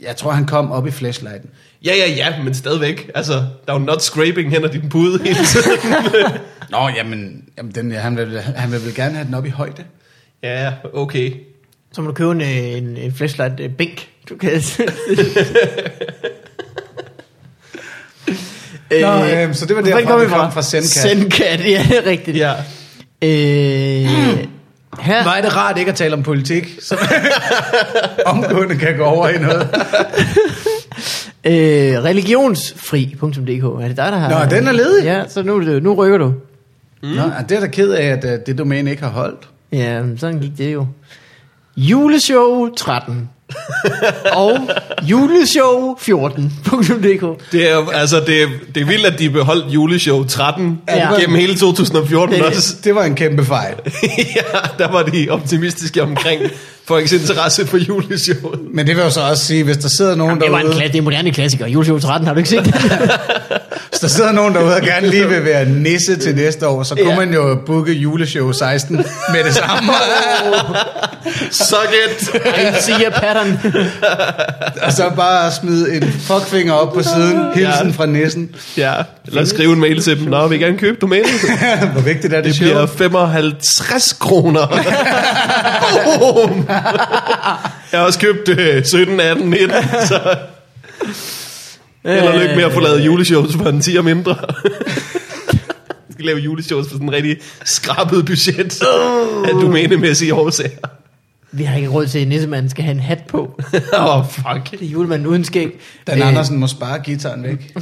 Speaker 3: jeg tror, han kom op i flashlighten.
Speaker 1: Ja, ja, ja, men stadigvæk. Altså, der er jo not scraping hen ad din pude hele tiden.
Speaker 3: Nå, jamen, jamen den, ja, han, vil, han vil vel gerne have den op i højde.
Speaker 1: ja, okay.
Speaker 4: Så må du købe en, øh, en, en flashlight øh, bænk. Du kan...
Speaker 3: Nå, øhm, så det var
Speaker 4: hvordan
Speaker 3: derfra,
Speaker 4: Øh, kom
Speaker 3: vi
Speaker 4: vi
Speaker 3: kom fra Zencat.
Speaker 4: Zencat, ja, det er rigtigt.
Speaker 1: Ja.
Speaker 4: Øh, her,
Speaker 3: Var det rart ikke at tale om politik, så omgående kan gå over i noget.
Speaker 4: øh, religionsfri.dk, er det dig, der har...
Speaker 3: Nå, den er ledig.
Speaker 4: Ja, så nu, er det- nu rykker du.
Speaker 3: Mm. Nå, ah, det er da ked af, at øh, det domæne ikke har holdt.
Speaker 4: Ja, men sådan gik det jo. Juleshow 13. og juleshow 14.dk.
Speaker 1: Det er, jo- altså, det er, det er vildt, at de beholdt juleshow 13 ja.
Speaker 4: Ja.
Speaker 1: gennem hele 2014
Speaker 4: Det-
Speaker 1: også.
Speaker 3: Det var en kæmpe fejl.
Speaker 1: ja, der var de optimistiske omkring folks interesse for juleshowet.
Speaker 3: Men det vil jo så også sige, hvis der sidder nogen
Speaker 4: Det var en,
Speaker 3: derude,
Speaker 4: kla- det er en moderne klassiker. Juleshow 13, har du ikke set det?
Speaker 3: hvis der sidder nogen derude og gerne lige vil være nisse til næste år, så kunne
Speaker 4: Ja.
Speaker 3: man jo booke juleshow 16 med det samme.
Speaker 1: Suck it!
Speaker 4: I see a pattern.
Speaker 3: og så bare smide en fuckfinger op på siden, hilsen
Speaker 1: Ja.
Speaker 3: fra nissen.
Speaker 1: Ja, lad os skrive en mail til dem. Nå, vi gerne købe domænet.
Speaker 3: Hvor vigtigt er det,
Speaker 1: Det
Speaker 3: det
Speaker 1: bliver
Speaker 3: show?
Speaker 1: 55 kroner. Boom! Jeg har også købt øh, 17, 18, 19, så... Eller lykke med at få lavet juleshows for en 10 mindre. skal lave juleshows på sådan en rigtig skrabet budget oh. af domænemæssige årsager.
Speaker 4: Vi har ikke råd til, at nissemanden skal have en hat på.
Speaker 1: Åh, oh, fuck.
Speaker 4: Det er julemanden uden skæg.
Speaker 3: Dan øh. Andersen må spare gitaren væk.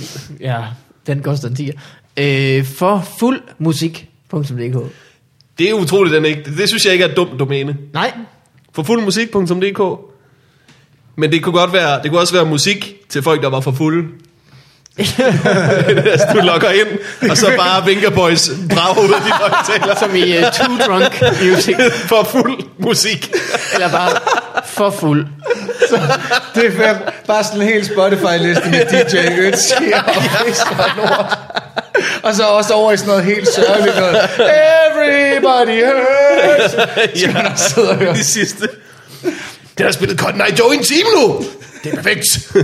Speaker 4: Ja, den koster en 10'er. Øh, for fuld musik.dk
Speaker 1: Det er utroligt, den ikke. Det synes jeg ikke er et dumt domæne.
Speaker 4: Nej,
Speaker 1: For fuldmusik.dk Men det kunne godt være, det kunne også være musik til folk, der var for fulde. altså, du logger ind, og så bare Vinkerboys brager ud af de højtaler
Speaker 4: som i uh, Too Drunk Music.
Speaker 1: for fuld musik.
Speaker 4: Eller bare for fuld.
Speaker 3: Det er fedt. Bare sådan en hel Spotify-liste med DJ Ötzi og Fisker og Nord. Og så også over i sådan noget helt sørgeligt noget. Everybody hurts.
Speaker 1: ja.
Speaker 3: Man også sidder og hører.
Speaker 1: de sidste. Det har spillet Cotton Eye Joe i en time nu. Det er perfekt.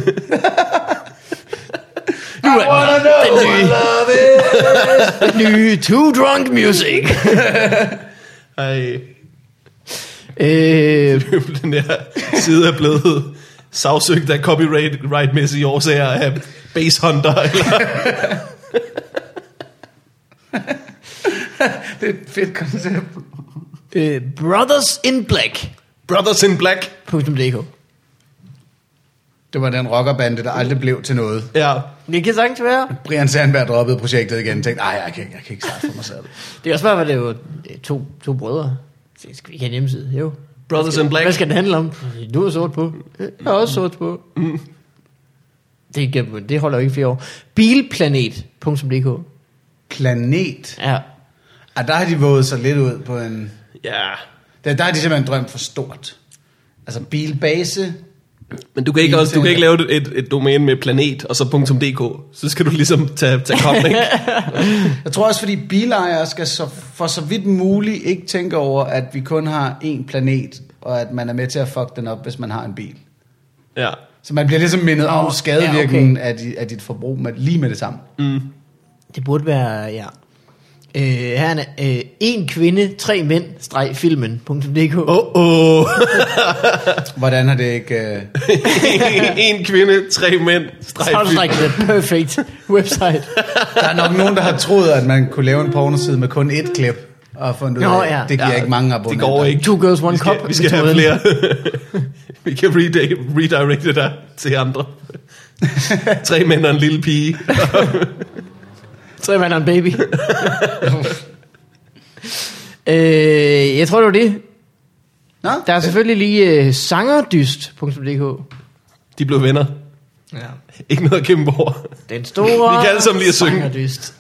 Speaker 4: Nu er
Speaker 3: I know,
Speaker 4: nye.
Speaker 3: I love it.
Speaker 4: den nye Too Drunk Music.
Speaker 1: Ej,
Speaker 4: Øh,
Speaker 1: den der side er blevet sagsøgt af copyright-mæssige årsager af Base Hunter. Eller,
Speaker 3: Det er et fedt koncept.
Speaker 4: øh, Brothers in Black.
Speaker 1: Brothers in Black.
Speaker 4: .dk.
Speaker 3: Det var den rockerbande, der aldrig blev til noget.
Speaker 1: Ja.
Speaker 4: Det kan sagtens være.
Speaker 3: Brian Sandberg droppede projektet igen og tænkte, nej, jeg kan, ikke- jeg kan ikke starte for mig selv.
Speaker 4: Det kan også være, at det var to, to brødre. Så Skal vi ikke have en hjemmeside? Jo.
Speaker 1: Brothers in Black.
Speaker 4: Hvad skal den handle om? Du er sort på. Jeg er også sort på.
Speaker 1: Mm.
Speaker 4: Det, kan- det holder jo ikke i flere år. Bilplanet.dk
Speaker 3: Planet.
Speaker 4: Ja.
Speaker 3: Ah, der har de våget sig lidt ud på en...
Speaker 1: Ja.
Speaker 3: Der, der har de simpelthen drømt for stort. Altså bilbase.
Speaker 1: Men du kan ikke, også, du kan ikke lave et, et, et domæne med planet og så .dk. Så skal du ligesom tage, tage kobling.
Speaker 3: Jeg tror også, fordi bilejere skal så, for så vidt muligt ikke tænke over, at vi kun har én planet, og at man er med til at fuck den op, hvis man har en bil.
Speaker 1: ja.
Speaker 3: Så man bliver ligesom mindet
Speaker 4: Nå,
Speaker 3: om
Speaker 4: ja,
Speaker 3: skadevirkningen ja, okay. af, di, af dit forbrug med, lige med det samme.
Speaker 4: Det burde være, ja. Øh, her er en, øh, en kvinde, tre mænd, streg filmen.dk oh.
Speaker 1: Åh, oh, oh.
Speaker 3: Hvordan har det ikke... Øh...
Speaker 1: en kvinde, tre mænd.
Speaker 4: Så er
Speaker 1: Streg,
Speaker 4: det like the perfect website.
Speaker 3: Der er nok nogen, der har troet, at man kunne lave en pornoside med kun ét klip, og fundet ud af,
Speaker 4: Nå,
Speaker 3: at
Speaker 4: ja.
Speaker 3: det giver
Speaker 1: Ja,
Speaker 3: ikke mange
Speaker 1: det
Speaker 3: abonnenter.
Speaker 1: går ikke.
Speaker 4: Two girls, one
Speaker 1: Vi skal,
Speaker 4: cup.
Speaker 1: vi skal have
Speaker 4: metoden.
Speaker 1: flere. vi kan redi- redirecte dig til andre. Tre mænd og en lille pige.
Speaker 4: Tre mænd og en baby. øh, jeg tror, det var det.
Speaker 3: Nå,
Speaker 4: Der er selvfølgelig lige øh, sangerdyst.dk
Speaker 1: De blev venner.
Speaker 4: Ja.
Speaker 1: Ikke noget at kæmpe over.
Speaker 4: Den store
Speaker 1: Vi kan alle sammen lige at synge.
Speaker 4: Sangerdyst.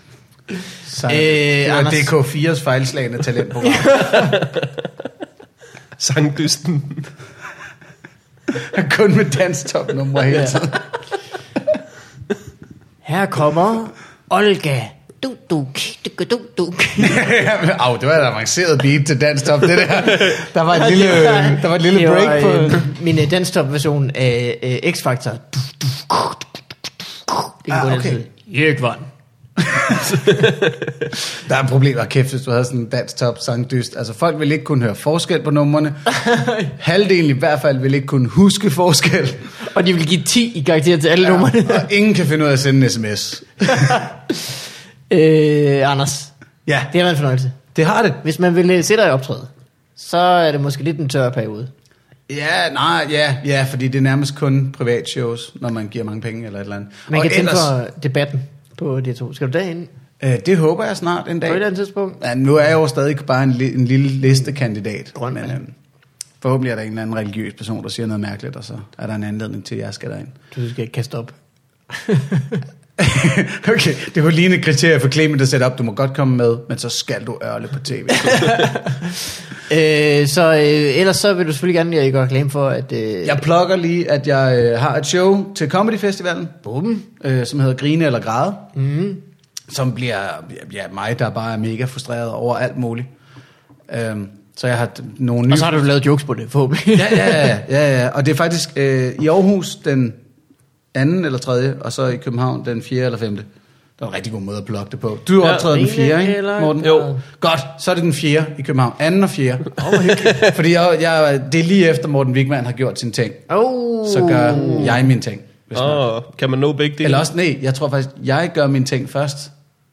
Speaker 3: så,
Speaker 4: Øh,
Speaker 3: øh, det var
Speaker 4: Anders.
Speaker 3: DK4's fejlslagende talentprogram.
Speaker 1: Sangdysten.
Speaker 3: kun med danstopnumre hele
Speaker 4: Ja.
Speaker 3: tiden.
Speaker 4: Her kommer Olga. Du, du, du, du, du.
Speaker 3: Au, det var et avanceret beat til dansk top, det der. Der var et lille, der var et lille
Speaker 4: Det øh, var,
Speaker 3: break på...
Speaker 4: Øh, min øh, danstop-version af øh, X-Factor. Du, du, ku, du, du, ku. Det kan
Speaker 3: Ah,
Speaker 4: ah,
Speaker 3: okay.
Speaker 4: okay. Jørgen.
Speaker 3: Der er et problem, der kæft, hvis du havde sådan en dansk top sangdyst. Altså, folk ville ikke kunne høre forskel på numrene. Halvdelen i hvert fald ville ikke kunne huske forskel.
Speaker 4: Og de vil give 10 i karakter til alle ja. numrene.
Speaker 3: Og ingen kan finde ud af at sende en sms.
Speaker 4: øh, Anders,
Speaker 3: Ja,
Speaker 4: det har været en fornøjelse.
Speaker 3: det har det.
Speaker 4: Hvis man vil øh, se dig i optræde, så er det måske lidt en tør periode.
Speaker 3: Ja, nej, ja, ja, fordi det er nærmest kun privatshows, når man giver mange penge eller et eller andet.
Speaker 4: Man
Speaker 3: Og
Speaker 4: kan tænke
Speaker 3: ellers,
Speaker 4: på debatten på D2. Skal du derind
Speaker 3: øh, det håber jeg snart en
Speaker 4: på
Speaker 3: dag.
Speaker 4: et eller andet tidspunkt?
Speaker 3: Ja, nu er jeg jo stadig bare en, li- en lille listekandidat.
Speaker 4: Grøn mand.
Speaker 3: øhm, forhåbentlig er der en eller anden religiøs person, der siger noget mærkeligt, og så er der en anledning til, at jeg skal derind.
Speaker 4: Du skal ikke kaste op.
Speaker 3: okay, det var lige et kriterie for Clement at sætte op. Du må godt komme med, men så skal du ørle på tv.
Speaker 4: Øh, så øh, ellers så vil du selvfølgelig gerne lige gøre reklame for, at... Øh,
Speaker 3: jeg plukker lige, at jeg øh, har et show til Comedy Festivalen,
Speaker 4: Bum.
Speaker 3: øh, som hedder Grine eller Græde,
Speaker 4: Mm.
Speaker 3: som bliver ja, mig, der bare er mega frustreret over alt muligt. Øhm, så jeg har t- nogle nye
Speaker 4: Og så har du lavet jokes på det, forhåbentlig.
Speaker 3: ja, ja, ja, ja, ja. Og det er faktisk øh, i Aarhus den anden eller tredje, og så i København den fjerde eller femte. Det var en rigtig god måde at plukke det på. Du
Speaker 1: Ja.
Speaker 3: optræder den
Speaker 4: Ene
Speaker 3: fjerde, ikke,
Speaker 4: eller-
Speaker 3: Morten?
Speaker 1: Jo.
Speaker 3: Godt, så er det den fjerde i København. Anden og fjerde. Oh, Fordi jeg, jeg, det er lige efter Morten Wigman har gjort sin ting.
Speaker 4: Oh.
Speaker 3: Så gør jeg min ting. Hvis man.
Speaker 1: Åh, kan man nå begge dele?
Speaker 3: Eller også, nej, jeg tror faktisk, jeg gør min ting først.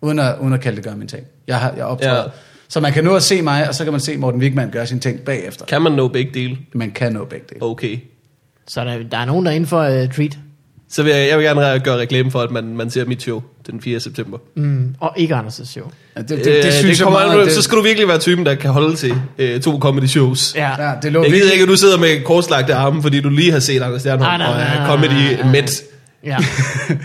Speaker 3: uden at, uden at kalde det gør min ting. Jeg, har, jeg optræder.
Speaker 1: Ja.
Speaker 3: Ja. Så man kan nå at se mig, og så kan man se Morten Wigman gøre sin ting bagefter.
Speaker 1: Kan man no big deal?
Speaker 3: Man kan nå begge dele.
Speaker 1: Okay.
Speaker 4: Så der, der er nogen, der er inden for uh, treat.
Speaker 1: Så vil jeg, jeg vil gerne gøre reklame for, at man, man ser mit show den 4. september.
Speaker 4: Mm, og ikke Anders' show.
Speaker 3: Ja, det, det,
Speaker 1: Øh,
Speaker 3: det, det synes
Speaker 1: det
Speaker 3: jeg
Speaker 1: kommer an
Speaker 3: meget...
Speaker 1: på-
Speaker 3: det,
Speaker 1: Så skal du virkelig være typen, der kan holde til øh, to comedy shows.
Speaker 4: Ja.
Speaker 3: ja, det lå
Speaker 1: Jeg
Speaker 3: virkelig-
Speaker 1: gider ikke, at du sidder med korslagte arme, fordi du lige har set Anders
Speaker 4: Nej,
Speaker 1: Stjernholm
Speaker 4: nej,
Speaker 1: og
Speaker 4: nej,
Speaker 1: er
Speaker 4: nej, nej, nej,
Speaker 1: comedy
Speaker 4: nej.
Speaker 1: midt.
Speaker 4: ja.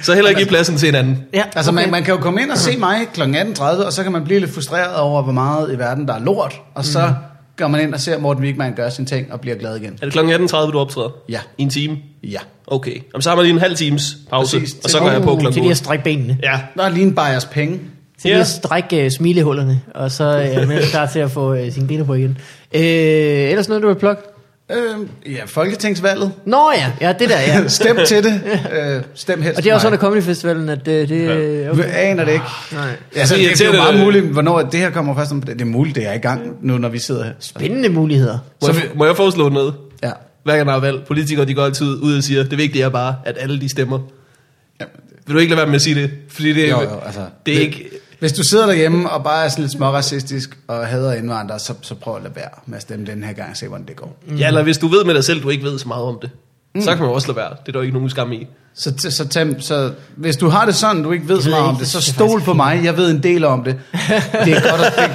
Speaker 1: Så heller ikke give pladsen til en anden.
Speaker 4: ja
Speaker 3: Altså, man, man kan jo komme ind og se mig kl. 18.30, og så kan man blive lidt frustreret over, hvor meget i verden, der er lort. Og så
Speaker 1: Mhm.
Speaker 3: mm. går man ind og ser Morten Wigman gøre sin ting og bliver glad igen.
Speaker 1: Er det kl. 18.30, du optræder?
Speaker 3: Ja.
Speaker 1: I en time?
Speaker 3: Ja.
Speaker 1: Okay. Jamen, så har man lige en halv times pause,
Speaker 3: Præcis.
Speaker 1: og så går jeg på klokken
Speaker 4: Til lige at
Speaker 1: 8.
Speaker 4: strække benene.
Speaker 1: Ja.
Speaker 3: Der er lige en bajers penge.
Speaker 4: Til lige
Speaker 1: Ja.
Speaker 4: at strække uh, smilehullerne. Og så øh, er man klar til at få uh, sine ben på igen. Øh, ellers noget, du vil plukke?
Speaker 3: Øh, ja, Folketingsvalget.
Speaker 4: Nå ja, ja, det der, ja.
Speaker 3: Stem til det. Øh, stem helst
Speaker 4: Og det er også
Speaker 3: mig.
Speaker 4: under Comedy Festivalen, at øh, det...
Speaker 1: Ja.
Speaker 4: Øh,
Speaker 3: Vi aner det ikke.
Speaker 4: Nej.
Speaker 3: Altså,
Speaker 1: Så
Speaker 3: det, det er jo
Speaker 1: irriterende-
Speaker 3: meget muligt, hvornår det her kommer først om det. Det er muligt, det er i gang nu, når vi sidder her.
Speaker 4: Spændende muligheder.
Speaker 1: Må,
Speaker 3: Så
Speaker 1: jeg, må jeg foreslå noget?
Speaker 3: Ja.
Speaker 1: Hver gang der er valg, politikere de går altid ud og siger, det vigtige er bare, at alle de stemmer.
Speaker 3: Jamen,
Speaker 1: Vil du ikke lade være med at sige det? Fordi det,
Speaker 3: Jo, jo, altså,
Speaker 1: det er ikke...
Speaker 3: Hvis du sidder derhjemme og bare er sådan lidt småracistisk og hader indvandrere, så, så prøv at lade være med at stemme den her gang og se, hvordan det går.
Speaker 1: Ja, eller hvis du ved med dig selv, du ikke ved så meget om det,
Speaker 4: Mm.
Speaker 1: så kan man jo også lade være. Det er der jo ikke nogen skam i.
Speaker 3: Så, så, så, tem, så hvis du har det sådan, du ikke ved
Speaker 4: Det
Speaker 3: så
Speaker 4: ved jeg
Speaker 3: meget om
Speaker 4: ikke,
Speaker 3: det,
Speaker 4: det
Speaker 3: så
Speaker 4: synes jeg
Speaker 3: stol
Speaker 4: faktisk
Speaker 3: på mig. Jeg ved en del om det. Det er godt at,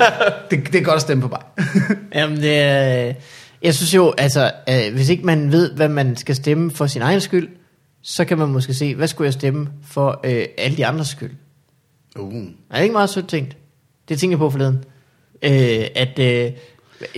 Speaker 3: det, det, det er godt at stemme på mig.
Speaker 4: Jamen, det er, øh, jeg synes jo, altså, øh, hvis ikke man ved, hvad man skal stemme for sin egen skyld, så kan man måske se, hvad skulle jeg stemme for øh, alle de andres skyld.
Speaker 3: Uh.
Speaker 4: Er det ikke meget sødt tænkt? Det tænkte jeg på forleden. Øh, at, øh,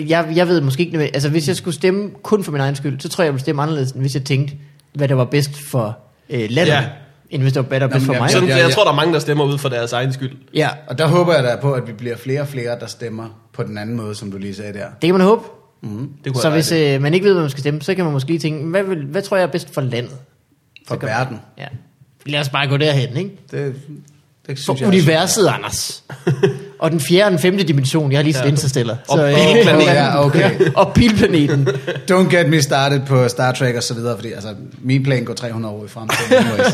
Speaker 4: jeg, jeg ved måske ikke, nødvendigt- altså hvis jeg skulle stemme kun for min egen skyld, så tror jeg, jeg ville stemme anderledes, end hvis jeg tænkte, hvad der var bedst for øh, landet,
Speaker 1: Ja.
Speaker 4: ja. end hvis det var, hvad der
Speaker 3: Nå,
Speaker 4: var bedst for
Speaker 3: men
Speaker 4: mig.
Speaker 3: jeg-
Speaker 1: Sådan,
Speaker 3: ja,
Speaker 1: jeg
Speaker 3: ja.
Speaker 1: tror, der er mange, der stemmer ud for deres egen skyld.
Speaker 4: Ja,
Speaker 3: Og der håber jeg da på, at vi bliver flere og flere, der stemmer på den anden måde, som du lige sagde der.
Speaker 4: det kan man håbe.
Speaker 3: Mm.
Speaker 1: Det kunne
Speaker 4: Så
Speaker 1: jeg
Speaker 4: hvis
Speaker 1: dejligt.
Speaker 4: øh, man ikke ved, hvad man skal stemme, så kan man måske lige tænke, hvad, vil, hvad tror jeg er bedst for landet?
Speaker 3: For
Speaker 4: kan-
Speaker 3: verden.
Speaker 4: Ja. Lad os bare gå derhen, ikke?
Speaker 3: Det, det synes
Speaker 4: For
Speaker 3: jeg også.
Speaker 4: universet, Anders. og den fjerde og den femte dimension, jeg har lige set ja. Interstellar.
Speaker 1: Og
Speaker 4: øh,
Speaker 1: bilplaneten.
Speaker 3: Ja, okay.
Speaker 4: Ja, og bilplaneten.
Speaker 3: Don't get me started på Star Trek og så videre, fordi altså, min plan går 300 år i fremtiden. anyways.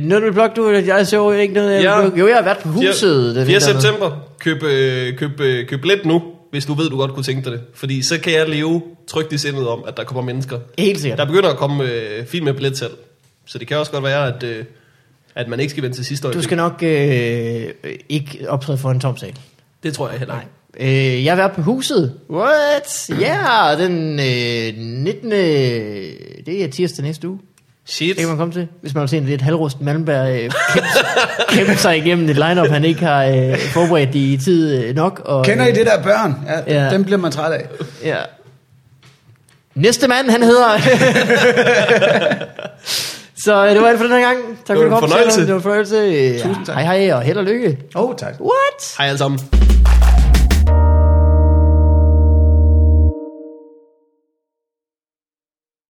Speaker 4: øh, noget du vil blogge, du, jeg så ikke noget. jeg
Speaker 1: Ja.
Speaker 4: vil blogge. Jo, jeg har været på øh, huset.
Speaker 1: 4.
Speaker 4: den vinter.
Speaker 1: september. Køb, øh, køb, øh, køb let nu, hvis du ved, du godt kunne tænke dig det. Fordi så kan jeg leve trygt i sindet om, at der kommer mennesker.
Speaker 4: Helt sikkert.
Speaker 1: Der begynder at komme øh, fint med billetsalg. Så det kan også godt være, at, øh, at man ikke skal vente til sidste øjeblik.
Speaker 4: Du skal nok øh, ikke optræde for en tom sal.
Speaker 1: Det tror jeg heller ikke.
Speaker 4: Øh, jeg har været på huset. What? Ja, yeah, den øh, 19. Det er tirsdag næste uge.
Speaker 1: Shit.
Speaker 4: Det kan man komme til, hvis man vil se en lidt halvrust Malmberg øh, kæmpe, kæmpe sig igennem et lineup han ikke har øh, forberedt i tid øh, nok. Og,
Speaker 3: Kender I
Speaker 4: øh,
Speaker 3: det der børn? Ja,
Speaker 4: Ja.
Speaker 3: Dem bliver man træt af.
Speaker 4: Ja. Næste mand, han hedder... Så øh, det var alt for den her gang. Tak
Speaker 1: var
Speaker 4: for at
Speaker 1: en
Speaker 4: du kom
Speaker 1: fornøjelse.
Speaker 4: Det var en fornøjelse.
Speaker 3: Tusind tak.
Speaker 4: Hej hej, og held og lykke.
Speaker 3: Åh, oh, tak.
Speaker 4: What?
Speaker 1: Hej alle sammen.